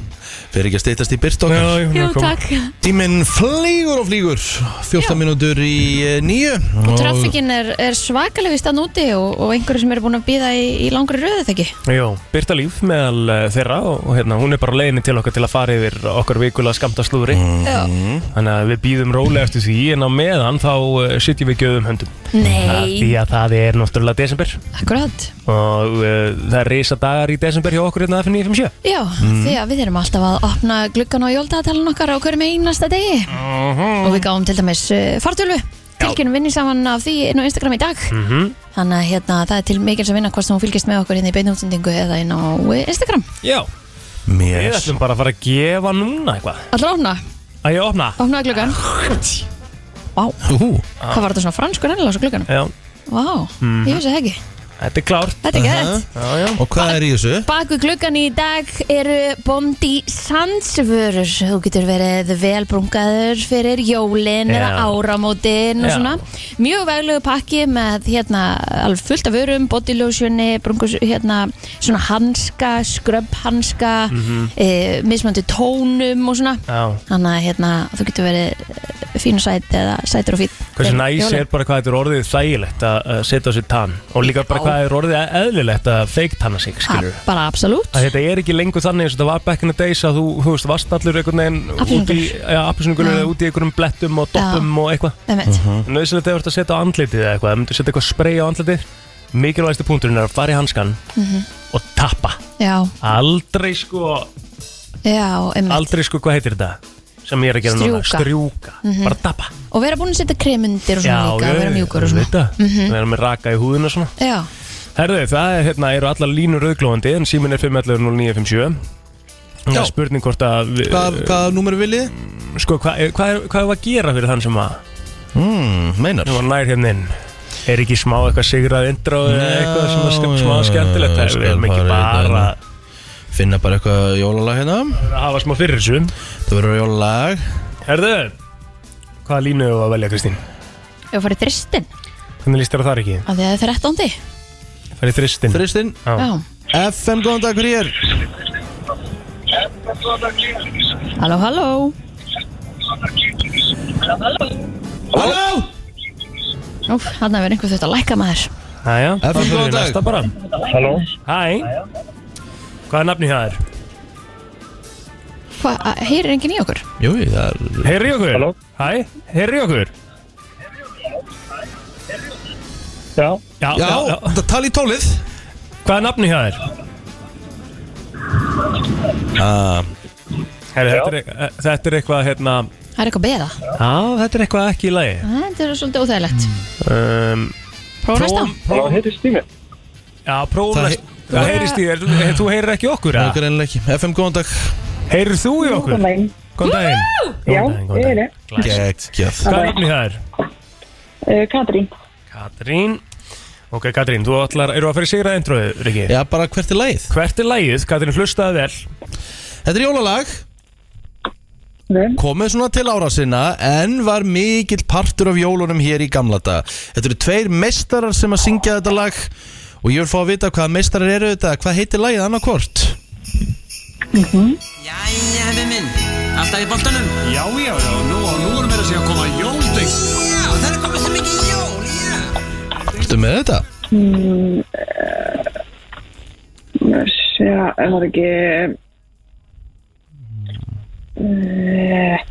[SPEAKER 3] Fyrir ekki að steytast í byrt okkar
[SPEAKER 4] já,
[SPEAKER 2] Jú, takk
[SPEAKER 3] Tíminn flýgur og flýgur 14 mínútur í eh, nýju
[SPEAKER 2] Og traffikin er, er svakaleg í staðn úti og, og einhverju sem eru búin að býða í, í langri röðu þekki
[SPEAKER 4] Jó, Birta Líf meðal eh, þeirra og, og hérna, hún er bara á leiðinni til okkar til að fara yfir okkar vikulega skamta slúðri
[SPEAKER 2] mm.
[SPEAKER 4] Þannig að við býðum rólega eftir því en á meðan þá uh, sitjum við gjöðum höndum Af Því
[SPEAKER 2] Nei,
[SPEAKER 4] að það er náttúrulega desember
[SPEAKER 2] akkurat
[SPEAKER 4] og uh, það er reysa dagar í desember hjá okkur hérna að finna í 57
[SPEAKER 2] Já, því að við erum alltaf að opna gluggan á jóldaðatalun okkar á hverjum einasta degi og við gáum til dæmis uh, fartölu tilkynum vinni um saman af því inn á Instagram í dag þannig að hérna, það er til mikil sem vinna hvort sem hún fylgist með okkur hérna í beinu útsendingu eða inn á eh, Instagram
[SPEAKER 4] Já, við
[SPEAKER 3] Mér
[SPEAKER 4] ætlum bara að fara að gefa núna eitthvað
[SPEAKER 2] Allra opna,
[SPEAKER 4] Að ég opna
[SPEAKER 2] opnaði gluggan Vá,
[SPEAKER 3] Úhú.
[SPEAKER 2] hvað var þetta svona franskur ennilás á glugganum?
[SPEAKER 4] Já,
[SPEAKER 2] Vá, ég vissi það ekki
[SPEAKER 4] þetta er klárt
[SPEAKER 2] Þetta er gæðið
[SPEAKER 4] Já, já
[SPEAKER 3] Og hvað er í þessu?
[SPEAKER 2] Baku gluggan í dag eru Bondi Sandsvörur Þú getur verið velbrungaður fyrir jólin eða
[SPEAKER 4] Já.
[SPEAKER 2] áramótin og
[SPEAKER 4] Já.
[SPEAKER 2] svona Mjög veglegu pakki með hérna alveg fullt af vörum, bodylotioni brungus, hérna svona hanska skröbhanska mm mismöndu tónum og svona
[SPEAKER 4] Mhm. Já,
[SPEAKER 2] Þannig að hérna þú getur verið eh, fín og sæt eða sætur og fín
[SPEAKER 4] hversu
[SPEAKER 2] fyrir
[SPEAKER 4] næs
[SPEAKER 2] jólin.
[SPEAKER 4] er bara hvað þetta er orðið þægilegt að að setja á sér tann og líka bara
[SPEAKER 2] Já.
[SPEAKER 4] hvað er orðið eðlilegt að feiktanna sig,
[SPEAKER 2] Ha,
[SPEAKER 4] skilur
[SPEAKER 2] Ah, Bara absolutt
[SPEAKER 4] að þetta er ekki lengur þannig eins og þetta var back in the days að þú, þú veist, varst allur einhvern veginn út í
[SPEAKER 2] Appelsínugulir.
[SPEAKER 4] appisunugulur eða út í einhverjum blettum og doppum og eitthvað
[SPEAKER 2] Einmitt.
[SPEAKER 4] Nauðsynlegt hefur þetta að setja á andlitið eða eitthvað, það myndir setja eitthvað spray á andlitið Mikilvægasti punkturinn er að fara í hanskan
[SPEAKER 2] Mhm.
[SPEAKER 4] og tappa
[SPEAKER 2] Já,
[SPEAKER 4] Aldrei sko,
[SPEAKER 2] já, einmitt
[SPEAKER 4] aldrei sko, hvað heitir þetta? Sem ég er að gera núna,
[SPEAKER 2] Strjúka.
[SPEAKER 4] strjúka, bara tappa
[SPEAKER 2] Og vera búin að setja kremundir og svona líka og vera mjúkur og svona Mhm.
[SPEAKER 4] þetta Vera með raka í húðuna og svona
[SPEAKER 2] Já,
[SPEAKER 4] Herðu, það er, hérna, eru allar línur auðglóðandi en símin er 511 Það
[SPEAKER 3] Já.
[SPEAKER 4] er spurning hvort að við,
[SPEAKER 3] Hvað, hvað númer viljið?
[SPEAKER 4] sko, hvað er, hvað, er, hvað er að gera fyrir þann sem að
[SPEAKER 3] Mm, meinar
[SPEAKER 4] sem var nær hérna inn er ekki smá eitthvað sigrað intro eða
[SPEAKER 3] Já,
[SPEAKER 4] eitthvað sem
[SPEAKER 3] já,
[SPEAKER 4] að sk- smá skemmtilegt það er
[SPEAKER 3] skal
[SPEAKER 4] við erum
[SPEAKER 3] fara
[SPEAKER 4] ekki
[SPEAKER 3] í hérna.
[SPEAKER 4] bara
[SPEAKER 3] það. Finna bara eitthvað jólalag hérna
[SPEAKER 4] að hafa smá fyrir þessu
[SPEAKER 3] Það verður jólalag
[SPEAKER 4] Herðu, hvaða línu þú að velja Kristín?
[SPEAKER 2] ef við farið þristin
[SPEAKER 4] Hvernig líst þér að það ekki?
[SPEAKER 2] af því að það er þrettándi
[SPEAKER 4] Það er þristin
[SPEAKER 3] Þristinn
[SPEAKER 4] Já.
[SPEAKER 2] Já,
[SPEAKER 3] FM, góðan dag, hver ég er?
[SPEAKER 2] halló, halló
[SPEAKER 3] Halló!
[SPEAKER 2] Nú, hann er verið einhver þurft að lækka maður
[SPEAKER 4] Jæja,
[SPEAKER 3] FM,
[SPEAKER 4] þá fyrir
[SPEAKER 3] góðan
[SPEAKER 4] við
[SPEAKER 3] dag.
[SPEAKER 4] næsta bara
[SPEAKER 6] Halló,
[SPEAKER 4] Hæ, hvað er nafni hjá þér?
[SPEAKER 2] Hva, að- heyrir enginn í okkur?
[SPEAKER 3] Jú, það er
[SPEAKER 4] Heyri okkur?
[SPEAKER 6] Halló.
[SPEAKER 4] Hæ, heyri okkur?
[SPEAKER 6] já,
[SPEAKER 4] Já,
[SPEAKER 3] Já, þetta tali í tólið
[SPEAKER 4] Hvað er nafni hjá þér?
[SPEAKER 3] ah,
[SPEAKER 4] Herri, þetta, er, e- þetta er eitthvað hérna
[SPEAKER 2] Það er eitthvað beða
[SPEAKER 4] Já, þetta er eitthvað ekki í lagi
[SPEAKER 2] Þetta er svolítið óþægilegt
[SPEAKER 3] Mm.
[SPEAKER 4] um,
[SPEAKER 2] Prófa næsta
[SPEAKER 6] halló, heitir Stími
[SPEAKER 4] Já, prófum
[SPEAKER 3] Það
[SPEAKER 4] næst Það heyrist í þér, þú- þú heyrir ekki okkur
[SPEAKER 3] Það
[SPEAKER 4] eða?
[SPEAKER 3] er greinilega ekki FM, góðan dag
[SPEAKER 4] Heyrir þú í okkur?
[SPEAKER 7] Góðan daginn.
[SPEAKER 4] Góðan daginn.
[SPEAKER 7] Já,
[SPEAKER 4] Góðan daginn, góðan
[SPEAKER 7] ég
[SPEAKER 4] daginn.
[SPEAKER 7] er það.
[SPEAKER 3] Gekkjað
[SPEAKER 4] Hvað er nafni það er?
[SPEAKER 7] Uh, Katrín,
[SPEAKER 4] Katrín. Ok, Katrín, þú ætlar, eru að fara í sigraði endröðu, Riki?
[SPEAKER 3] Já, bara hvert er lagið?
[SPEAKER 4] Hvert er lægið? Katrín hlustaði vel.
[SPEAKER 3] Þetta er jólalag
[SPEAKER 7] Vel.
[SPEAKER 3] Komið svona til ára sinna En var mikill partur af jólunum hér í gamla dag Þetta eru tveir meistarar sem að syngja þetta lag Og ég vil fá að vita hvað meistarar eru þetta Hvað heitir lagið annarkvort?
[SPEAKER 8] Jæja, hefði minn, alltaf í boltanum
[SPEAKER 9] Já, já, já, nú, nú erum við að segja að koma jóldeg
[SPEAKER 8] Já, það er komið svo mikið jól, já
[SPEAKER 3] Ertu með þetta?
[SPEAKER 7] sjá, er það ekki uh,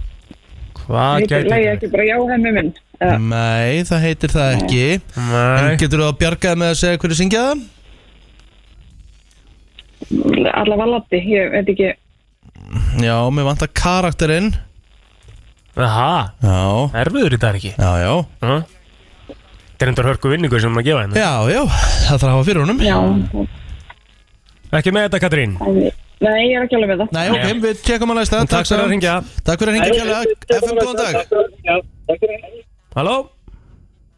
[SPEAKER 4] Hvað
[SPEAKER 7] Heitir
[SPEAKER 4] gæti
[SPEAKER 7] lagi ekki bara já hemmi minn uh,
[SPEAKER 3] Nei, það heitir það ekki En
[SPEAKER 4] Nei.
[SPEAKER 3] getur þú að bjargaði með að segja hverju syngja það?
[SPEAKER 7] Alla var laddi, ég veit ekki
[SPEAKER 3] Já, mér vantar karakterinn
[SPEAKER 4] Aha,
[SPEAKER 3] Já,
[SPEAKER 4] erfiður í dag ekki.
[SPEAKER 3] já, já
[SPEAKER 4] Ha? Þetta er endur hörku vinningur sem maður gefa hérna. henni.
[SPEAKER 3] Já, já, það þarf að hafa fyrir honum
[SPEAKER 7] Já,
[SPEAKER 4] Ekki með þetta, Katrín.
[SPEAKER 7] nei, ég er ekki alveg með það
[SPEAKER 3] Nei, ok, við tekum að læsta
[SPEAKER 4] En takk fyrir að ringja.
[SPEAKER 3] Takk fyrir að ringja kjærlega FM, góðan dag
[SPEAKER 4] Halló?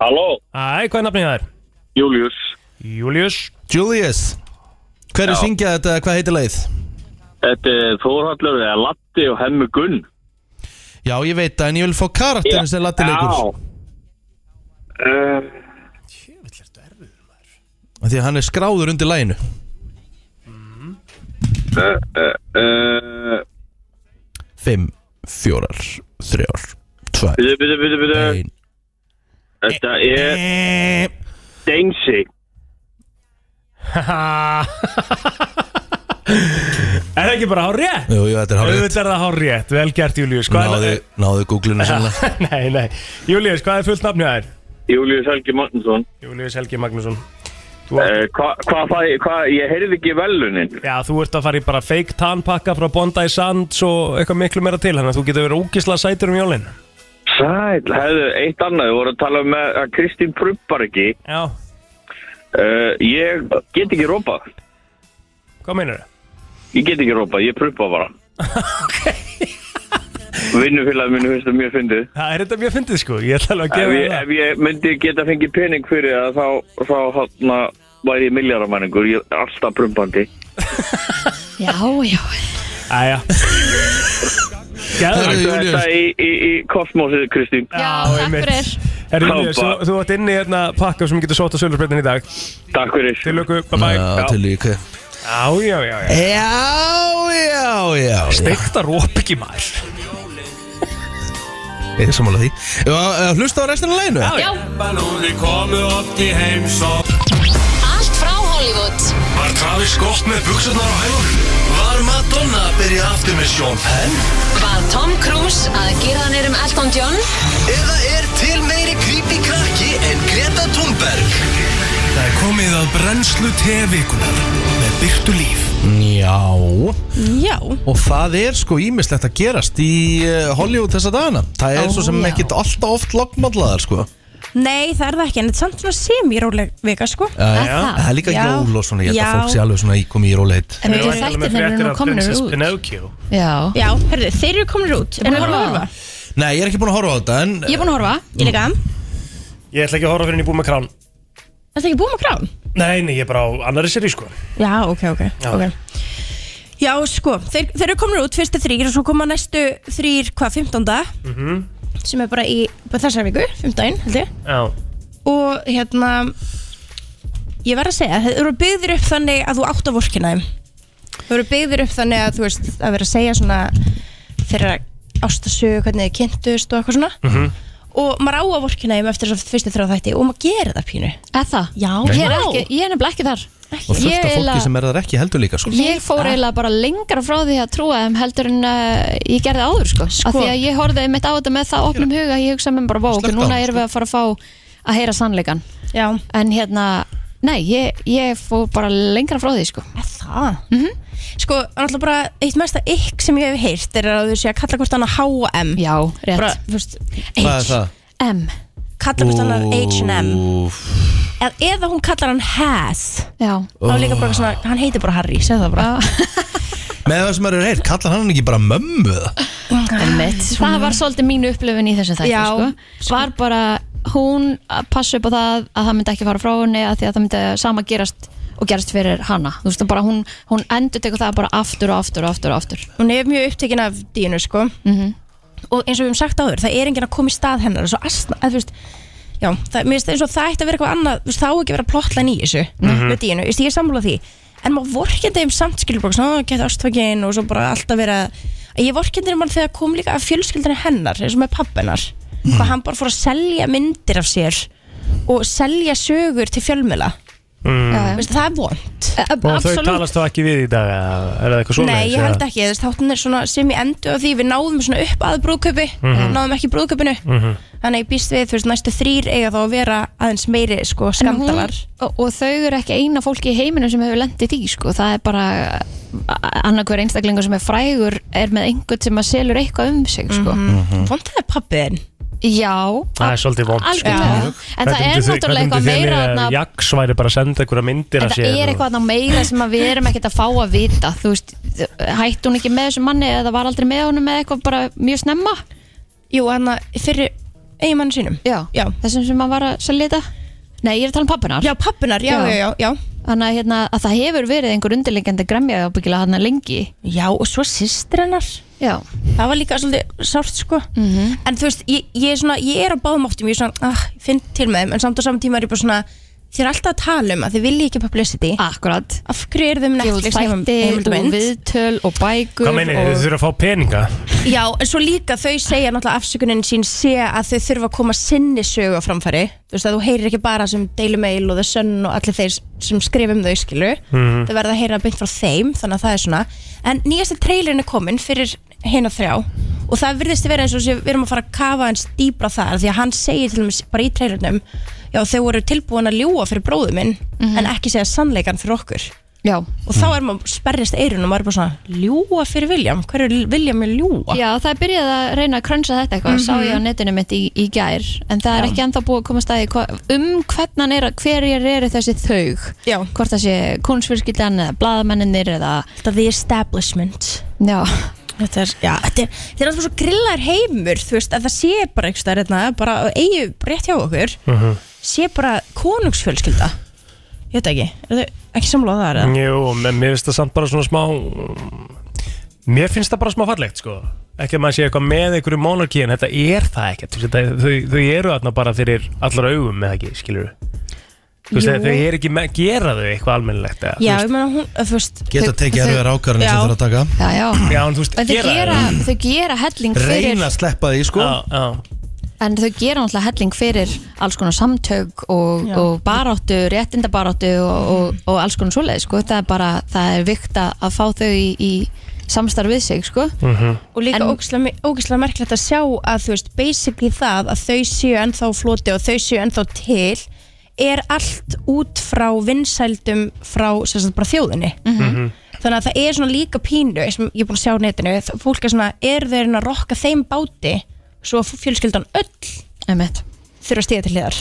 [SPEAKER 6] Halló,
[SPEAKER 4] Æ, hvað er nafnið það er?
[SPEAKER 6] Július
[SPEAKER 4] Július.
[SPEAKER 3] Julius Hverju syngja þetta, hvað heitir leið?
[SPEAKER 6] Þetta er Þórhallur eða Latti og Hemmi Gunn
[SPEAKER 3] Já, ég veit það, en ég vil fá karakterinn sem latti leikur
[SPEAKER 6] uh,
[SPEAKER 3] Því að hann er skráður undir læginu
[SPEAKER 6] uh,
[SPEAKER 3] 5, 4, 3, 2,
[SPEAKER 6] Bitu, bitu, bitu, bitu
[SPEAKER 3] 1
[SPEAKER 6] Þetta er Dengsi
[SPEAKER 4] Er það ekki bara hár rétt?
[SPEAKER 3] Jú, jú, þetta er hárið
[SPEAKER 4] Auðvitað er það hár rétt. Vel gert, Július. Hvað
[SPEAKER 3] Náðu,
[SPEAKER 4] er
[SPEAKER 3] náðu googlinu sannlega
[SPEAKER 4] það? Nei, nei. Július, hvað er fullt nafnið það er?
[SPEAKER 6] Július Helgi Magnússon
[SPEAKER 4] Július Helgi Magnússon
[SPEAKER 6] uh, Hvað hva, fæ, hva, ég heyrði ekki velunin
[SPEAKER 4] Já, þú ert að fara í bara fake tannpakka frá Bondi Sands og eitthvað miklu meira til þannig að þú getur verið ógisla sætur um jólin
[SPEAKER 6] Sæl, hefðu, eitt annað, við vorum að tala um að Kristín prumbar ekki
[SPEAKER 4] Já,
[SPEAKER 6] uh, Ég get ekki rópað
[SPEAKER 4] hvað meinar það?
[SPEAKER 6] Ég get ekki rópað, ég prumpa bara Vinnufélag minn finnst það mjög fyndið
[SPEAKER 4] Það er þetta mjög fyndið sko, ég ætla alveg að
[SPEAKER 6] ef
[SPEAKER 4] gefa
[SPEAKER 6] ég,
[SPEAKER 4] þér það
[SPEAKER 6] ef ég myndi geta fengið pening fyrir það þá, þá hátna væri ég miljardamæningur, ég er alltaf prumpandi
[SPEAKER 2] Já, já
[SPEAKER 4] Æja
[SPEAKER 3] Herru,
[SPEAKER 4] Gæðvægt
[SPEAKER 3] Júlíus.
[SPEAKER 6] Þetta í, í, í kosmosið, Kristín
[SPEAKER 2] Já, takk fyrir
[SPEAKER 4] Herru,
[SPEAKER 6] Kápa.
[SPEAKER 4] Július, þú- þú átt inni hérna pakka sem getur sótt á sölursbreytin í dag
[SPEAKER 6] Takk fyrir
[SPEAKER 4] Til lögu, bye bye
[SPEAKER 3] Já, til líka
[SPEAKER 4] Já, já, já, já
[SPEAKER 3] Já, já, já
[SPEAKER 4] Steikta rópiki maður
[SPEAKER 3] Ég er sammála því Já, eh, Hlusta á restina af læginu
[SPEAKER 2] Já,
[SPEAKER 9] Ballóni komu oft í heimsók
[SPEAKER 10] Allt frá Hollywood
[SPEAKER 9] Var Travis gott með buksunar á hægur?
[SPEAKER 1] Var Madonna að byrja aftur með Sean Penn?
[SPEAKER 10] Var Tom Cruise að gera hann um Elton John?
[SPEAKER 1] Eða er til meiri creepy krakki en Greta Thunberg?
[SPEAKER 9] Það er komið að brennslu tevikunar með byrtu líf
[SPEAKER 3] Já
[SPEAKER 11] Já,
[SPEAKER 3] Og það er sko ímislegt að gerast í eh, Hollywood þessa dagana Það er
[SPEAKER 2] Ó,
[SPEAKER 3] svo sem
[SPEAKER 2] já.
[SPEAKER 3] ekkit alltaf oft lognmallaðar sko
[SPEAKER 11] nei það er það ekki en þetta er samt svona semiróleg vika sko
[SPEAKER 3] Það
[SPEAKER 4] já.
[SPEAKER 3] Það er líka
[SPEAKER 11] Já.
[SPEAKER 3] jól og svona Ég held
[SPEAKER 11] Já.
[SPEAKER 3] að fólk sé alveg svona í komið í róleitt
[SPEAKER 2] en við þættir þeir eru nú komin út
[SPEAKER 4] Pinocchio
[SPEAKER 2] Já,
[SPEAKER 11] Já, herðu, þeir eru komin út
[SPEAKER 2] búin
[SPEAKER 11] Erum við
[SPEAKER 2] að
[SPEAKER 11] búin að
[SPEAKER 2] horfa?
[SPEAKER 11] horfa?
[SPEAKER 3] Nei, ég er ekki búin að horfa á þetta en
[SPEAKER 11] Ég er búin að horfa, ég líka Er
[SPEAKER 4] Ég ætla ekki að horfa fyrir henni búið með krán
[SPEAKER 11] þetta ekki búin með krán?
[SPEAKER 4] Nei, nei, ég er bara á annari seri sko
[SPEAKER 11] Já, ok, ok,
[SPEAKER 4] Já.
[SPEAKER 11] ok Já, sko, þeir, þeir eru komin út fyrstu þrýr og svo koma næstu þrýr, hvað, 15.
[SPEAKER 4] Mhm.
[SPEAKER 11] sem er bara í bara þessar viku, 15, held ég
[SPEAKER 4] Já,
[SPEAKER 11] og hérna ég verð að segja, þeir eru byggðir upp þannig að þú átt að vorkina þeim þeir eru byggðir upp þannig að þú veist að vera að segja svona þeirra ástasögu, hvernig þið kynntust og eitthvað svona
[SPEAKER 12] Mhm.
[SPEAKER 11] og maður á að vorkina þeim eftir þess að fyrstu þrjá þætti og maður gerir það pínu
[SPEAKER 2] eða það
[SPEAKER 11] Já,
[SPEAKER 2] Ég er,
[SPEAKER 11] já.
[SPEAKER 2] ekki, ég er nefnilega ekki þar
[SPEAKER 3] Og fullt
[SPEAKER 2] Ég
[SPEAKER 3] af fólki
[SPEAKER 2] eiginlega-
[SPEAKER 3] sem er þar ekki heldur líka sko
[SPEAKER 2] Ég fór
[SPEAKER 11] Ah.
[SPEAKER 2] eiginlega bara lengra frá því að trúa þeim heldur en uh, ég gerði áður sko.
[SPEAKER 11] Sko.
[SPEAKER 2] af því að ég horfði mitt á þetta með það opnum huga, ég hugsa mér bara vá, ok,
[SPEAKER 3] Slökkt á
[SPEAKER 2] núna
[SPEAKER 3] honum,
[SPEAKER 2] erum við að fara að fá að heyra sannleikan,
[SPEAKER 11] sko." Já,
[SPEAKER 2] en hérna nei, ég, ég fór bara lengra frá því sko.
[SPEAKER 11] eða það Sko, náttúrulega bara eitt mesta ykk sem ég hef heyrt er að þau sé að kalla hvort annað H&M
[SPEAKER 2] já, rétt
[SPEAKER 11] bara, þú veist,
[SPEAKER 3] Hvað er það?
[SPEAKER 2] M,
[SPEAKER 11] kalla hvort annað H&M
[SPEAKER 3] Úff.
[SPEAKER 11] Eð- eða hún kallar hann Has
[SPEAKER 2] já
[SPEAKER 11] þá er líka bara svona, hann heitir bara Harry, segð það bara
[SPEAKER 2] Ah,
[SPEAKER 3] Með það sem maður er heyrt, kallar hann ekki bara mömmu það?
[SPEAKER 2] einmitt. það var svolítið mín upplifin í þessum þætti
[SPEAKER 11] Já,
[SPEAKER 2] sko. var bara hún að passa upp á það að það myndi ekki fara frá henni að því að það myndi sama gerast og gerast fyrir hana þú veist, bara hún, hún endur tekur það bara aftur og aftur og aftur og aftur
[SPEAKER 11] hún er mjög upptekin af dínu sko og eins og við höfum sagt áður, það er enginn að koma í stað hennar svo astna, að, þú veist já, það, mér finnst eins og það ætti að vera eitthvað annað þú veist, þá ekki að vera plotlan í þessu með dínu, þú veist, ég er sammála því en maður vorkjandi um samt skilur bara svona, geta ástfækin og svo bara alltaf vera að ég vorkjandi um hann þegar kom líka af fjölskyldinu hennar, eins og með pappenar hvað hann bara fór að selja myndir af sér og selja sögur til fjölmjöla,
[SPEAKER 2] mm.
[SPEAKER 11] það er vond
[SPEAKER 4] og þau talast þá ekki við í dag eða er það eitthvað svona
[SPEAKER 11] Nei, ég held ekki, þú veist, þáttin er svona sem ég endu á því við náðum svona upp að brúðkaupi náðum ekki brúðkaupinu þannig að ég býst við, þú veist, næstu þrýr eiga þá að vera aðeins meiri, sko, skandalar
[SPEAKER 2] og, og þau eru ekki eina fólki í heiminum sem hefur lendið því sko. það er bara annarkur einstaklingur sem er frægur er með einhvern sem að selur eitthvað um sig sko.
[SPEAKER 11] hún vondaði pappiðin
[SPEAKER 2] já,
[SPEAKER 4] Það er sko. svolítið vond
[SPEAKER 2] algjörlega en það er náttúrulega eitthvað meira þarna-
[SPEAKER 4] Jaks væri bara að senda einhverja myndir
[SPEAKER 2] En
[SPEAKER 4] að
[SPEAKER 2] það er eitthvað þarna meira sem að við erum ekkert að fá að vita Þú veist, hætti hún ekki með þessum manni eða var aldrei með honum með eitthvað bara mjög snemma
[SPEAKER 11] Jú, hann að fyrir eiginmann sínum
[SPEAKER 2] Já,
[SPEAKER 11] Já.
[SPEAKER 2] þessum sem að var að selja þetta Nei, ég er að tala um pappunar
[SPEAKER 11] Já, pappinar, já,
[SPEAKER 2] Já.
[SPEAKER 11] já, já, já
[SPEAKER 2] Þannig að, hérna, að það hefur verið einhver undirlegjandi gremja ábyggilega hann lengi
[SPEAKER 11] Já, og svo sýstir hennar
[SPEAKER 2] Já,
[SPEAKER 11] það var líka svolítið sárt, sko en þú veist, ég, ég er svona, ég er á báðum áttum ég er svona, ah, ég finn til með þeim en samt á saman tíma er ég bara svona, þér er alltaf að tala um að þið vilji ekki publicity
[SPEAKER 2] akkurat
[SPEAKER 11] af hverju eru þeim
[SPEAKER 2] Gefur
[SPEAKER 11] Netflix heimam-
[SPEAKER 2] þættir og
[SPEAKER 11] heimildamynd?
[SPEAKER 2] viðtöl og bækur
[SPEAKER 4] Hvað meinir,
[SPEAKER 2] og...
[SPEAKER 4] þau þurfa að fá peninga
[SPEAKER 11] Já, en svo líka þau segja náttúrulega afsökunin sín sé að þau þurfa að koma sinni sögu á framfæri þú veist að þú heyrir ekki bara sem Daily Mail og The Sun og allir þeir sem skrifum þau skilu þau verða að heyra beint frá þeim þannig að það er svona en nýjasta trailerin er komin fyrir hinn og þrjá og það virðist vera eins og sé, við erum að fara að kafa eins dýbra þar því að hann segir til dæmis bara í trailernum já þau voru tilbúin að ljúa fyrir bróðu minn en ekki segja sannleikan fyrir okkur
[SPEAKER 2] Já.
[SPEAKER 11] og þá er maður sperrist eirun og maður er bara svona ljúa fyrir William, hverju er William er ljúa
[SPEAKER 2] Já, það er byrjað að reyna að krönsa þetta eitthvað sá ég á
[SPEAKER 4] Mhm.
[SPEAKER 2] netinu mitt í, í gær en það er ekki ennþá búið að koma staði um hvernan er, að- hverjir eru þessi þaug
[SPEAKER 11] Já.
[SPEAKER 2] hvort það sé kunstfyrskildan eða bladamennir eða
[SPEAKER 11] The Establishment
[SPEAKER 2] já,
[SPEAKER 11] Þetta er, já, þetta er, þetta er alltaf svo grillar heimur, þú veist, að það sé bara einhvers staðar hérna, bara eigi rétt hjá okkur,
[SPEAKER 4] Mhm.
[SPEAKER 11] sé bara konungsfjölskylda. Ég veit ekki, er þau ekki samlóða það, eða?
[SPEAKER 4] Jú, men mér finnst það samt bara svona smá Mér finnst það bara smá fallegt sko Ekki að maður sé eitthvað með einhverju monarki En þetta er það ekkert Þú veist, þetta- þau, þau eru þarna bara fyrir allar augum Eða ekki, skilur Þú veist,
[SPEAKER 11] Jú.
[SPEAKER 4] þau eru ekki með, gera þau eitthvað almennilegt eða, þú
[SPEAKER 11] Já,
[SPEAKER 4] veist.
[SPEAKER 11] ég meina hún, að þú veist
[SPEAKER 4] Geta
[SPEAKER 11] þau-
[SPEAKER 4] tekið
[SPEAKER 11] þau-
[SPEAKER 4] erfiðar ákvarðanir sem
[SPEAKER 11] Já.
[SPEAKER 4] þarf að taka.
[SPEAKER 2] Já, já
[SPEAKER 4] Já, en þú veist,
[SPEAKER 2] En þau
[SPEAKER 4] gera,
[SPEAKER 2] gera, þau gera helling fyrir
[SPEAKER 3] Reyna að sleppa því sko
[SPEAKER 4] já, já.
[SPEAKER 2] En þau gera náttúrulega helling fyrir alls konar samtök og, og baráttu, réttindabaráttu og,
[SPEAKER 4] Mhm.
[SPEAKER 2] og, og alls konar svoleið sko. Það er bara, það er vikt að- að fá þau í, í samstarf við sig sko.
[SPEAKER 4] Mhm.
[SPEAKER 11] Og líka
[SPEAKER 2] En-
[SPEAKER 11] ógislega merkilegt að sjá að þú veist, basically það að þau séu ennþá á floti og þau séu ennþá til er allt út frá vinsældum frá sem sagt, bara þjóðinni
[SPEAKER 12] Mhm.
[SPEAKER 11] þannig að það er svona líka pínu sem ég er búin að sjá á netinu, það- fólk er svona er þau að reyna að rokka þeim báti svo að fjölskyldan öll
[SPEAKER 2] Einmitt.
[SPEAKER 11] þurfa að stíða til hliðar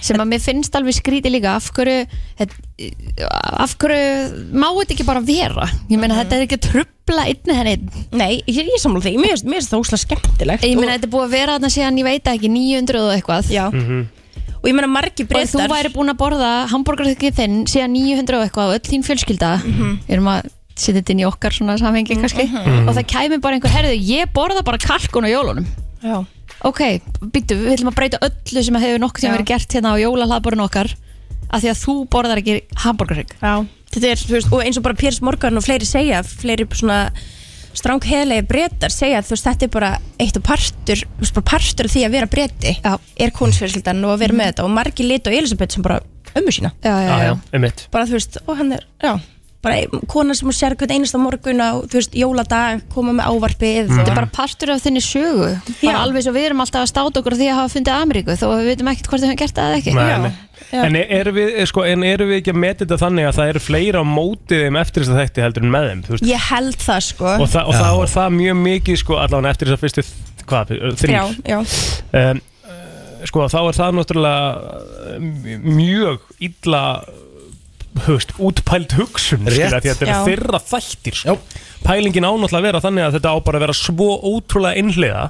[SPEAKER 2] sem að mér finnst alveg skríti líka af hverju þetta- af hverju má þetta ekki bara vera
[SPEAKER 11] Mhm.
[SPEAKER 2] ég meina þetta er ekki að trubla einni henni
[SPEAKER 11] Nei, ég er sammála því, mér finnst það óslega skemmtilegt
[SPEAKER 2] Ég meina þetta er búið að vera þarna síðan, ég veit það ekki, 900 og eitthvað
[SPEAKER 11] Já Og ég meina margi
[SPEAKER 2] Og þú
[SPEAKER 11] Bretar-
[SPEAKER 2] væri búin að borða hambúrgarþykki þinn síðan 900 og eitthvað og öll þín fjölskylda erum að setja þetta inn í okkar svona samhengi kannski
[SPEAKER 11] mhm.
[SPEAKER 2] og það kæmi bara einhver herðu, ég borða bara kalkun á jólunum
[SPEAKER 11] Já.
[SPEAKER 2] Ok, býttu, við viljum að breyta öllu sem hefur nokkuð sem verið gert hérna á jólahlaðborun okkar af því að þú borðar ekki hambúrgarþykki
[SPEAKER 11] Já, þetta er, þú veist, og eins og bara Piers Morgan og fleiri segja, fleiri svona strángheðlega brettar segja að þú veist, þetta er bara eitt og partur þú veist, bara partur af því að vera bretti
[SPEAKER 2] já.
[SPEAKER 11] er kónsfjölskyldan og að vera með þetta og margi lit og Elisabeth sem bara ömmu sína
[SPEAKER 2] já,
[SPEAKER 4] Já, já, um
[SPEAKER 11] bara þú veist, og hann er, já bara ein- kona sem hún sér hvern einasta morgun á, þú veist, jóladag, koma með ávarpið
[SPEAKER 2] Þetta er bara partur af þinni sögu bara
[SPEAKER 11] Já.
[SPEAKER 2] alveg svo við erum alltaf að státa okkur á því að hafa fundið Ameríku þó að við veitum ekkert hvort við höfum gert það eða ekki
[SPEAKER 4] Nei, nei. En erum við, er- sko, en erum við ekki að meta þetta þannig að það eru fleira á mótið þeim eftir þess að þætti heldur en með þeim þú veist?
[SPEAKER 11] ég held það sko
[SPEAKER 4] og, þa og þá er það mjög mikið sko, allavega eftir þess að fyrstu þ- hvað,
[SPEAKER 11] Já,
[SPEAKER 4] þrýr
[SPEAKER 11] já.
[SPEAKER 4] um, eh, sko þá er það náttúrulega eh, mj- mjög illa höfst, útpælt hugsun skilja,
[SPEAKER 3] Rétt.
[SPEAKER 4] því að þetta
[SPEAKER 3] Já.
[SPEAKER 4] er þeirra þættir sko. pælingin á náttúrulega að vera þannig að þetta á bara að vera svo ótrúlega innhliða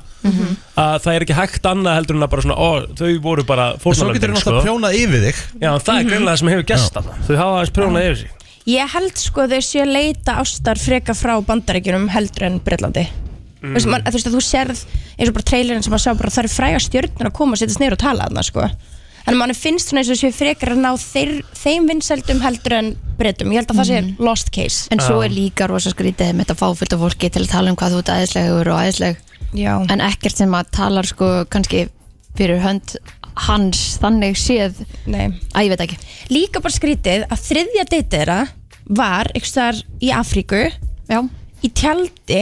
[SPEAKER 4] að það er ekki hægt annað heldur en að bara svona, ó, þau voru bara
[SPEAKER 3] Svo getur
[SPEAKER 4] fórnarlömbin sko.
[SPEAKER 3] þau náttúrulega prjónað yfir þig
[SPEAKER 4] Já, en það er
[SPEAKER 11] Mhm.
[SPEAKER 4] greinlega það sem hefur gæst þarna Þau hafa aðeins prjónað yfir sig
[SPEAKER 11] Ég held sko að þau séu að leita ástar freka frá bandarækjunum heldur en Breitlandi mm. Þú veist, að þú sérð eins og bara trailerinn sem að sjá bara það eru fræga stjörnur að koma og setjast neyru og tala þarna sko Þannig manni finnst svona eins og séu frekar að ná þeir, þeim vinsældum heldur en breytum Ég held að það sé lost case
[SPEAKER 2] En svo er líka rosa skrítið með þetta fáfullt af fólki til að tala um hvað þú ert aðeinslegur og aðeinsleg
[SPEAKER 11] Já.
[SPEAKER 2] en ekkert sem að talar sko kannski fyrir hönd hans þannig séð
[SPEAKER 11] Nei.
[SPEAKER 2] að ég veit ekki
[SPEAKER 11] Líka bara skrítið að þriðja deytið þeirra var einhvers þar í Afríku
[SPEAKER 2] Já.
[SPEAKER 11] í tjaldi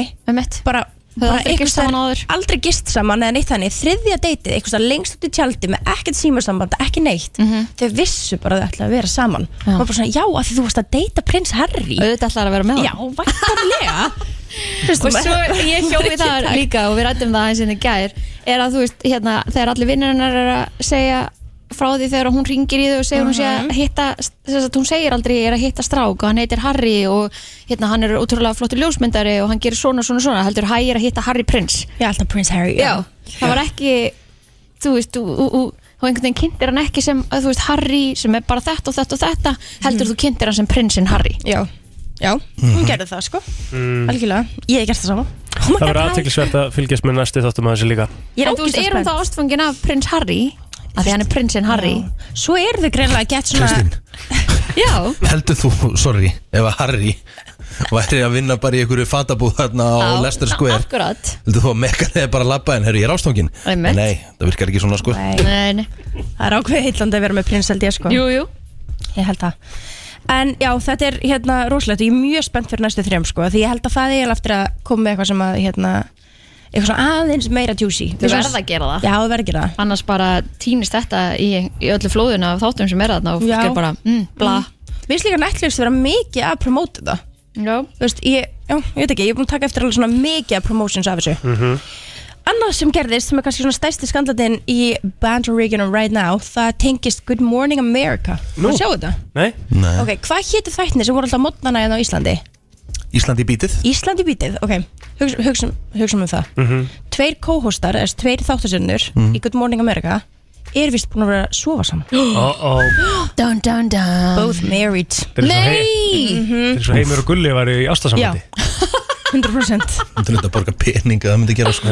[SPEAKER 11] bara, bara
[SPEAKER 2] aldrei gist
[SPEAKER 11] staðar- aldrei gist saman eða neitt þannig þriðja deytið einhvers þar lengst út í tjaldi með ekkert símarsamband, ekki neitt
[SPEAKER 2] Mhm.
[SPEAKER 11] þau vissu bara að þau ætlaði að vera saman já. og bara svona já að því þú varst að deyta prins Harry
[SPEAKER 2] auðvitað ætlaði að vera með
[SPEAKER 11] já, væntanlega Þú veist,
[SPEAKER 2] og
[SPEAKER 11] maður-
[SPEAKER 2] svo ég hjóði það líka og við rættum það eins og það gær er að þú veist, hérna, þegar allir vinnarinnar er að segja frá því þegar hún ringir í þau og segir hún sé að hitta þess að hún segir aldrei ég er að hitta strák og hann heitir Harry og hérna hann er útrúlega flottur ljósmyndari og hann gerir svona svona svona heldur hæ ég er að hitta Harry Prince
[SPEAKER 11] já, alltaf Prince Harry
[SPEAKER 2] já. það var ekki þú veist, þú, þú, þú, þú einhvern veginn kynntir hann ekki sem, að, þú veist, Harry sem er bara þetta og þetta og þetta heldur þú kynntir hann sem prinsinn Harry
[SPEAKER 11] já, já, hún gerði það sko algjörlega, ég hef gert það sama
[SPEAKER 4] Mhm. Mm.
[SPEAKER 11] Oh
[SPEAKER 4] Það verður aðteklisvert að fylgjast með næsti þáttum að þessu líka
[SPEAKER 11] Ég er
[SPEAKER 2] en þú veist,
[SPEAKER 11] ógeðslega
[SPEAKER 2] erum það ástfangin af prins Harry af því hann er prinsinn Harry
[SPEAKER 11] svo eru þau greinlega að gett svona
[SPEAKER 3] Kristín.
[SPEAKER 2] já,
[SPEAKER 3] Heldur þú, sorry, ef að Harry væri að vinna bara í einhverju fatabúð þarna á
[SPEAKER 2] Já,
[SPEAKER 3] Leicester Square
[SPEAKER 2] akkurat
[SPEAKER 3] Heldur þú að mekka þegar bara labba en herru ég er ástangin
[SPEAKER 11] Einmitt.
[SPEAKER 3] Nei, það virkar ekki svona sko
[SPEAKER 11] Nei. það er ákveð heitlandi að vera með prins held ég sko
[SPEAKER 2] Jú, jú
[SPEAKER 11] Ég held það En já, þetta er hérna rosalegt og ég er mjög spennt fyrir næstu þrejum sko Því ég held að það er eiginlega eftir að koma með eitthvað sem að hérna Eitthvað svona aðeins meira juicy
[SPEAKER 2] Þau verða að gera það
[SPEAKER 11] Já, þau verða að gera það
[SPEAKER 2] annars bara týnist þetta í, í öllu flóðuna af þáttum sem er þarna og fólk
[SPEAKER 11] Já.
[SPEAKER 2] er bara, mm, bla
[SPEAKER 11] Mér finnst líka Netflix vera mikið að promóta það
[SPEAKER 2] Já
[SPEAKER 11] Þú veist, ég, já, ég veit ekki, ég er búin að taka eftir alveg svona mikið að promotions af þessu Annað sem gerðist, sem er kannski svona stærsti skandlatinn í Bandaríkjunum right now Það tengist Good Morning America
[SPEAKER 4] Nú.
[SPEAKER 11] Þú sjáu þetta?
[SPEAKER 4] Nei?
[SPEAKER 3] Nei
[SPEAKER 11] Ok, hvað hétu þættinni sem voru alltaf mótnana hérna á Íslandi?
[SPEAKER 3] Íslandi bítið
[SPEAKER 11] Íslandi bítið, ok, hugsum hugsa, hugsa um það
[SPEAKER 3] Mhm.
[SPEAKER 11] Tveir co-hostar, eða tveir þáttasinnur
[SPEAKER 3] Mhm.
[SPEAKER 11] í Good Morning America er vist búin að vera að sofa saman
[SPEAKER 4] Uh-oh.
[SPEAKER 11] Dun, dun, dun Both married
[SPEAKER 4] Þetta er svo hei-
[SPEAKER 3] Mm.
[SPEAKER 4] Þetta er svo heimur og gulli var í
[SPEAKER 11] Já,
[SPEAKER 4] ástasamandi
[SPEAKER 11] 100%
[SPEAKER 3] Þetta er þetta að borga peninga, það myndi gera sko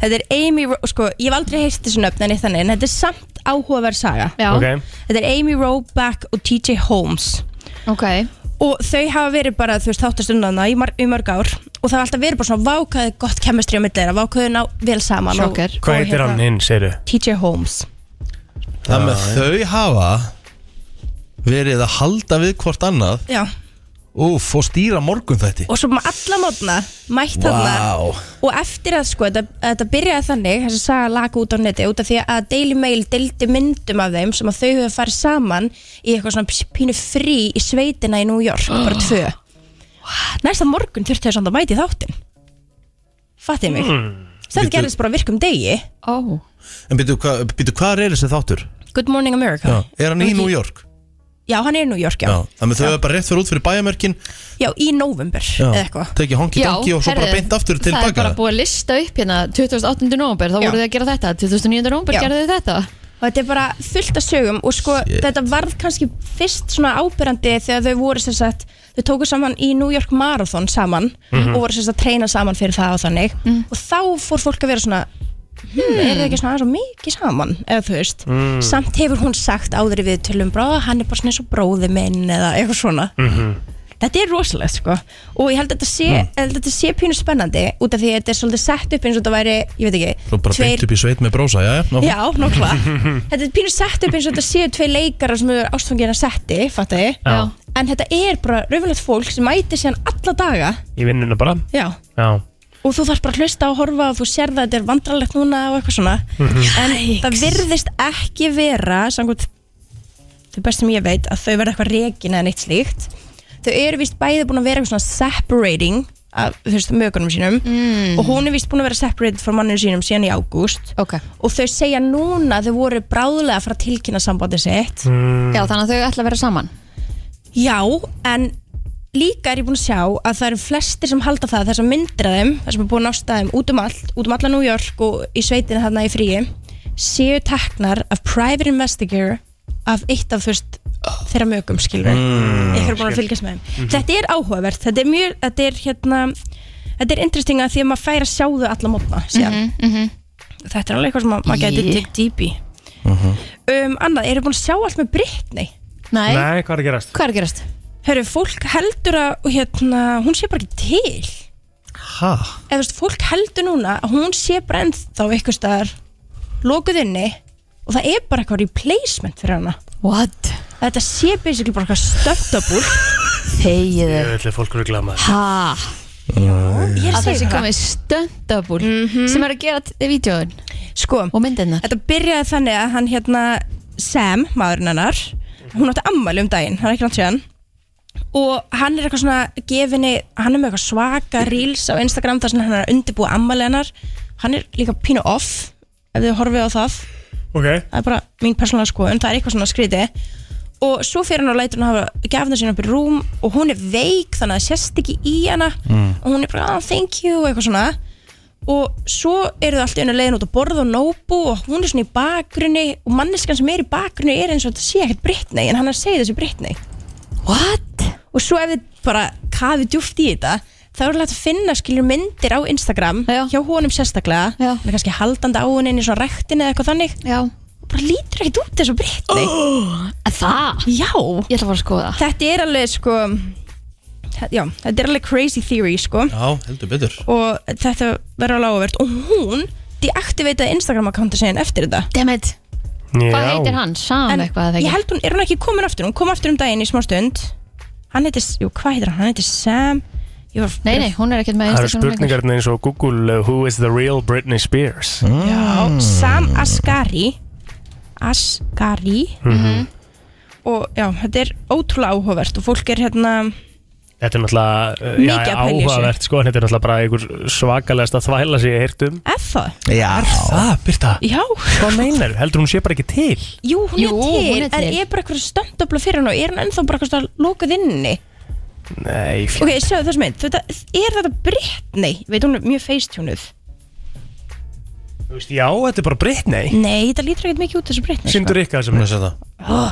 [SPEAKER 11] Þetta er Amy, Ro- sko, ég hef aldrei heyrt þessu nöfn en eitt þannig, en þetta er samt áhugaverð saga
[SPEAKER 2] Já. Ok.
[SPEAKER 11] Þetta er Amy Roback og TJ Holmes
[SPEAKER 2] Ok
[SPEAKER 11] og þau hafa verið bara, þú veist, þáttastundana í, mar í mörg ár og það hafa alltaf verið bara svona vákaði gott kemestri á milli þeirra, vákaði ná vel saman og- og
[SPEAKER 4] Hvað heitir
[SPEAKER 11] hérna-
[SPEAKER 4] hann hinn, segðu?
[SPEAKER 11] TJ Holmes
[SPEAKER 3] Það með þau hafa verið að halda við hvort annað
[SPEAKER 11] Já,
[SPEAKER 3] Úf, og stýra morgun þetta
[SPEAKER 11] og svo með alla mótna mætt þarna
[SPEAKER 3] Vá
[SPEAKER 11] og eftir að sko, þetta, þetta byrjaði þannig þessi saga laga út á neti út af því að Daily Mail deildi myndum af þeim sem að þau hefur farið saman í eitthvað svona pínu frí í sveitina í New York,
[SPEAKER 3] Ah.
[SPEAKER 11] bara tvö næsta morgun þurfti þau samt að mæti þáttin fattið mig mm. þetta
[SPEAKER 3] Bíddu.
[SPEAKER 11] gerðist bara á virkum degi
[SPEAKER 2] oh.
[SPEAKER 3] En býtu, hva, býtu hvað er þessi þáttur?
[SPEAKER 11] Good Morning America
[SPEAKER 3] Já. Er hann í New York?
[SPEAKER 11] Já, hann er í New York, já,
[SPEAKER 3] Já, það með þau hafa bara rétt fyrir út fyrir bæjarmörkin
[SPEAKER 11] já í november
[SPEAKER 3] Já.
[SPEAKER 11] eða eitthvað
[SPEAKER 3] Tekið honki donki og svo bara
[SPEAKER 2] herðu,
[SPEAKER 3] beint aftur til
[SPEAKER 2] Það er bara
[SPEAKER 3] baka
[SPEAKER 2] búið að lista upp hérna 28. november, þá
[SPEAKER 11] Já.
[SPEAKER 2] voru þið að gera þetta 29. november
[SPEAKER 11] Já.
[SPEAKER 2] gerðu þið þetta
[SPEAKER 11] og þetta er bara fullt af sögum og sko þetta varð kannski fyrst svona ábyrrandi þegar þau voru sem sagt þau tóku saman í New York Marathon saman
[SPEAKER 2] Mhm.
[SPEAKER 11] og voru sem sagt að treyna saman fyrir það og þannig og þá fór fólk að vera svona
[SPEAKER 3] Mm.
[SPEAKER 11] hmm, er það ekki svona aðeins og mikið saman eða þú veist,
[SPEAKER 4] Mm.
[SPEAKER 11] samt hefur hún sagt áður við tölum bara, "Ó, hann er bara svona eins og bróði minn eða eitthvað svona þetta er rosalegt sko og ég held að þetta sé,
[SPEAKER 3] Mhm. Mm.
[SPEAKER 11] mm. þetta sé pínu spennandi út af því að þetta er svolítið sett upp eins og þetta væri, ég veit ekki
[SPEAKER 3] Svo bara
[SPEAKER 11] tveir-
[SPEAKER 3] beint upp í sveit með brósa, já, já
[SPEAKER 11] Já, nákvæmlega. Þetta er pínu sett upp eins og þetta séu tvei leikara sem eru ástfangina setti, fattu þið?
[SPEAKER 4] Já.
[SPEAKER 11] En þetta er bara raunverulegt fólk sem mætir síðan alla daga.
[SPEAKER 4] Í vinnuna bara?
[SPEAKER 11] Já.
[SPEAKER 4] Já
[SPEAKER 11] Og þú þarf bara að hlusta og horfa og þú sér það að þetta er vandralegt núna og eitthvað svona. En það virðist ekki vera, samkvæmt, þau best sem ég veit, að þau verða eitthvað rekin eða neitt slíkt. Þau eru víst bæði búin að vera eitthvað svona separating af, þú veist, mögunum sínum og hún er víst búin að vera separated frá manninu sínum síðan í ágúst
[SPEAKER 2] okay.
[SPEAKER 11] og þau segja núna að þau voru bráðlega að fara að tilkynna sambandi sitt
[SPEAKER 4] Mm.
[SPEAKER 2] Já, þannig að þau ætla að vera saman
[SPEAKER 11] Já, en líka er ég búin að sjá að það eru flestir sem halda það þess að myndra þeim, það sem er búin að násta þeim út um allt, út um alla New York og í sveitinu þarna í fríi séu teknar af private investigator af eitt af fyrst þeirra mögum skilur
[SPEAKER 12] Mm,
[SPEAKER 11] ég er búin að
[SPEAKER 12] skil.
[SPEAKER 11] fylgjast með þeim
[SPEAKER 12] Mhm.
[SPEAKER 11] þetta er áhugavert, þetta er mjög þetta er hérna, þetta er interesting að því að maður fær að sjá þau alla mótna mm -hmm. þetta er alveg eitthvað sem ma- maður
[SPEAKER 2] Í.
[SPEAKER 11] getur digg dýp í um, annað, eru búin að sjá allt með Britney?
[SPEAKER 2] Nei,
[SPEAKER 4] Nei, hvað er að gerast?
[SPEAKER 2] hvað er að gerast?
[SPEAKER 11] Hörru, fólk heldur að hérna, hún sé bara ekki til
[SPEAKER 3] Ha?
[SPEAKER 11] eða þú veist, fólk heldur núna að hún sé bara ennþá eitthvað staðar lokuð inni og það er bara eitthvað replacement fyrir hana
[SPEAKER 2] What?
[SPEAKER 11] Þetta sé basically bara eitthvað stöftabúl Þegið
[SPEAKER 4] Ég ætla fólk ruggla maður
[SPEAKER 2] Ha?
[SPEAKER 11] Ég er
[SPEAKER 2] Að
[SPEAKER 11] að
[SPEAKER 2] þessi
[SPEAKER 11] segja það
[SPEAKER 2] komið stöndabúl
[SPEAKER 11] Mhm.
[SPEAKER 2] sem er að gera t- vídeóin
[SPEAKER 11] sko,
[SPEAKER 2] og myndina
[SPEAKER 11] Þetta byrjaði þannig að hann hérna Sam, maðurinn hennar hún átti ammali um daginn, hann er ekki langt séðan og hann er eitthvað svona gefinni, hann er með eitthvað svaka reels á Instagram þar sem hann er að undirbúa ammali hennar hann er líka pínu off ef þið horfið á það
[SPEAKER 4] Ok
[SPEAKER 11] það er bara mín persónulega skoðun, það er eitthvað svona skriti og svo fyrir hann og lætur hann hafa gefna sína upp í rúm og hún er veik þannig að það sérst ekki í hana
[SPEAKER 12] Mm.
[SPEAKER 11] og hún er bara, ah, thank you, og eitthvað svona og svo eru það allt í einu leiðin út að borða og nóbu og hún er svona í bakgrunni og manneskan sem er í bakgrunni er eins og þetta sé ekkert Britney en hann er að segja þessi Britney What? Og svo ef þið bara kafið djúft í þetta þá er hægt að finna skilur myndir á Instagram Já. hjá honum sérstaklega Já. með kannski haldandi á henni inn í svona rektin eða eitthvað þannig
[SPEAKER 2] Já.
[SPEAKER 11] bara lítur ekkert út þessu Britney oh,
[SPEAKER 2] Það?
[SPEAKER 11] Já Ég
[SPEAKER 2] ætla að fara að skoða
[SPEAKER 11] Þetta er alveg sko Já, þetta er alveg crazy theory sko
[SPEAKER 3] Já, heldur betur
[SPEAKER 11] og þetta verður alveg áhugavert og hún deaktiveitaði Instagram akkánta sinni eftir þetta
[SPEAKER 2] Dammit Hvað heitir hann? Sam eitthvað, eða ekki?
[SPEAKER 11] Ég held hún, er hún ekki komin aftur? Hún kom aftur um daginn í smá stund Hann heitir, jú hvað heitir hann? Hann heitir Sam var,
[SPEAKER 2] Nei, nei, hún er ekkert með
[SPEAKER 4] Það eru
[SPEAKER 2] Instagram lengur.
[SPEAKER 4] spurningarna eins og Google uh, Who is the real Britney Spears?
[SPEAKER 2] Hmm?
[SPEAKER 11] Já, Sam Asghari Asghari
[SPEAKER 4] Mhm.
[SPEAKER 11] og já, þetta er ótrúlega áhugavert og fólk er hérna
[SPEAKER 4] Þetta er náttúrulega uh,
[SPEAKER 11] Mikið að pælja í þessu.
[SPEAKER 4] áhugavert sko, en þetta er náttúrulega bara einhver svakalegasta þvæla sem ég heirt um
[SPEAKER 11] Effa?
[SPEAKER 3] Já Er
[SPEAKER 4] það, Birta?
[SPEAKER 11] Já
[SPEAKER 4] Hvað meinar? Heldur hún sé bara ekki til?
[SPEAKER 11] Jú, hún
[SPEAKER 2] Jú,
[SPEAKER 11] er til,
[SPEAKER 2] hún er til.
[SPEAKER 11] en er bara eitthvað stöndöfla fyrir hann og er hann ennþá bara eitthvað svona lokuð inni
[SPEAKER 4] Nei,
[SPEAKER 11] Ok, sjáðu þessu mynd, þetta, er þetta Britney? Veit hún er mjög facetúnuð
[SPEAKER 4] Þú veist, já, þetta er bara Britney
[SPEAKER 11] Nei, þetta lítur ekkert mikið út þessu Britney sko.
[SPEAKER 4] Sýndur ykkar sem er
[SPEAKER 3] það
[SPEAKER 11] oh,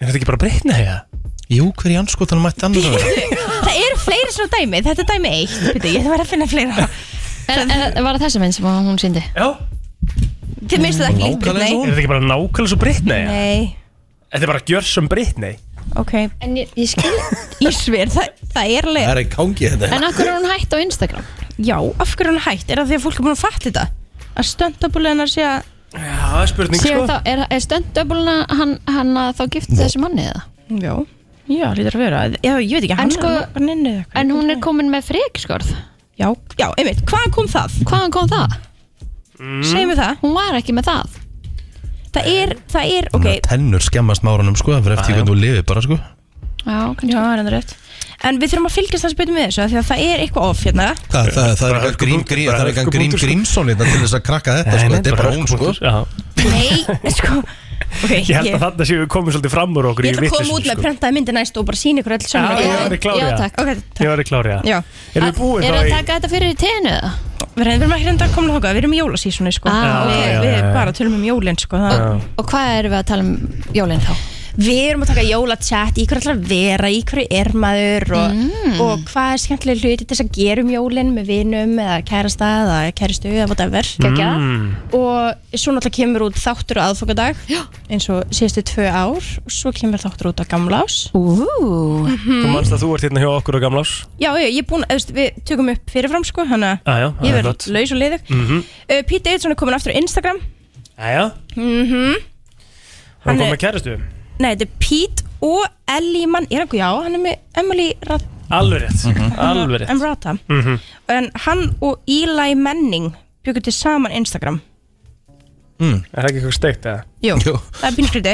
[SPEAKER 4] Er þetta ekki bara Britney, eða?
[SPEAKER 3] Jú, hver í anskotanum mætti annar að vera?
[SPEAKER 11] Það eru fleiri svona dæmi, þetta er dæmi eitt Pítu, Ég þarf að finna fleira
[SPEAKER 2] En, en var það þessi mynd sem hún síndi?
[SPEAKER 4] Já
[SPEAKER 11] Þið minnstu það ekki líkt
[SPEAKER 4] Er
[SPEAKER 11] Britney
[SPEAKER 4] þetta ekki bara nákvæmlega svo Britney, eða?
[SPEAKER 11] Nei,
[SPEAKER 4] Þetta er bara gjörsum Britney
[SPEAKER 11] ok
[SPEAKER 2] En ég, ég skil
[SPEAKER 11] Ég sver, það, það er leið
[SPEAKER 3] er í gangi
[SPEAKER 2] En akkur er hún hætt á Instagram?
[SPEAKER 11] Já, af hverju er hún hægt? Er það því að fólk er búin að fatta þetta? Að stöndabúlega hennar sé að
[SPEAKER 4] Já, spurning,
[SPEAKER 2] Sér
[SPEAKER 4] sko
[SPEAKER 2] þá, er, er stöndöbulna hann, hann að þá gift þessu manni eða?
[SPEAKER 11] Já, já, lítur að vera Já, ég veit ekki,
[SPEAKER 2] En
[SPEAKER 11] hann
[SPEAKER 2] sko-
[SPEAKER 11] er bara ninnu
[SPEAKER 2] En hún er komin með frekiskorð
[SPEAKER 11] Já, já, einmitt, hvaðan kom það?
[SPEAKER 2] Hvaðan kom það?
[SPEAKER 4] Mm.
[SPEAKER 11] Segjum við það
[SPEAKER 2] Hún var ekki með það
[SPEAKER 11] Það er, það er, ok,
[SPEAKER 3] Tennur skemmast márunum sko, það fyrir eftir hvernig þú lifið bara sko
[SPEAKER 2] Já,
[SPEAKER 11] Já, það er enda rétt En við þurfum að fylgjast það spytum við þessu af Því að það er eitthvað off hérna
[SPEAKER 3] Það, það, það er eitthvað grím, grím, það er eitthvað grím
[SPEAKER 4] sko.
[SPEAKER 3] grímsón hérna til þess að krakka þetta sko, þetta er bara hún sko
[SPEAKER 4] Já,
[SPEAKER 11] Nei, sko Ok,
[SPEAKER 4] ég held að
[SPEAKER 11] ég
[SPEAKER 4] þarna séu við komum svolítið fram úr okkur
[SPEAKER 11] Ég ætla að koma
[SPEAKER 4] vitleysum,
[SPEAKER 11] út með
[SPEAKER 4] sko.
[SPEAKER 11] prentaði myndi næst og bara sína ykkur öll
[SPEAKER 4] Já,
[SPEAKER 11] saman
[SPEAKER 4] ég var í klári
[SPEAKER 2] Já,
[SPEAKER 4] það
[SPEAKER 2] takk
[SPEAKER 11] Ok,
[SPEAKER 4] Ég var í klári það
[SPEAKER 11] já
[SPEAKER 4] Erum við
[SPEAKER 2] Er
[SPEAKER 4] búin þá
[SPEAKER 2] að
[SPEAKER 4] í
[SPEAKER 2] taka þetta fyrir í tenu eða?
[SPEAKER 11] Við erum- við erum ekki reynda að koma þóka Við erum í jólasísunni, sko
[SPEAKER 2] Ah,
[SPEAKER 11] Við,
[SPEAKER 4] ok.
[SPEAKER 11] við
[SPEAKER 4] Já, já, já.
[SPEAKER 11] bara tölum um jólin, sko það.
[SPEAKER 4] Já.
[SPEAKER 2] Og hvað erum við að tala um jólinn þá?
[SPEAKER 11] Við erum að taka jólatchat Í hverju ætlar að vera, í hverju er maður Og, og hvað er skemmtilega hluti til þess að gera um jólin Með vinum, eða kærasta Eða kæristu, eða whatever
[SPEAKER 2] Gekja?
[SPEAKER 4] Mm.
[SPEAKER 11] Hmm. og svo náttúrulega kemur út þáttur á aðfokadag eins og síðustu tvö ár og svo kemur þáttur út á gamla ás
[SPEAKER 2] Ú,
[SPEAKER 4] Þú manst að þú ert hérna hjá okkur á gamlás
[SPEAKER 11] já, já, ég er búin, eða, þú veist, við tökum upp fyrirfram sko, þannig að
[SPEAKER 4] Já, já,
[SPEAKER 11] ég
[SPEAKER 4] það er
[SPEAKER 11] verð
[SPEAKER 4] flott
[SPEAKER 11] laus og liðug mm
[SPEAKER 4] Mhm.
[SPEAKER 11] Pete Davidson er komin aftur á Instagram
[SPEAKER 4] Jæja,
[SPEAKER 11] mm
[SPEAKER 4] hann
[SPEAKER 11] Hann er-
[SPEAKER 4] kom með kæristu
[SPEAKER 11] nei, þetta er Pete og Ellie Mann er hann, já, hann er með Emily Rat
[SPEAKER 4] Alveg
[SPEAKER 11] Mhm.
[SPEAKER 4] rétt, alveg rétt Mhm.
[SPEAKER 11] Emrata en hann og Eli Manning byggur til saman Instagram
[SPEAKER 4] Er það ekki eitthvað steikt eða?
[SPEAKER 11] Jú,
[SPEAKER 3] Jú.
[SPEAKER 11] það er bínskriti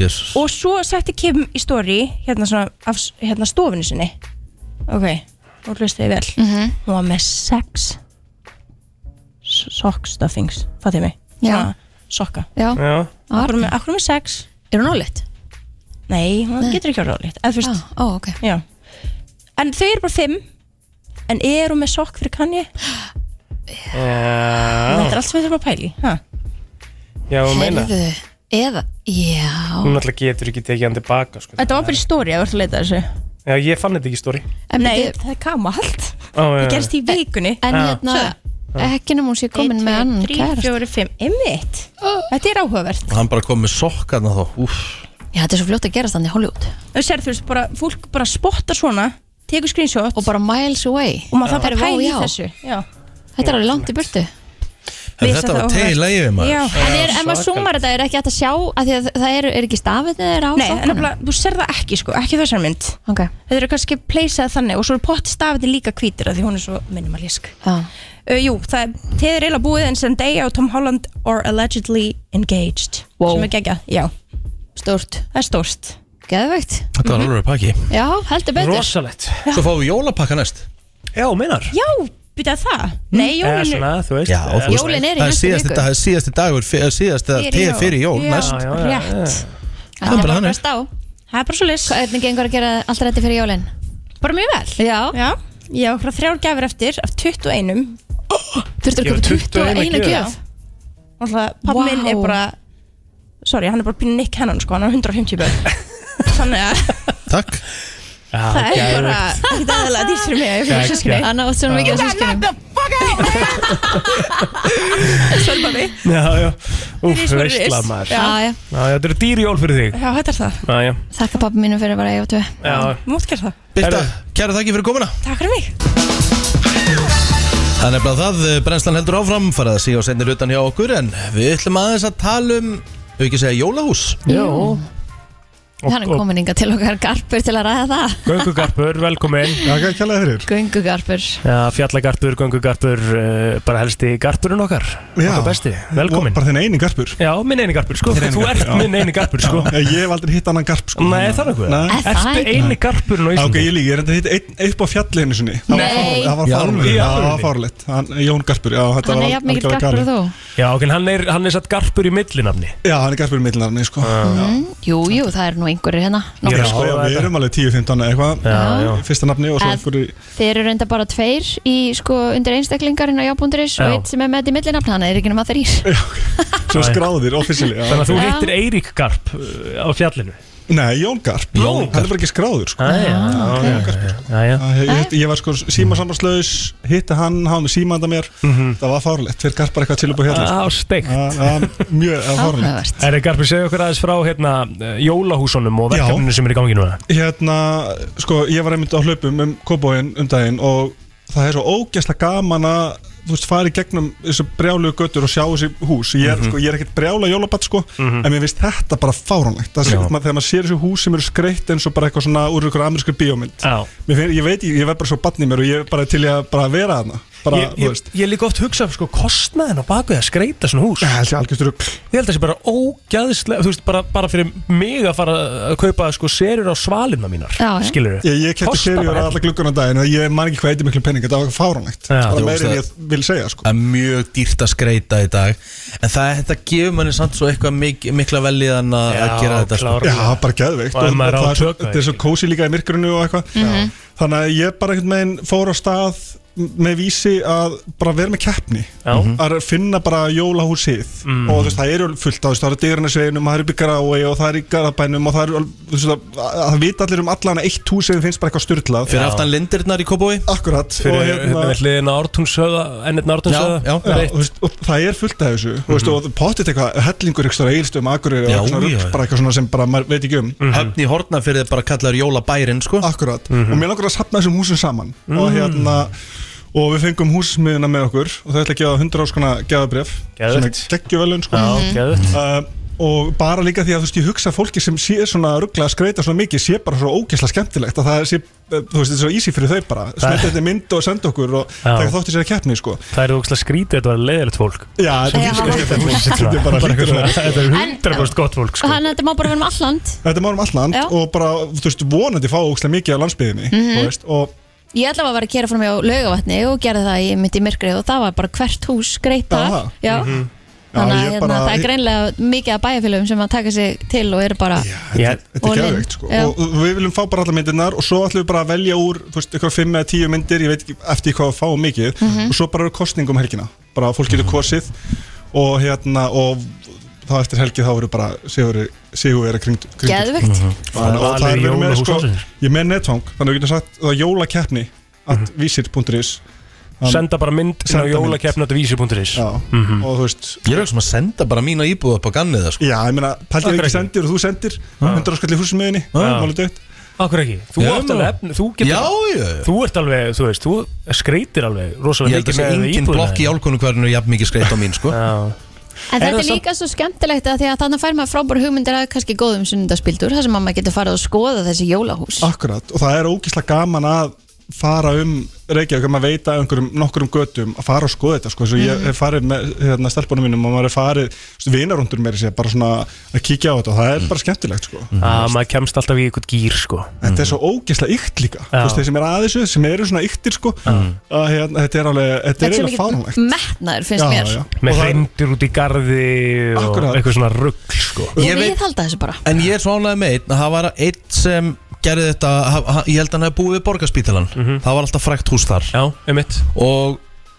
[SPEAKER 3] Jesus.
[SPEAKER 11] og svo setti Kim í stóri hérna svona af s- hérna stofinu sinni ok, nú hlustu ég vel
[SPEAKER 2] Mhm.
[SPEAKER 11] hún var með sex s- sock stuffings fattið mig,
[SPEAKER 2] Já.
[SPEAKER 11] Svona sokka
[SPEAKER 2] já
[SPEAKER 4] Já,
[SPEAKER 11] akkur með, akkur með sex,
[SPEAKER 2] Er hún ólitt?
[SPEAKER 11] nei, Ah. hún getur ekki orðið líkt, eða þú
[SPEAKER 2] Já,
[SPEAKER 11] veist,
[SPEAKER 2] ó, ok
[SPEAKER 11] já en þau eru bara fimm en er hún með sokk fyrir kanni
[SPEAKER 4] Ah.
[SPEAKER 11] þetta er allt sem við þurfum að pæli ha.
[SPEAKER 4] já, hún meina
[SPEAKER 2] Heyrðu, Eða, já
[SPEAKER 4] Hún náttúrulega getur ekki tekið hann tilbaka sko.
[SPEAKER 11] þetta var bara í stóri að verða að leita að þessu
[SPEAKER 4] Já, ég fann þetta ekki í stóri
[SPEAKER 2] En,
[SPEAKER 11] nei,
[SPEAKER 2] byrju,
[SPEAKER 11] það er kamalt,
[SPEAKER 4] Það
[SPEAKER 11] það gerst í vikunni
[SPEAKER 2] en
[SPEAKER 4] Já.
[SPEAKER 2] hérna Ekki nema hún sé komin með annan
[SPEAKER 11] 3,
[SPEAKER 2] kærast
[SPEAKER 11] 4, 5, einmitt Þetta er áhugavert
[SPEAKER 3] Hann bara kom með sokkarna þá Úff,
[SPEAKER 2] Já, þetta er svo fljótt að gerast þannig í Hollywood
[SPEAKER 11] Þú sér þú veist, bara, fólk bara spottar svona Tekur screenshot
[SPEAKER 2] Og bara miles away
[SPEAKER 11] og maður þarf bara að
[SPEAKER 2] Herru, vá,
[SPEAKER 11] pæla í
[SPEAKER 2] já.
[SPEAKER 11] þessu já.
[SPEAKER 2] Þetta er alveg langt í burtu
[SPEAKER 3] en
[SPEAKER 11] Mér finnst
[SPEAKER 3] þetta var
[SPEAKER 11] þetta
[SPEAKER 3] til að yfir maður
[SPEAKER 11] já.
[SPEAKER 2] En er, ef maður
[SPEAKER 4] svakalegt.
[SPEAKER 2] sumar þetta er ekki hægt að sjá að að það er, er ekki stafið þegar á
[SPEAKER 11] Nei, en
[SPEAKER 2] sokkunum?
[SPEAKER 11] nefnilega, þú sér það ekki sko, ekki þessar mynd
[SPEAKER 2] Ok,
[SPEAKER 11] Þetta eru kannski pleysað þannig og svo er pottstafið líka hvítir af því hún er svo minimalísk
[SPEAKER 2] já
[SPEAKER 11] uh, Jú, það er, þið er eiginlega búið en Zendaya og Tom Holland are allegedly engaged
[SPEAKER 2] Wow.
[SPEAKER 11] sem er gegja, já,
[SPEAKER 2] Stórt,
[SPEAKER 11] það er stórst
[SPEAKER 2] geðveikt
[SPEAKER 3] Þetta var alveg pakki
[SPEAKER 2] Já, heldur betur
[SPEAKER 4] Rosalett
[SPEAKER 3] Svo fáum við jólapakka næst
[SPEAKER 4] Já, hún meinar
[SPEAKER 11] Já, byrjað það? Nei,
[SPEAKER 4] Eða
[SPEAKER 11] jólinu
[SPEAKER 4] svona, þú veist
[SPEAKER 3] Já, þú
[SPEAKER 4] eða-
[SPEAKER 3] veist,
[SPEAKER 2] Jólin eru í
[SPEAKER 3] það
[SPEAKER 2] næstu
[SPEAKER 3] síðasti-
[SPEAKER 2] viku.
[SPEAKER 3] Það er síðasti dagur, fyr- síðasti dag til fyrir jól
[SPEAKER 11] já,
[SPEAKER 3] næst
[SPEAKER 4] Já, já, já, já.
[SPEAKER 11] rétt
[SPEAKER 2] Það er
[SPEAKER 3] bara
[SPEAKER 2] bara
[SPEAKER 3] þannig.
[SPEAKER 2] að stá
[SPEAKER 11] Það er bara svo lis
[SPEAKER 2] Hvernig gengur að gera allt þetta fyrir jólinn?
[SPEAKER 11] Bara mjög vel
[SPEAKER 2] Já,
[SPEAKER 11] Já, ég á okkur þrjár gefur eftir af 21
[SPEAKER 2] þurftur að
[SPEAKER 4] Ég var
[SPEAKER 2] köpa
[SPEAKER 4] 21
[SPEAKER 2] 21
[SPEAKER 4] gjöf.
[SPEAKER 2] gjöf
[SPEAKER 11] Náttúrulega, pappi
[SPEAKER 2] Vá.
[SPEAKER 11] minn er bara Sorry, hann er bara pínu Nick Cannon sko, hann er 150 börn Þannig að
[SPEAKER 3] Takk
[SPEAKER 4] Já,
[SPEAKER 11] það er
[SPEAKER 4] geðveikt.
[SPEAKER 11] bara ekkert aðeinslega dýrt fyrir mig að ég fyrir
[SPEAKER 4] Geggjað.
[SPEAKER 11] sískinni
[SPEAKER 2] Hann átt svona mikið að sískinum
[SPEAKER 11] Sorry pappi
[SPEAKER 4] Já, já, úf,
[SPEAKER 11] Fyrir svo ris.
[SPEAKER 4] veistla maður Já,
[SPEAKER 11] Já.
[SPEAKER 2] Já, já,
[SPEAKER 4] já, þetta eru dýr jól fyrir þig
[SPEAKER 11] Já, þetta er það,
[SPEAKER 4] Já, já,
[SPEAKER 2] þakka pappi mínum fyrir að vera ég og tvö
[SPEAKER 4] já
[SPEAKER 11] mútt gert það
[SPEAKER 3] Birta,
[SPEAKER 4] Herru.
[SPEAKER 3] kæra þakki fyrir komuna
[SPEAKER 11] Takk fyrir mig
[SPEAKER 3] Það er nefnilega það, eh, brennslan heldur áfram farað að síga og sendir utan hjá okkur en við ætlum aðeins að tala um ef ekki segja jólahús
[SPEAKER 4] Jó
[SPEAKER 2] Hann er komin inga til okkar garpur til að ræða það
[SPEAKER 4] Göngugarpur, velkomin
[SPEAKER 12] Takk að kjalla fyrir
[SPEAKER 2] Göngugarpur
[SPEAKER 4] Já, fjallagarpur, göngugarpur, uh, bara helsti garpurinn okkar
[SPEAKER 12] Já.
[SPEAKER 4] Okkar besti, velkomin
[SPEAKER 12] Bara þinn eini garpur
[SPEAKER 4] Já, minn eini garpur, sko,
[SPEAKER 12] Þinn eini
[SPEAKER 4] þú
[SPEAKER 12] garpur,
[SPEAKER 4] ert
[SPEAKER 12] já.
[SPEAKER 4] minn eini garpur, sko
[SPEAKER 12] Já, Ég hef aldrei hitt annan garp sko
[SPEAKER 4] Nei, það er nokkuð
[SPEAKER 12] Nei.
[SPEAKER 2] Er það
[SPEAKER 4] Ertu
[SPEAKER 2] ekki?
[SPEAKER 4] eini garpurinn á
[SPEAKER 12] Á, Ok,
[SPEAKER 4] Íslandi?
[SPEAKER 12] ég líka, ég reyndi að hitta einn upp á fjallinu sinni Það var
[SPEAKER 2] Nei.
[SPEAKER 3] Í
[SPEAKER 4] alvöru?
[SPEAKER 12] fáránlegt. Það var fárlegt Það var fárlegt Hann- Jón Garpur, já þetta
[SPEAKER 2] Hann
[SPEAKER 12] var
[SPEAKER 2] er jafn mikill
[SPEAKER 12] algjörlega
[SPEAKER 2] garpur og
[SPEAKER 12] galið.
[SPEAKER 2] þú
[SPEAKER 4] Já, ok, en hann er, hann er satt garpur í millinafni
[SPEAKER 12] Já, hann er garpur í millinarni sko Já.
[SPEAKER 2] Jú, jú, það er nú nú einhverjir hérna
[SPEAKER 12] Ég er að
[SPEAKER 2] nokkrir.
[SPEAKER 12] skoða Við erum alveg 10-15 eða eitthvað
[SPEAKER 2] Já, já.
[SPEAKER 12] Fyrsta nafni og svo
[SPEAKER 2] Að-
[SPEAKER 12] einhverju
[SPEAKER 2] Þeir eru reynda bara tveir í sko undir einstaklingar hérna á jábúnduris og
[SPEAKER 12] Já.
[SPEAKER 2] eitt sem er með þetta í millinafn hann er ekki nema þrýr
[SPEAKER 12] Svo skráðir, officially
[SPEAKER 4] Þannig að þú
[SPEAKER 2] Já.
[SPEAKER 4] hittir Eirík Garp uh, á fjallinu
[SPEAKER 12] Nei, Jón Garp, Jón Garp. hann er bara ekki skráður sko.
[SPEAKER 4] Æ, já, Ah, ok.
[SPEAKER 12] Jón Garp Æ, ég, ég- ég var sko símasambanslaus hitti hann, hann með símanda mér það var fárlegt, fyrir Garpar eitthvað til upp á hérna
[SPEAKER 4] Á, steikt
[SPEAKER 12] Mjög það var fárlegt
[SPEAKER 4] Er Garp, segja okkur aðeins frá hérna, eh, jólahúsunum og
[SPEAKER 12] Já.
[SPEAKER 4] verkefninu sem er í gangi núna
[SPEAKER 12] Hérna, sko, ég var einmitt á hlaupum um kóbóin um daginn og það er svo ógeðslega gaman að þú veist, fara í gegnum þessu brjálu göttur og sjá þessi hús, ég er,
[SPEAKER 4] Mhm.
[SPEAKER 12] sko, ég er ekkert brjála jólabatt sko,
[SPEAKER 4] Mhm.
[SPEAKER 12] en mér finnst þetta bara fáránlegt, það sé,
[SPEAKER 4] Já.
[SPEAKER 12] maður, þegar maður sér þessu hús sem eru skreitt eins og bara eitthvað svona úr ykkur amerísku bíómynd, Mér finn, ég veit, ég, ég verð bara svo barn í mér og ég er bara til í að bara vera þarna bara,
[SPEAKER 4] ég, ég, ég líka oft hugsa um sko kostnaðin á baku að skreita svona hús
[SPEAKER 12] Það er algjörst rugg
[SPEAKER 4] Ég held að það sé bara ógæðislega Þú veist, bara, bara fyrir mig að fara að kaupa sko serjur á svalinna mínar
[SPEAKER 12] Já, já.
[SPEAKER 4] Skilur
[SPEAKER 12] Ég, ég kæfti serjur á alla glugguna daginn og ég man ekki hvað eitthvað miklu penning, þetta var fáránlegt
[SPEAKER 3] Já.
[SPEAKER 12] Það
[SPEAKER 3] Þetta
[SPEAKER 12] er
[SPEAKER 3] er
[SPEAKER 12] meira en
[SPEAKER 3] ógeðslega-
[SPEAKER 12] ég vil segja sko.
[SPEAKER 3] Það er mjög dýrt að skreita í dag En það, þetta gefur manni samt svo eitthvað mik mikla veljiðan að að gera þetta sko.
[SPEAKER 12] Já, bara geðveikt og, og það er svo, þetta er svo kósi líka í myrkrunu og eitthvað
[SPEAKER 3] Mhm.
[SPEAKER 12] Þannig að ég bara einhvern veginn fór á stað með vísi að bara vera með keppni
[SPEAKER 4] Já.
[SPEAKER 12] að finna bara jólahúsið
[SPEAKER 4] Mhm.
[SPEAKER 12] og þú veist, það eru fullt á, þú veist, það eru dyrunasveginum, það eru byggrái og það eru í garabænum og það eru, þú veist, það, það vita allir um allan að eitt hús sem þeim finnst bara eitthvað styrlað
[SPEAKER 3] Fyrir aftan lindirnar í Kópói
[SPEAKER 12] Akkurat
[SPEAKER 4] Fyrir hérna, hliðin á ártúnshöða Ennirna ártúnshöða
[SPEAKER 12] já, þú veist, og það er fullt af þessu mm -hmm. og pottit eitthvað, hellingur eitthvað eilstöðum akureyri og
[SPEAKER 3] Já,
[SPEAKER 12] eitthvað
[SPEAKER 3] já,
[SPEAKER 12] svona rugl,
[SPEAKER 3] já.
[SPEAKER 12] bara eitthvað svona sem bara maður veit ekki um
[SPEAKER 3] Höfn í horna fyrir þið bara kallar jólabærin sko.
[SPEAKER 12] Akkurat og mér langar að sapna þessum húsum saman og hérna og við fengum húsmiðina með okkur og það ætla að gefa 100 áskona gefabref sem er
[SPEAKER 4] Geðveikt.
[SPEAKER 12] geggjuvelun sko.
[SPEAKER 4] Já, geðveikt.
[SPEAKER 12] uh, og bara líka því að þú veist ég hugsa að fólki sem sé svona ruggla að skreita svona mikið sé bara svo ógeðslega skemmtilegt að það sé eh, þú veist þetta er svo easy fyrir þau bara snetta þetta mynd og senda okkur og
[SPEAKER 4] Já.
[SPEAKER 12] taka þátt í sér að keppni sko
[SPEAKER 4] Það er ógslag skrítið, þetta var leðilegt fólk
[SPEAKER 12] Já,
[SPEAKER 4] Sem
[SPEAKER 12] þetta er
[SPEAKER 4] líka
[SPEAKER 12] ógeðslega
[SPEAKER 4] skemmtilegt fólk. Bara eitthvað
[SPEAKER 12] skemmtilegt. Þetta er bara hlýtur að-
[SPEAKER 4] svona- Þetta er 100% gott fólk sko.
[SPEAKER 2] Þannig að þetta má bara vera með alland
[SPEAKER 12] þetta er málum alland
[SPEAKER 2] Já.
[SPEAKER 12] og bara þú veist vonandi fá ógeðslega mikið á landsbyðinni
[SPEAKER 2] Mhm.
[SPEAKER 12] þú veist og
[SPEAKER 2] Ég ætla að vera að kera frá mig á laugavatni og gerði það í mitt í myrkrið og það var bara hvert hús
[SPEAKER 12] Aha.
[SPEAKER 2] greita Já,
[SPEAKER 12] Mhm. Já,
[SPEAKER 2] þannig
[SPEAKER 12] ég
[SPEAKER 2] að hérna,
[SPEAKER 12] bara-
[SPEAKER 2] það er greinlega mikið af bæjarfélögum sem að taka sig til og eru bara
[SPEAKER 4] Þetta
[SPEAKER 12] Þetta
[SPEAKER 2] Og
[SPEAKER 12] er
[SPEAKER 2] lin-
[SPEAKER 12] geðveikt sko
[SPEAKER 2] Já.
[SPEAKER 12] og við viljum fá bara alla myndirnar og svo ætlum við bara að velja úr þú veist, eitthvað 5 eða 10 myndir, ég veit ekki eftir hvað við fáum mikið
[SPEAKER 13] Mhm.
[SPEAKER 12] og svo bara eru kostningum helgina bara fólk getur kosið og hérna og þá eftir helgi þá eru bara sigur, sigur er að kring, kring
[SPEAKER 2] Geðveikt. Mhm.
[SPEAKER 12] og, og það er verið með sko
[SPEAKER 4] Jólahús ársins.
[SPEAKER 12] ég er með netfang, þannig að við getum sagt það er jólakeppni at
[SPEAKER 4] Mhm.
[SPEAKER 12] visir.is
[SPEAKER 4] Senda bara mynd inn á jólakefnatvísi.is
[SPEAKER 12] Já,
[SPEAKER 4] Mhm.
[SPEAKER 12] og þú veist
[SPEAKER 3] Ég er ekki sem að senda bara mína íbúð upp á gannið það, sko.
[SPEAKER 12] Já, ég meina, pæltir
[SPEAKER 3] Akkur
[SPEAKER 12] ekki
[SPEAKER 3] ekki.
[SPEAKER 12] sendir og þú sendir
[SPEAKER 4] Ah.
[SPEAKER 12] 100 skall í húsmiðinni,
[SPEAKER 4] Já.
[SPEAKER 12] málið dött
[SPEAKER 4] Akkur ekki, þú
[SPEAKER 12] Já,
[SPEAKER 4] átt
[SPEAKER 12] nú.
[SPEAKER 4] alveg efni þú, getur,
[SPEAKER 12] Já, já, já.
[SPEAKER 4] þú ert alveg, þú veist, þú skreitir alveg
[SPEAKER 3] Ég
[SPEAKER 4] rosalega
[SPEAKER 3] held að
[SPEAKER 4] mikið
[SPEAKER 3] sé
[SPEAKER 4] með
[SPEAKER 3] engin
[SPEAKER 4] íbúðina
[SPEAKER 3] blokk í
[SPEAKER 4] þína.
[SPEAKER 3] álkonu hverjum er jafn mikið skreitt á mín sko.
[SPEAKER 2] En
[SPEAKER 3] Er
[SPEAKER 2] þetta er
[SPEAKER 3] það
[SPEAKER 2] líka svo skemmtilegt að því að þannig fær maður frábæra hugmyndir að kannski góðum sunnundaspildur þar sem að maður getur farið að skoða þessi jólahús
[SPEAKER 12] Akkurat, og það er ógíslega gaman að fara um Reykjavík, að maður veit að einhverjum nokkurum götum að fara og skoða þetta, sko, eins og ég
[SPEAKER 13] Mhm.
[SPEAKER 12] hef farið með hérna, stelpunum mínum og maður er farið vinarundur meiri sér, bara svona að kíkja á þetta og það er bara skemmtilegt, sko
[SPEAKER 4] að maður kemst alltaf í eitthvað gýr sko
[SPEAKER 12] Þetta er svo ógíslega ykt líka, þú veist, þeir sem er aðeins sem eru svona yktir, sko
[SPEAKER 4] Ah.
[SPEAKER 12] að hérna, þetta er alveg, þetta er eiginlega fáránlegt
[SPEAKER 2] metnaður finnst
[SPEAKER 12] Já,
[SPEAKER 2] mér
[SPEAKER 12] já.
[SPEAKER 4] með
[SPEAKER 12] Og það-
[SPEAKER 4] hreindir út í garði og
[SPEAKER 3] Akkurat.
[SPEAKER 4] eitthvað svona rugg sko
[SPEAKER 2] Og við halda þessu bara
[SPEAKER 3] En ég er svo ánægð með einn að það var einn sem gerði þetta, ha- ha- ég held að hann hefði búið við borgarspítalan
[SPEAKER 12] Mhm.
[SPEAKER 3] það var alltaf frækt hús þar
[SPEAKER 4] Já, einmitt
[SPEAKER 3] Og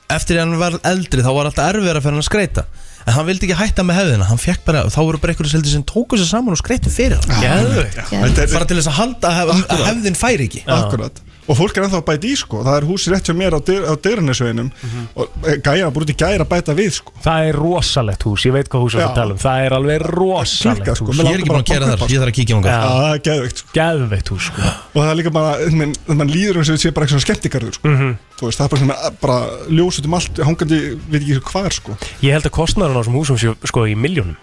[SPEAKER 3] eftir að hann var eldri þá var alltaf erfiðara fyrir hann að skreita En hann vildi ekki hætta með hefðina, hann fekk bara, þá voru bara einhverjum seldi sem tóku sér saman og skreitu fyrir hann
[SPEAKER 4] Geðveikt.
[SPEAKER 12] Þetta er-
[SPEAKER 3] Bara til þess að halda að hef-
[SPEAKER 12] Ah.
[SPEAKER 3] að hefðin færi ekki
[SPEAKER 12] Akkurat Og fólk er ennþá að bæta í sko Það er húsi rétt hjá mér á, dyr, á dyrunisveginum Og gæja bara út í gæra að bæta við sko
[SPEAKER 4] Það er rosalegt hús, ég veit hvað hús það
[SPEAKER 12] Já.
[SPEAKER 4] tala um Það er alveg rosalegt
[SPEAKER 12] klikkar, sko,
[SPEAKER 4] hús
[SPEAKER 12] mig Ég er ekki langar búinn að bara að keyra banka upp þar, á, ég þarf að
[SPEAKER 3] um
[SPEAKER 12] kíkja þangað.
[SPEAKER 4] Já.
[SPEAKER 12] Já, það er geðveikt
[SPEAKER 4] Geðveikt hús sko
[SPEAKER 12] Og það er líka bara menn, Man líður eins og þetta sé bara eitthvað skemmtikarður sko
[SPEAKER 4] Mhm.
[SPEAKER 12] Þú veist, það er bara, svona, bara ljós út um allt Hangandi, við ekki hvað er sko
[SPEAKER 4] Ég held að kostnaðurinn á þessum húsum séu sko í miljónum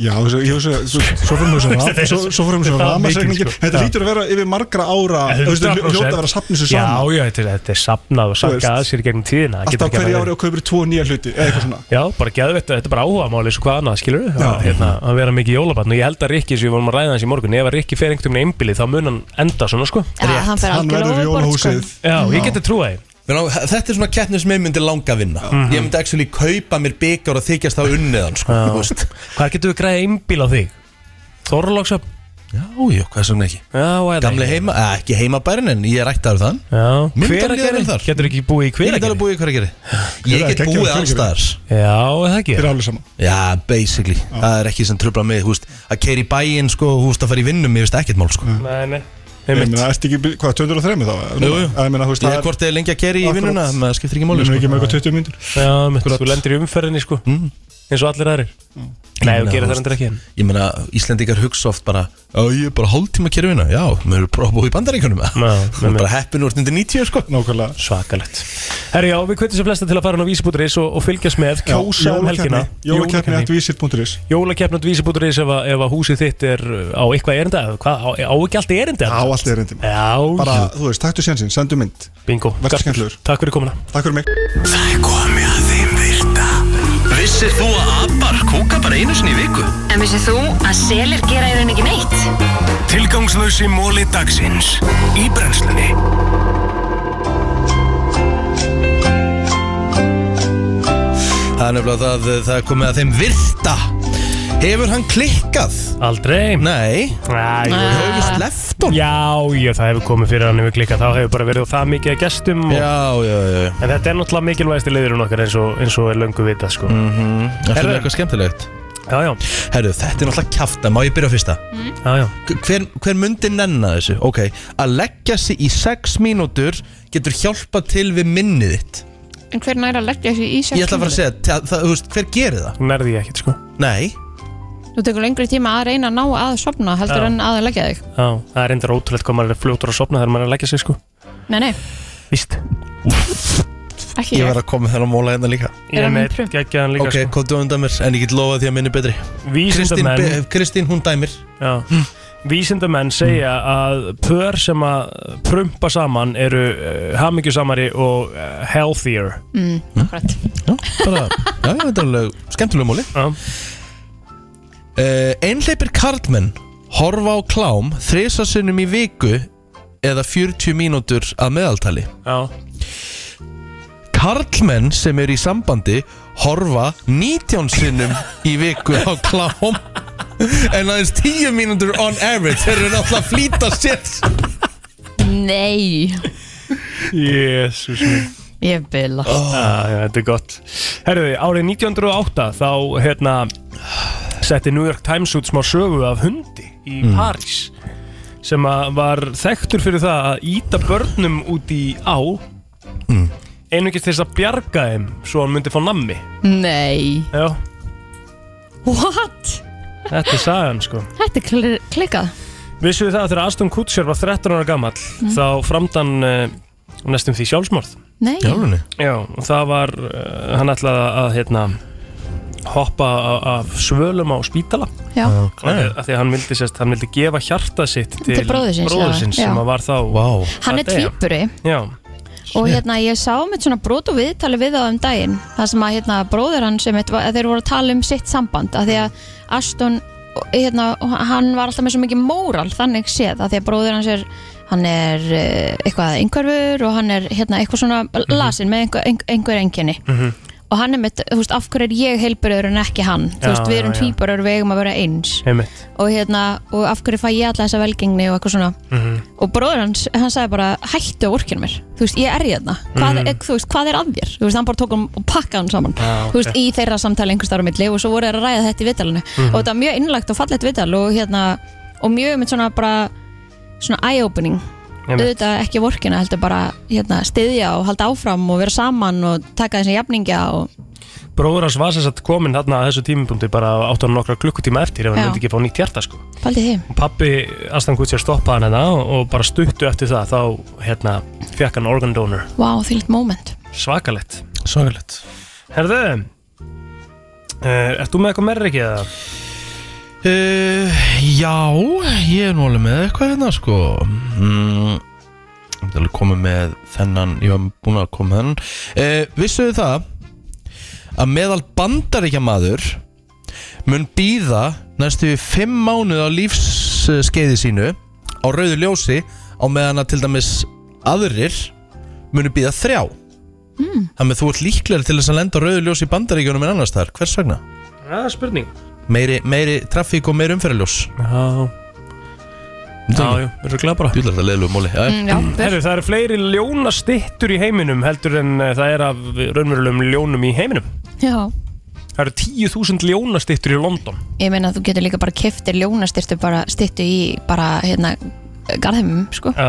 [SPEAKER 12] Já, þú veist, ég veist að- svo- svo fyrir mjög
[SPEAKER 4] Þetta er-
[SPEAKER 12] svo Svo fyrir mjög
[SPEAKER 4] þetta
[SPEAKER 12] svo
[SPEAKER 4] er
[SPEAKER 12] Ramasegningin,
[SPEAKER 4] mikið, sko.
[SPEAKER 12] þetta
[SPEAKER 4] Já.
[SPEAKER 12] lítur að vera yfir margra ára Þú veist, það
[SPEAKER 4] 100%.
[SPEAKER 12] hljóta að vera að sapna þessu saman
[SPEAKER 4] Já, já, þetta er, þetta er sapnað og
[SPEAKER 12] Þú veist.
[SPEAKER 4] sakka að sér í gegnum tíðina
[SPEAKER 12] Alltaf hverju ári og kaupir tvo nýja hluti Eða eitthvað svona
[SPEAKER 4] Já, bara geðveitt, þetta er bara áhugamáli eins og hvað annað, skilur við
[SPEAKER 12] Já.
[SPEAKER 4] hérna, að vera mikið jólabarn og ég held að Rikki, sem við vorum að ræða hans í morgun ef að Rikki fer einhvern veginn einbilið, þá mun hann enda svona, sko
[SPEAKER 2] Já, hann fer Hann algjörlega verður overboard, sko. jólahúsið.
[SPEAKER 4] Já, ég geti trúa því
[SPEAKER 3] Men á, Þetta er svona keppni sem ég myndi langa að vinna
[SPEAKER 12] Mhm.
[SPEAKER 3] Ég myndi actually kaupa mér byggjár og þykjast þá unniðan sko, þú veist.
[SPEAKER 4] Hvað getur við græðið einbil á þig? Þorlóksöp?
[SPEAKER 3] Ójú, hvað sem ekki
[SPEAKER 4] Já,
[SPEAKER 3] Gamli heima, eh, ekki heimabærin en ég er ættaður þann
[SPEAKER 4] Já,
[SPEAKER 3] Hveragerði?
[SPEAKER 4] Getur ekki búið í Hveragerði?
[SPEAKER 3] Ég get alveg búið í Hveragerði Ég
[SPEAKER 4] Hveragerði,
[SPEAKER 3] get
[SPEAKER 4] geggjað
[SPEAKER 3] búið
[SPEAKER 4] Hveragerði.
[SPEAKER 3] allstaðar
[SPEAKER 4] Já, er það ekki?
[SPEAKER 12] Þeir eru alveg saman
[SPEAKER 3] Já, basically, það er ekki sem tröfla mig húst, Að keira í bæinn, sko, húst, að fara í vinnum Ég veist ekkert mál, sko
[SPEAKER 4] Nei, nei
[SPEAKER 12] Ég
[SPEAKER 3] Einmitt.
[SPEAKER 12] meina, ertu ekki, hvað, 203 þá?
[SPEAKER 3] Jú, jú.
[SPEAKER 12] Ég meina, þú veist,
[SPEAKER 3] Ég er hvort eða lengi að keyra í vinnuna, maður skiptir ekki máli,
[SPEAKER 12] Ég meina,
[SPEAKER 3] sko.
[SPEAKER 12] ekki með eitthvað 20 myndur
[SPEAKER 4] Já, mitt, þú lendir í umferðinni sko eins og allir aðrir Nei,
[SPEAKER 3] Ég
[SPEAKER 4] þú
[SPEAKER 3] meina,
[SPEAKER 4] gerir það
[SPEAKER 3] veist,
[SPEAKER 4] endur ekki
[SPEAKER 3] Ég meina, Íslendingar hugsa oft bara Já, ég er bara hálftíma að kerfina Já, maður eru bara að búið í bandaríkunum Það er
[SPEAKER 4] einmitt.
[SPEAKER 3] bara heppin úr 90 sko
[SPEAKER 12] Nákvæmlega
[SPEAKER 4] Svakalegt Herri, já, við kveitum sem flesta til að fara inn á vísi.is og, og fylgjast með, kjósa um helgina
[SPEAKER 12] Jólakeppni at visit.is
[SPEAKER 4] Jólakeppnat vísi.is ef, að- ef að húsið þitt er uh, á eitthvað erinda hvað, á, á ekki allt erinda
[SPEAKER 12] Á allt erindi maður.
[SPEAKER 4] Já,
[SPEAKER 12] Bara,
[SPEAKER 4] jú.
[SPEAKER 12] þú veist, taktu sjansinn, sendu mynd
[SPEAKER 4] Bingo
[SPEAKER 12] Verður skemmtilegur
[SPEAKER 4] Takk fyrir komuna
[SPEAKER 12] Takk fyrir mig
[SPEAKER 1] Það er komið að þeim virta Vissir þú að abar kúka bara einu sinni í viku?
[SPEAKER 10] En vissið þú að selir gera í raun ekki neitt?
[SPEAKER 9] Tilgangslösi móli dagsins Í brennslunni
[SPEAKER 3] Það er nefnilega það, eh, það er komið að þeim virta Hefur hann klikkað?
[SPEAKER 4] Aldrei
[SPEAKER 3] Nei Ah.
[SPEAKER 4] Æ,
[SPEAKER 3] Hefur við sleppt honum?
[SPEAKER 4] Já, já, það hefur komið fyrir hann yfir klika þá hefur bara verið það mikið að gestum og...
[SPEAKER 3] Já, já, já
[SPEAKER 4] En þetta er náttúrulega mikilvægasti leiðurinn okkar eins og, eins og er löngu vitað sko mm
[SPEAKER 3] -hmm. Það fyrir eitthvað skemmtilegt
[SPEAKER 4] Já, já
[SPEAKER 3] Herru, þetta er náttúrulega kjafta, má ég byrja á fyrsta? Mm.
[SPEAKER 4] Já, já
[SPEAKER 3] Hver, hver mundi nenna þessu? Ok, að leggja sig í 6 mínútur getur hjálpað til við minnið þitt
[SPEAKER 2] En hver nær að leggja þessu í sex
[SPEAKER 3] Ég ætla bara að segja, það, það, þú veist, hver gerir það?
[SPEAKER 4] Nærði ég ekkert, sko
[SPEAKER 3] Nei
[SPEAKER 2] mínútur? Þú tekur lengri tíma að reyna að ná að sopna heldur
[SPEAKER 4] Já.
[SPEAKER 2] en að leggja þig
[SPEAKER 4] Já, það er endur ótrúlegt hvað maður er fljótur að sopna þegar maður er að leggja sig sko
[SPEAKER 2] Nei, nei,
[SPEAKER 4] Víst
[SPEAKER 2] ekki ég
[SPEAKER 3] að koma með þennan móla hérna líka
[SPEAKER 4] Ég er með geggjaðan líka
[SPEAKER 3] Ok,
[SPEAKER 4] sko
[SPEAKER 3] komdu undan mér, en ég get lofað því að minni betri Kristín, Mm.
[SPEAKER 4] Vísindamenn-
[SPEAKER 3] be- Kristín, hún dæmir
[SPEAKER 4] Já Vísindamenn segja
[SPEAKER 3] Mm.
[SPEAKER 4] að pör sem að prumpa saman eru uh, hamingjusamari og uh, healthier
[SPEAKER 2] mm, akkurat.
[SPEAKER 3] Já, bara, já, já, þetta er alveg skemmtulega móli
[SPEAKER 4] Já
[SPEAKER 3] Einleipir Eh, karlmenn horfa á klám þrisasinnum í viku eða 40 mínútur að meðaltali
[SPEAKER 4] Já
[SPEAKER 3] Karlmenn sem eru í sambandi horfa 19 sinnum í viku á klám en aðeins 10 mínútur on average þeir eru náttúrulega að flýta sér
[SPEAKER 2] Nei,
[SPEAKER 4] Jésus minn
[SPEAKER 2] ég bila
[SPEAKER 4] Ah, já, Þetta er gott Herruði, árið 1908 þá hérna setti New York Times út smá sögu af hundi í
[SPEAKER 9] Mm.
[SPEAKER 4] París sem að var þekktur fyrir það að íta börnum út í á
[SPEAKER 3] Mm.
[SPEAKER 4] einungis til þess að bjarga þeim svo hann myndi fá nammi
[SPEAKER 2] Nei
[SPEAKER 4] Já,
[SPEAKER 2] What?
[SPEAKER 4] þetta er sagan sko
[SPEAKER 2] Þetta er kl klikkað
[SPEAKER 4] Vissu þið það að þegar Aston Kutcher var 13 ára gamall
[SPEAKER 2] Mm.
[SPEAKER 4] þá framdann uh, næstum því sjálfsmorð
[SPEAKER 2] Nei Í alvörunni?
[SPEAKER 4] Já, og það var, uh, hann ætlaði að hérna, hoppa a- af svölum á spítala
[SPEAKER 2] Já.
[SPEAKER 4] okay. að því að hann vildi, sérst, hann vildi gefa hjarta sitt til,
[SPEAKER 2] Til bróður síns,
[SPEAKER 4] bróður
[SPEAKER 2] já,
[SPEAKER 4] síns
[SPEAKER 2] já.
[SPEAKER 4] sem að var þá
[SPEAKER 3] wow.
[SPEAKER 2] Hann er tvíburi
[SPEAKER 4] Já,
[SPEAKER 2] og hérna ég sá mitt svona brot og viðtali við á um daginn það sem að hérna bróður hann sem mitt, var- þeir voru að tala um sitt samband að því að Aston hérna, hann var alltaf með svo mikið móral þannig séð að því að bróður hans er hann er eh, eitthvað einhverfur og hann er hérna eitthvað svona
[SPEAKER 4] Mhm.
[SPEAKER 2] lasin með einhver, einhver, einhver enginni og hann er mitt, þú veist, af hverju er ég heilbyrður en ekki hann, þú
[SPEAKER 4] Já,
[SPEAKER 2] veist, við
[SPEAKER 4] já,
[SPEAKER 2] erum
[SPEAKER 4] já.
[SPEAKER 2] tvíburar við eigum að vera eins
[SPEAKER 4] einmitt
[SPEAKER 2] og hérna, og af hverju fæ ég alla þessa velgengni og eitthvað svona
[SPEAKER 4] Mhm.
[SPEAKER 2] og bróður hans, hann sagði bara hættu að orkina mér, þú veist, ég er í þarna hvað,
[SPEAKER 4] Mhm.
[SPEAKER 2] er, þú veist, hvað er að þér, þú veist, hann bara tók hann og pakkaði hann saman
[SPEAKER 4] Já,
[SPEAKER 2] þú veist,
[SPEAKER 4] ok.
[SPEAKER 2] í þeirra samtali einhvers staðar á milli og svo voru þeir að ræða þetta í vitalinu
[SPEAKER 4] Mhm.
[SPEAKER 2] og þetta var mjög innlagt og fallegt vital og hérna, og mjög með svona bara svona eye-opening
[SPEAKER 4] Einmitt.
[SPEAKER 2] auðvitað ekki vorkina, heldur bara hérna, stiðja og halda áfram og vera saman og taka þessi jafningja og
[SPEAKER 4] Bróður hans var sem sagt komin þarna að þessu tímapunkti bara átt hann nokkra klukkutíma eftir ef hann
[SPEAKER 2] Já.
[SPEAKER 4] myndi ekki fá nýtt hjarta sko
[SPEAKER 2] paldið þið
[SPEAKER 4] og pappi Aston Kutcher stoppaði hann hérna og- og bara stuttu eftir það þá hérna fekk hann organ donor
[SPEAKER 2] Vá, wow, þýlitt moment
[SPEAKER 4] Svakalett
[SPEAKER 3] Svakalett
[SPEAKER 4] Herðu uh, Ert þú með eitthvað meira ekki eða?
[SPEAKER 3] Uh, já, ég er nú alveg með eitthvað hérna sko mm, Ég er alveg komið með þennan, ég var búin að koma með þennan uh, Vissuðu það að meðal bandaríkja maður mun býða næstu í fimm mánuð á lífsskeiði sínu á rauðu ljósi á meðan að til dæmis aðrir munu býða þrjá mm. Þannig að þú ert líklega til þess að lenda á rauðu ljósi í bandaríkjunum en annars þar, hvers vegna?
[SPEAKER 4] Já, spurning
[SPEAKER 3] meiri, meiri trafík og meiri umferðaljós
[SPEAKER 4] Já já, við erum glæð bara
[SPEAKER 3] Júlega þetta leiðilegu móli
[SPEAKER 2] Mm, já, vel.
[SPEAKER 4] Herru, það eru fleiri ljónastittur í heiminum heldur en eh, það er af raunverulegum ljónum í heiminum
[SPEAKER 2] Já,
[SPEAKER 4] Það eru 10.000 ljónastittur í London
[SPEAKER 2] ég meina að þú getur líka bara keftir ljónastyrtu bara styttu í bara hérna garðheimum sko
[SPEAKER 4] Já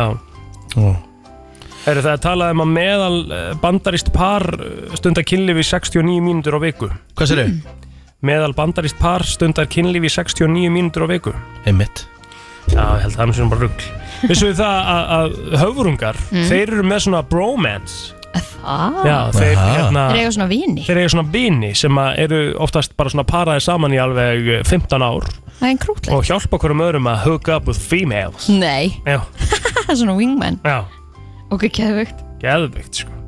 [SPEAKER 4] Herru, það er talað um að meðal eh, bandarist par eh, stundar kynlíf í 69 mínútur á viku
[SPEAKER 3] Hvað sér þau?
[SPEAKER 4] Meðal bandarist par stundar kynlíf í 69 mínútur á viku
[SPEAKER 3] Einmitt
[SPEAKER 4] Já, ég held að það er svona bara rugg Vissu við það að, að höfurungar
[SPEAKER 2] Mm.
[SPEAKER 4] þeir eru með svona bromance
[SPEAKER 2] ah.
[SPEAKER 4] Já, þeir hérna
[SPEAKER 2] Þeir eiga svona vini
[SPEAKER 4] Þeir eru svona vini sem að eru oftast bara svona paraði saman í alveg eh, 15 ár
[SPEAKER 2] Það er einn krútleg
[SPEAKER 4] og hjálpa hverjum öðrum að hook up with females
[SPEAKER 2] Nei,
[SPEAKER 4] Já,
[SPEAKER 2] svona wingman
[SPEAKER 4] já,
[SPEAKER 2] Ok, geðvögt
[SPEAKER 4] geðvikt sko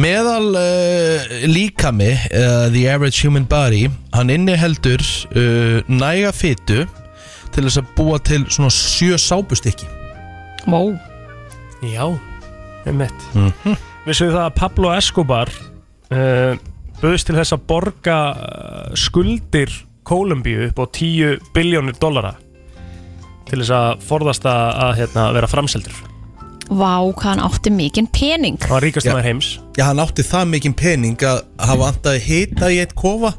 [SPEAKER 3] Meðal uh, líkami, uh, the average human body, hann inniheldur uh, næga fytu til þess að búa til svona sjö sápustykki.
[SPEAKER 2] Mó
[SPEAKER 4] Já, einmitt Vissu við það að Pablo Escobar uh, böðist til þess að borga eh, skuldir Kólumbíu upp á 10 biljónir dollara til þess að forðast að, að hérna, vera framseldur
[SPEAKER 2] Vá, hvað hann átti mikinn pening
[SPEAKER 4] Það var ríkast maður heims
[SPEAKER 3] Já, hann átti það mikinn pening að hafa andaði hita í eitt kofa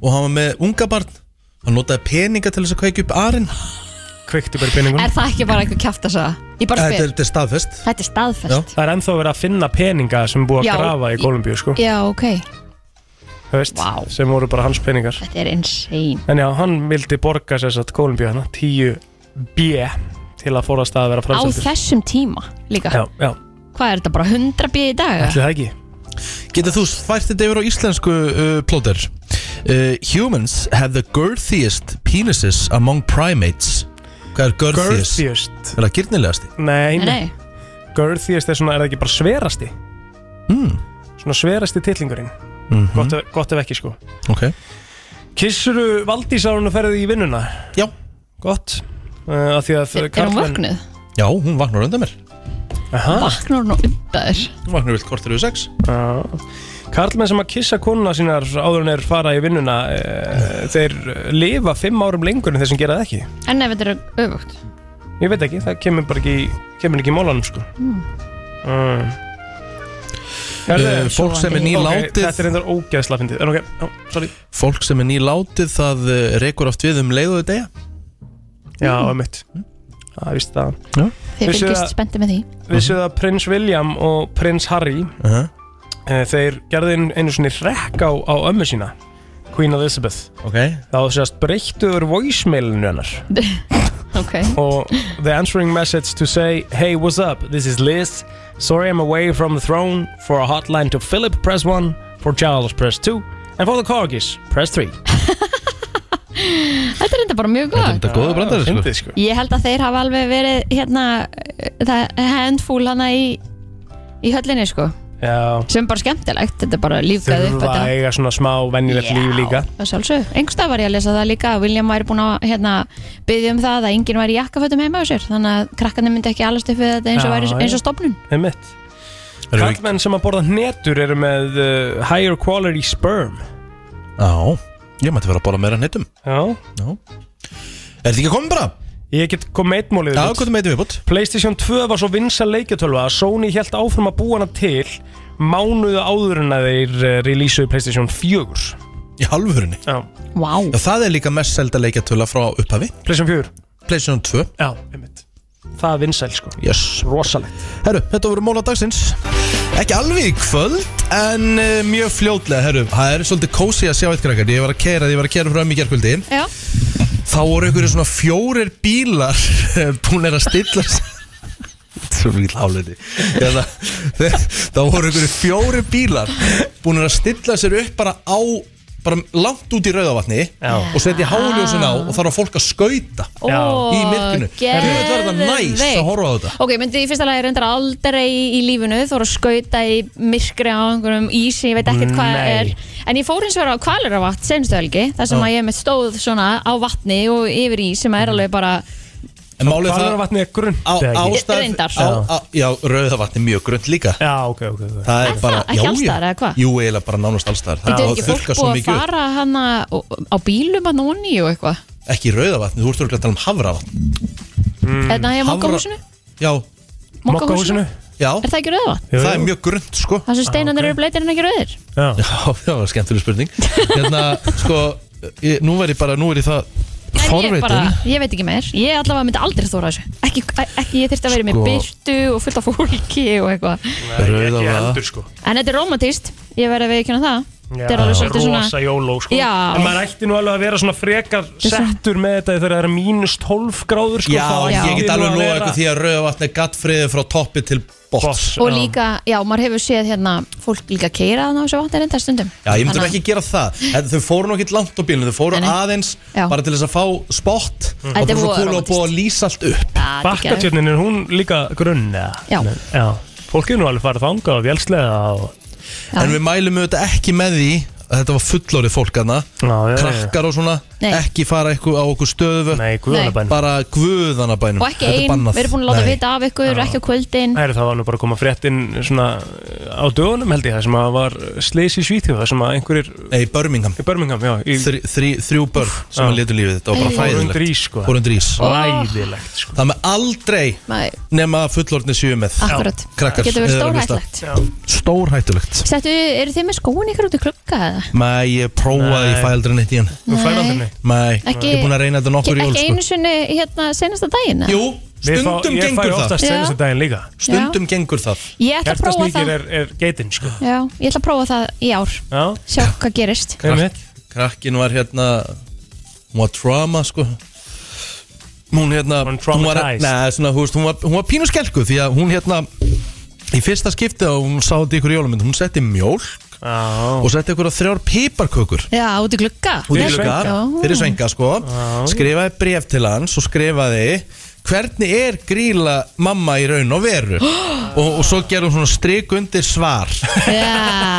[SPEAKER 3] og hann var með unga barn. Hann notaði peninga til þess að kveikja upp arinn.
[SPEAKER 4] Kveikti bara peningun.
[SPEAKER 2] Er það ekki bara eitthvað kjátt að sagða? Ég bara
[SPEAKER 3] Þetta
[SPEAKER 2] spyr
[SPEAKER 3] er- þetta er staðfest.
[SPEAKER 2] Þetta er staðfest
[SPEAKER 4] Það er ennþá verið að finna peninga sem er búið
[SPEAKER 2] Já,
[SPEAKER 4] að grafa í Kólumbíu sko,
[SPEAKER 2] Já, ok
[SPEAKER 4] þú veist, sem voru bara hans peningar
[SPEAKER 2] Þetta er insane
[SPEAKER 4] En já, hann vildi borga sér satt Kólumbíu hana 10 hérna, B til að forðast að vera
[SPEAKER 2] Á
[SPEAKER 4] framseldur
[SPEAKER 2] þessum tíma líka
[SPEAKER 4] Já, já,
[SPEAKER 2] Hvað er þetta bara 100 bíð í dag?
[SPEAKER 4] ætli það ekki
[SPEAKER 3] Getur þú fært þetta yfir á íslensku uh, plóter? Uh, humans have the girthiest penises among primates. Hvað er girthiest?
[SPEAKER 4] Girthiest.
[SPEAKER 3] Er það girtnilegasti?
[SPEAKER 4] Nei,
[SPEAKER 2] Nei, nei.
[SPEAKER 4] Girthiest er svona, er það ekki bara sverasti
[SPEAKER 3] Mm.
[SPEAKER 4] Svona sverasti tillingurinn
[SPEAKER 3] Mhm.
[SPEAKER 4] gott, ef- gott ef ekki sko
[SPEAKER 3] Ok.
[SPEAKER 4] Kissuru Valdís ára hún að ferði í vinnuna?
[SPEAKER 3] Já
[SPEAKER 4] Gott uh, að Því að
[SPEAKER 2] Er- er hún vöknuð?
[SPEAKER 3] Já, hún vaknar undan mér
[SPEAKER 4] Aha.
[SPEAKER 2] Vaknar hún undan þér?
[SPEAKER 3] Hún vaknar vilt kortir við sex
[SPEAKER 4] Já Karlmenn sem að kissa konuna sínar áður en er fara í vinnuna uh, Þeir lifa fimm árum lengur en þeir sem gera það ekki
[SPEAKER 2] En ef þetta er öfugt
[SPEAKER 4] Ég veit ekki, það kemur bara ekki Kemur ekki í mólanum sko
[SPEAKER 2] mm.
[SPEAKER 4] mm.
[SPEAKER 3] Eh, fólk sem er nýlátið-
[SPEAKER 4] Ok, Þetta er einhver ógeðsla fyndið En ok, já, sorry
[SPEAKER 3] Fólk sem er nýlátið það eh, rekur oft við um leið og þetta
[SPEAKER 4] Já, um mitt Það er vist það
[SPEAKER 3] Já.
[SPEAKER 2] Þið
[SPEAKER 4] Vissuð
[SPEAKER 2] fylgist
[SPEAKER 4] að-
[SPEAKER 2] spennti með því
[SPEAKER 4] Vissu það að prins William og prins Harry eh,
[SPEAKER 3] uh
[SPEAKER 4] Þeir gerði einu- einu svona rekk á, á ömmu sína Queen Elizabeth
[SPEAKER 3] okay.
[SPEAKER 4] Þá sérst breyttuður voicemailinu hennar
[SPEAKER 2] Ok
[SPEAKER 4] Og the answering message to say Hey, what's up? This is Liz Sorry I'm away from the throne For a hotline to Philip, press 1 For Charles, press 2 And for the corgis, press 3
[SPEAKER 2] Þetta er enda bara mjög gott
[SPEAKER 4] enda
[SPEAKER 3] Ah,
[SPEAKER 4] góður brandari, sko. Fyndið, sko.
[SPEAKER 2] Ég held að þeir hafa alveg verið hérna eh, það handfúl hana í í höllinni sko
[SPEAKER 4] Já
[SPEAKER 2] sem er bara skemmtilegt, þetta er bara lífgæði upp
[SPEAKER 4] Þurfa
[SPEAKER 2] þetta
[SPEAKER 4] að eiga svona smá venjulegt líf líka
[SPEAKER 2] Það sjálfsög, einhverstað var ég að lesa það líka að William væri búin að hérna, byggja um það að enginn væri í jakkafötum heima á sér þannig að krakkarnir myndi ekki allast upp við þetta eins og,
[SPEAKER 4] Já,
[SPEAKER 2] væri,
[SPEAKER 4] já.
[SPEAKER 2] eins og stopnun
[SPEAKER 4] Einmitt Kallmenn sem að borða hnetur eru með uh, higher quality sperm
[SPEAKER 3] Já, ég mætti vera að bóla meira hnettum
[SPEAKER 4] Já
[SPEAKER 3] Já Er þetta ekki komin bara?
[SPEAKER 4] Ég get komið eitt mólið
[SPEAKER 3] Já, komið eitt viðbútt
[SPEAKER 4] PlayStation 2 var svo vinsa leikjatölva að Sony held áfram að búa hana til mánuðu áður en að þeir eh, releaseuðu PlayStation 4
[SPEAKER 3] Í halvörinni?
[SPEAKER 4] Já
[SPEAKER 2] Vá
[SPEAKER 3] Já, það er líka mest selda leikjatöla frá upphafi
[SPEAKER 4] PlayStation 4
[SPEAKER 3] PlayStation 2
[SPEAKER 4] Já, einmitt Það er vinsæl sko
[SPEAKER 3] Yes
[SPEAKER 4] Rosalegt
[SPEAKER 3] Herru, þetta voru móla dagsins Ekki alveg í kvöld En uh, mjög fljótlega, herru Það er svolítið kósi að sjá eitt krakkar Ég var að kera, ég var að kera frá ömmu í gerkvöldi
[SPEAKER 2] Já,
[SPEAKER 3] Þá voru einhverju svona fjórir bílar búinir að stilla s- Svo mikið hálfleiti Þá voru einhverju fjórir bílar búinir að stilla sér upp bara á bara langt út í rauðavatni og setja háljósin á og þarf að fólk að skauta
[SPEAKER 2] Ó,
[SPEAKER 3] í myrkinu
[SPEAKER 2] geðveikt.
[SPEAKER 3] Þú veit verða næs að horfa á þetta
[SPEAKER 2] ok, myndi í fyrsta lagi reyndar aldrei í, í lífinu þú voru að skauta í myrkri á einhverjum ísi, ég veit ekkert hvað
[SPEAKER 3] Nei.
[SPEAKER 2] er en ég fór eins og vera á kvaliravatn senstu helgi þar sem
[SPEAKER 3] Já. Mhm.
[SPEAKER 2] að ég með stóð svona á vatni og yfir í sem er alveg bara
[SPEAKER 3] En málið er það-
[SPEAKER 4] Hvalárvatnið er grunnt,
[SPEAKER 3] Á-
[SPEAKER 4] eða ekki?
[SPEAKER 3] ástæð-
[SPEAKER 2] Reyndar.
[SPEAKER 3] á- á- Já, rauðavatni er mjög grönt líka
[SPEAKER 4] Já, ok, ok, ok
[SPEAKER 3] Það
[SPEAKER 2] Er
[SPEAKER 3] er bara,
[SPEAKER 2] það ekki alls staðar, eða hvað?
[SPEAKER 3] Jú, eiginlega bara nánast allstæðar
[SPEAKER 2] Þetta er ekki fólk búið að fara hana á á bílum að núni og eitthvað
[SPEAKER 3] Ekki rauðavatni, þú ert örgulega að tala um havravatn
[SPEAKER 2] Mm. Þetta er mokkahúsinu?
[SPEAKER 3] Já
[SPEAKER 2] Mokkahúsinu? Ah,
[SPEAKER 3] Já
[SPEAKER 2] Er það ekki rauðavatn?
[SPEAKER 3] Það er mjög grunnt sko
[SPEAKER 2] Það sem steinandir eru bleitir en ekki rauðir
[SPEAKER 4] Já,
[SPEAKER 3] það var skemmtileg spurning Hérna, sko ég, Nú verð ég bara, nú er ég það
[SPEAKER 2] En ég bara,
[SPEAKER 3] Forveitin
[SPEAKER 2] ég veit ekki meir Ég allavega myndi aldrei þóra þessu Ekki, ekki ég þyrfti að vera með
[SPEAKER 3] Sko.
[SPEAKER 2] byrtu og fullt af fólki og eitthvað
[SPEAKER 3] Rauða
[SPEAKER 4] heldur, sko.
[SPEAKER 2] En þetta er romantist, ég verði að viðkjöna það Þetta er alveg svolítið svona
[SPEAKER 4] rosa jóló sko.
[SPEAKER 2] Já.
[SPEAKER 4] En maður ætti nú alveg að vera svona frekar settur með þetta þegar það er mínus 12 gráður sko,
[SPEAKER 3] Já,
[SPEAKER 4] þá ætti
[SPEAKER 3] ég get
[SPEAKER 4] nú
[SPEAKER 3] alveg
[SPEAKER 4] að
[SPEAKER 3] lofa
[SPEAKER 4] vera-
[SPEAKER 3] ykkur því að rauða vatn er gattfriði frá toppi til botts
[SPEAKER 2] Og líka, já, maður hefur séð hérna fólk líka keira þannig á þessu vatni reyndar stundum
[SPEAKER 3] Já, ég myndi
[SPEAKER 2] Þannig
[SPEAKER 3] nú
[SPEAKER 2] að-
[SPEAKER 3] ekki gera það En Þau fóru nú ekkert langt á bílunum, þau fóru aðeins
[SPEAKER 2] Já. Mm.
[SPEAKER 3] bara til þess að fá spott og
[SPEAKER 2] Þetta
[SPEAKER 3] það er
[SPEAKER 2] er
[SPEAKER 3] svo
[SPEAKER 2] voða
[SPEAKER 3] kúl og búið að lýsa allt upp
[SPEAKER 2] Já, þetta er geðveikt.
[SPEAKER 4] Bakkatjörnin er hún líka grunn eða?
[SPEAKER 2] Já.
[SPEAKER 4] Já. Fólk er nú alveg farið þangað og vélslega og...
[SPEAKER 3] En við mælum auðvitað ekki með því að þetta var fullorið fólk hana
[SPEAKER 4] já, já.
[SPEAKER 3] krakkar og svona,
[SPEAKER 2] Nei.
[SPEAKER 3] ekki fara eitthvað á okkur stöðu
[SPEAKER 4] Nei,
[SPEAKER 2] guðanabænum.
[SPEAKER 3] bara guðanabænum
[SPEAKER 2] Og ekki ein, við erum búin að láta vita af ykkur, ekki á kvöldin
[SPEAKER 4] Það er það var nú bara að koma fréttin svona eh, á dögunum held ég það sem að var sleis í Svíþjóð það sem að einhverjir
[SPEAKER 3] Nei, Birmingham
[SPEAKER 4] Birmingham, já í...
[SPEAKER 3] þri, þri, Þrjú börn sem að letu lífið þetta var bara
[SPEAKER 4] Fóru
[SPEAKER 3] hræðilegt
[SPEAKER 4] undir ís, sko.
[SPEAKER 3] Fóru undir ís.
[SPEAKER 4] Hræðilegt, sko.
[SPEAKER 3] Það með aldrei
[SPEAKER 2] Nei.
[SPEAKER 3] nema að fullorðni séu með
[SPEAKER 2] Akkurat.
[SPEAKER 3] krakkar
[SPEAKER 2] Getur verið
[SPEAKER 3] eða eru að hlusta.
[SPEAKER 2] stórhættulegt.
[SPEAKER 3] Stórhættulegt
[SPEAKER 2] Settu, eru þið með skóin ykkur út í klukka eða?
[SPEAKER 3] Nei, ég prófaði, ég fæ aldrei neitt í hann
[SPEAKER 2] Þú færð aldrei neitt?
[SPEAKER 3] Nei,
[SPEAKER 2] Ekki-
[SPEAKER 3] ég er búin að reyna þetta nokkur
[SPEAKER 2] Ekki,
[SPEAKER 3] jól
[SPEAKER 2] ekki
[SPEAKER 3] sko.
[SPEAKER 2] einu sinni hérna senasta daginn? eða?
[SPEAKER 3] Jú,
[SPEAKER 4] Við fá-
[SPEAKER 3] stundum
[SPEAKER 4] ég fæ
[SPEAKER 3] gengur það
[SPEAKER 4] oftast seinasta daginn líka
[SPEAKER 3] Stundum gengur það
[SPEAKER 2] Ég ætla að prófa
[SPEAKER 4] Hjartasníkir
[SPEAKER 2] það
[SPEAKER 4] er, er geitin sko
[SPEAKER 2] Já, ég ætla að prófa það í ár
[SPEAKER 4] Já
[SPEAKER 2] Sjá hvað gerist
[SPEAKER 3] Krakk, Krakkin var hérna Hún var trauma sko Hún hérna Hún var,
[SPEAKER 4] traumatized.
[SPEAKER 3] neð, svona, hún, veist, hún var, hún var pínu skelku Því að hún hérna Í fyrsta skipti og hún sá þetta ykkur jólumynd Hún setti mjólk
[SPEAKER 4] Já.
[SPEAKER 3] Og setti ykkur að þrjár piparkökur
[SPEAKER 2] Já, út í glugga
[SPEAKER 3] út í glugga
[SPEAKER 2] Já.
[SPEAKER 3] fyrir svenga sko skrifaði bref til hans og skrifaði hvernig er gríla mamma í raun og veru og, og svo gerum svona strik undir svar
[SPEAKER 2] Já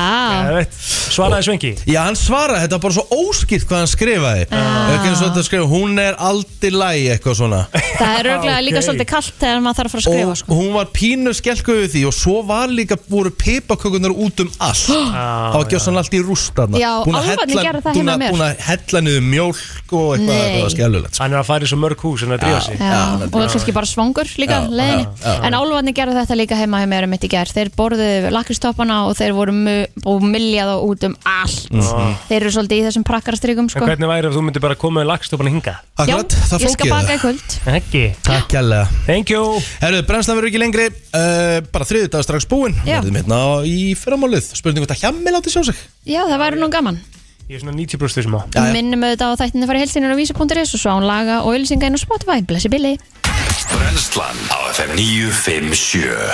[SPEAKER 4] Svaraði svengi
[SPEAKER 3] Já, hann svaraði, þetta var bara svo óskilt hvað hann skrifaði ekki eins og þetta skrifa, hún er aldrei lægi eitthvað svona
[SPEAKER 2] Það er rauglega líka
[SPEAKER 3] Ok.
[SPEAKER 2] svolítið kallt þegar maður þarf að fara að skrifa sko.
[SPEAKER 3] og hún var pínu skelkuð við því og svo var líka, voru pipakökunar út um allt það var gjössan allt í rústarna
[SPEAKER 2] Já, álfarnir gerðu það heima mér.
[SPEAKER 3] búin að hella niður mjólk og eitthvað,
[SPEAKER 2] Nei.
[SPEAKER 3] það var sko. skellulegt
[SPEAKER 4] Hann er að fara í svo mörg hús en að drífa sig
[SPEAKER 2] Já, og kannski bara svangur líka
[SPEAKER 4] Já,
[SPEAKER 2] leiðinni.
[SPEAKER 4] já, já.
[SPEAKER 2] en álvarni gerðu þetta líka heima heima erum mitt í gær, þeir borðuðu lakristoppana og þeir voru mu- og miljaða út um allt
[SPEAKER 4] Mhm.
[SPEAKER 2] þeir eru svolítið í þessum prakkarstrykum sko.
[SPEAKER 4] En hvernig væri ef þú myndir bara koma með lagstofan hinga?
[SPEAKER 3] Akkurat,
[SPEAKER 2] Já,
[SPEAKER 3] það
[SPEAKER 2] ég skal
[SPEAKER 3] flókið
[SPEAKER 2] baka
[SPEAKER 3] það.
[SPEAKER 2] í kvöld
[SPEAKER 4] Ekki
[SPEAKER 3] Takk kærlega
[SPEAKER 4] Thank you
[SPEAKER 3] Herru, brennslan verður ekki lengri uh, Bara þriðu dag strax búinn
[SPEAKER 2] Já.
[SPEAKER 3] Verðum hérna á- í fyrramálið Spurning hvort að hjemmi láti sjá sig
[SPEAKER 2] Já, það væri nú gaman
[SPEAKER 4] Ég er svona 90% sem á
[SPEAKER 2] Við minnum auðvitað á þættinu farið helstinur á vísi.is og svo án laga og ölsinga inn á Spotify Blessi Billy
[SPEAKER 1] Brennslan á FM 957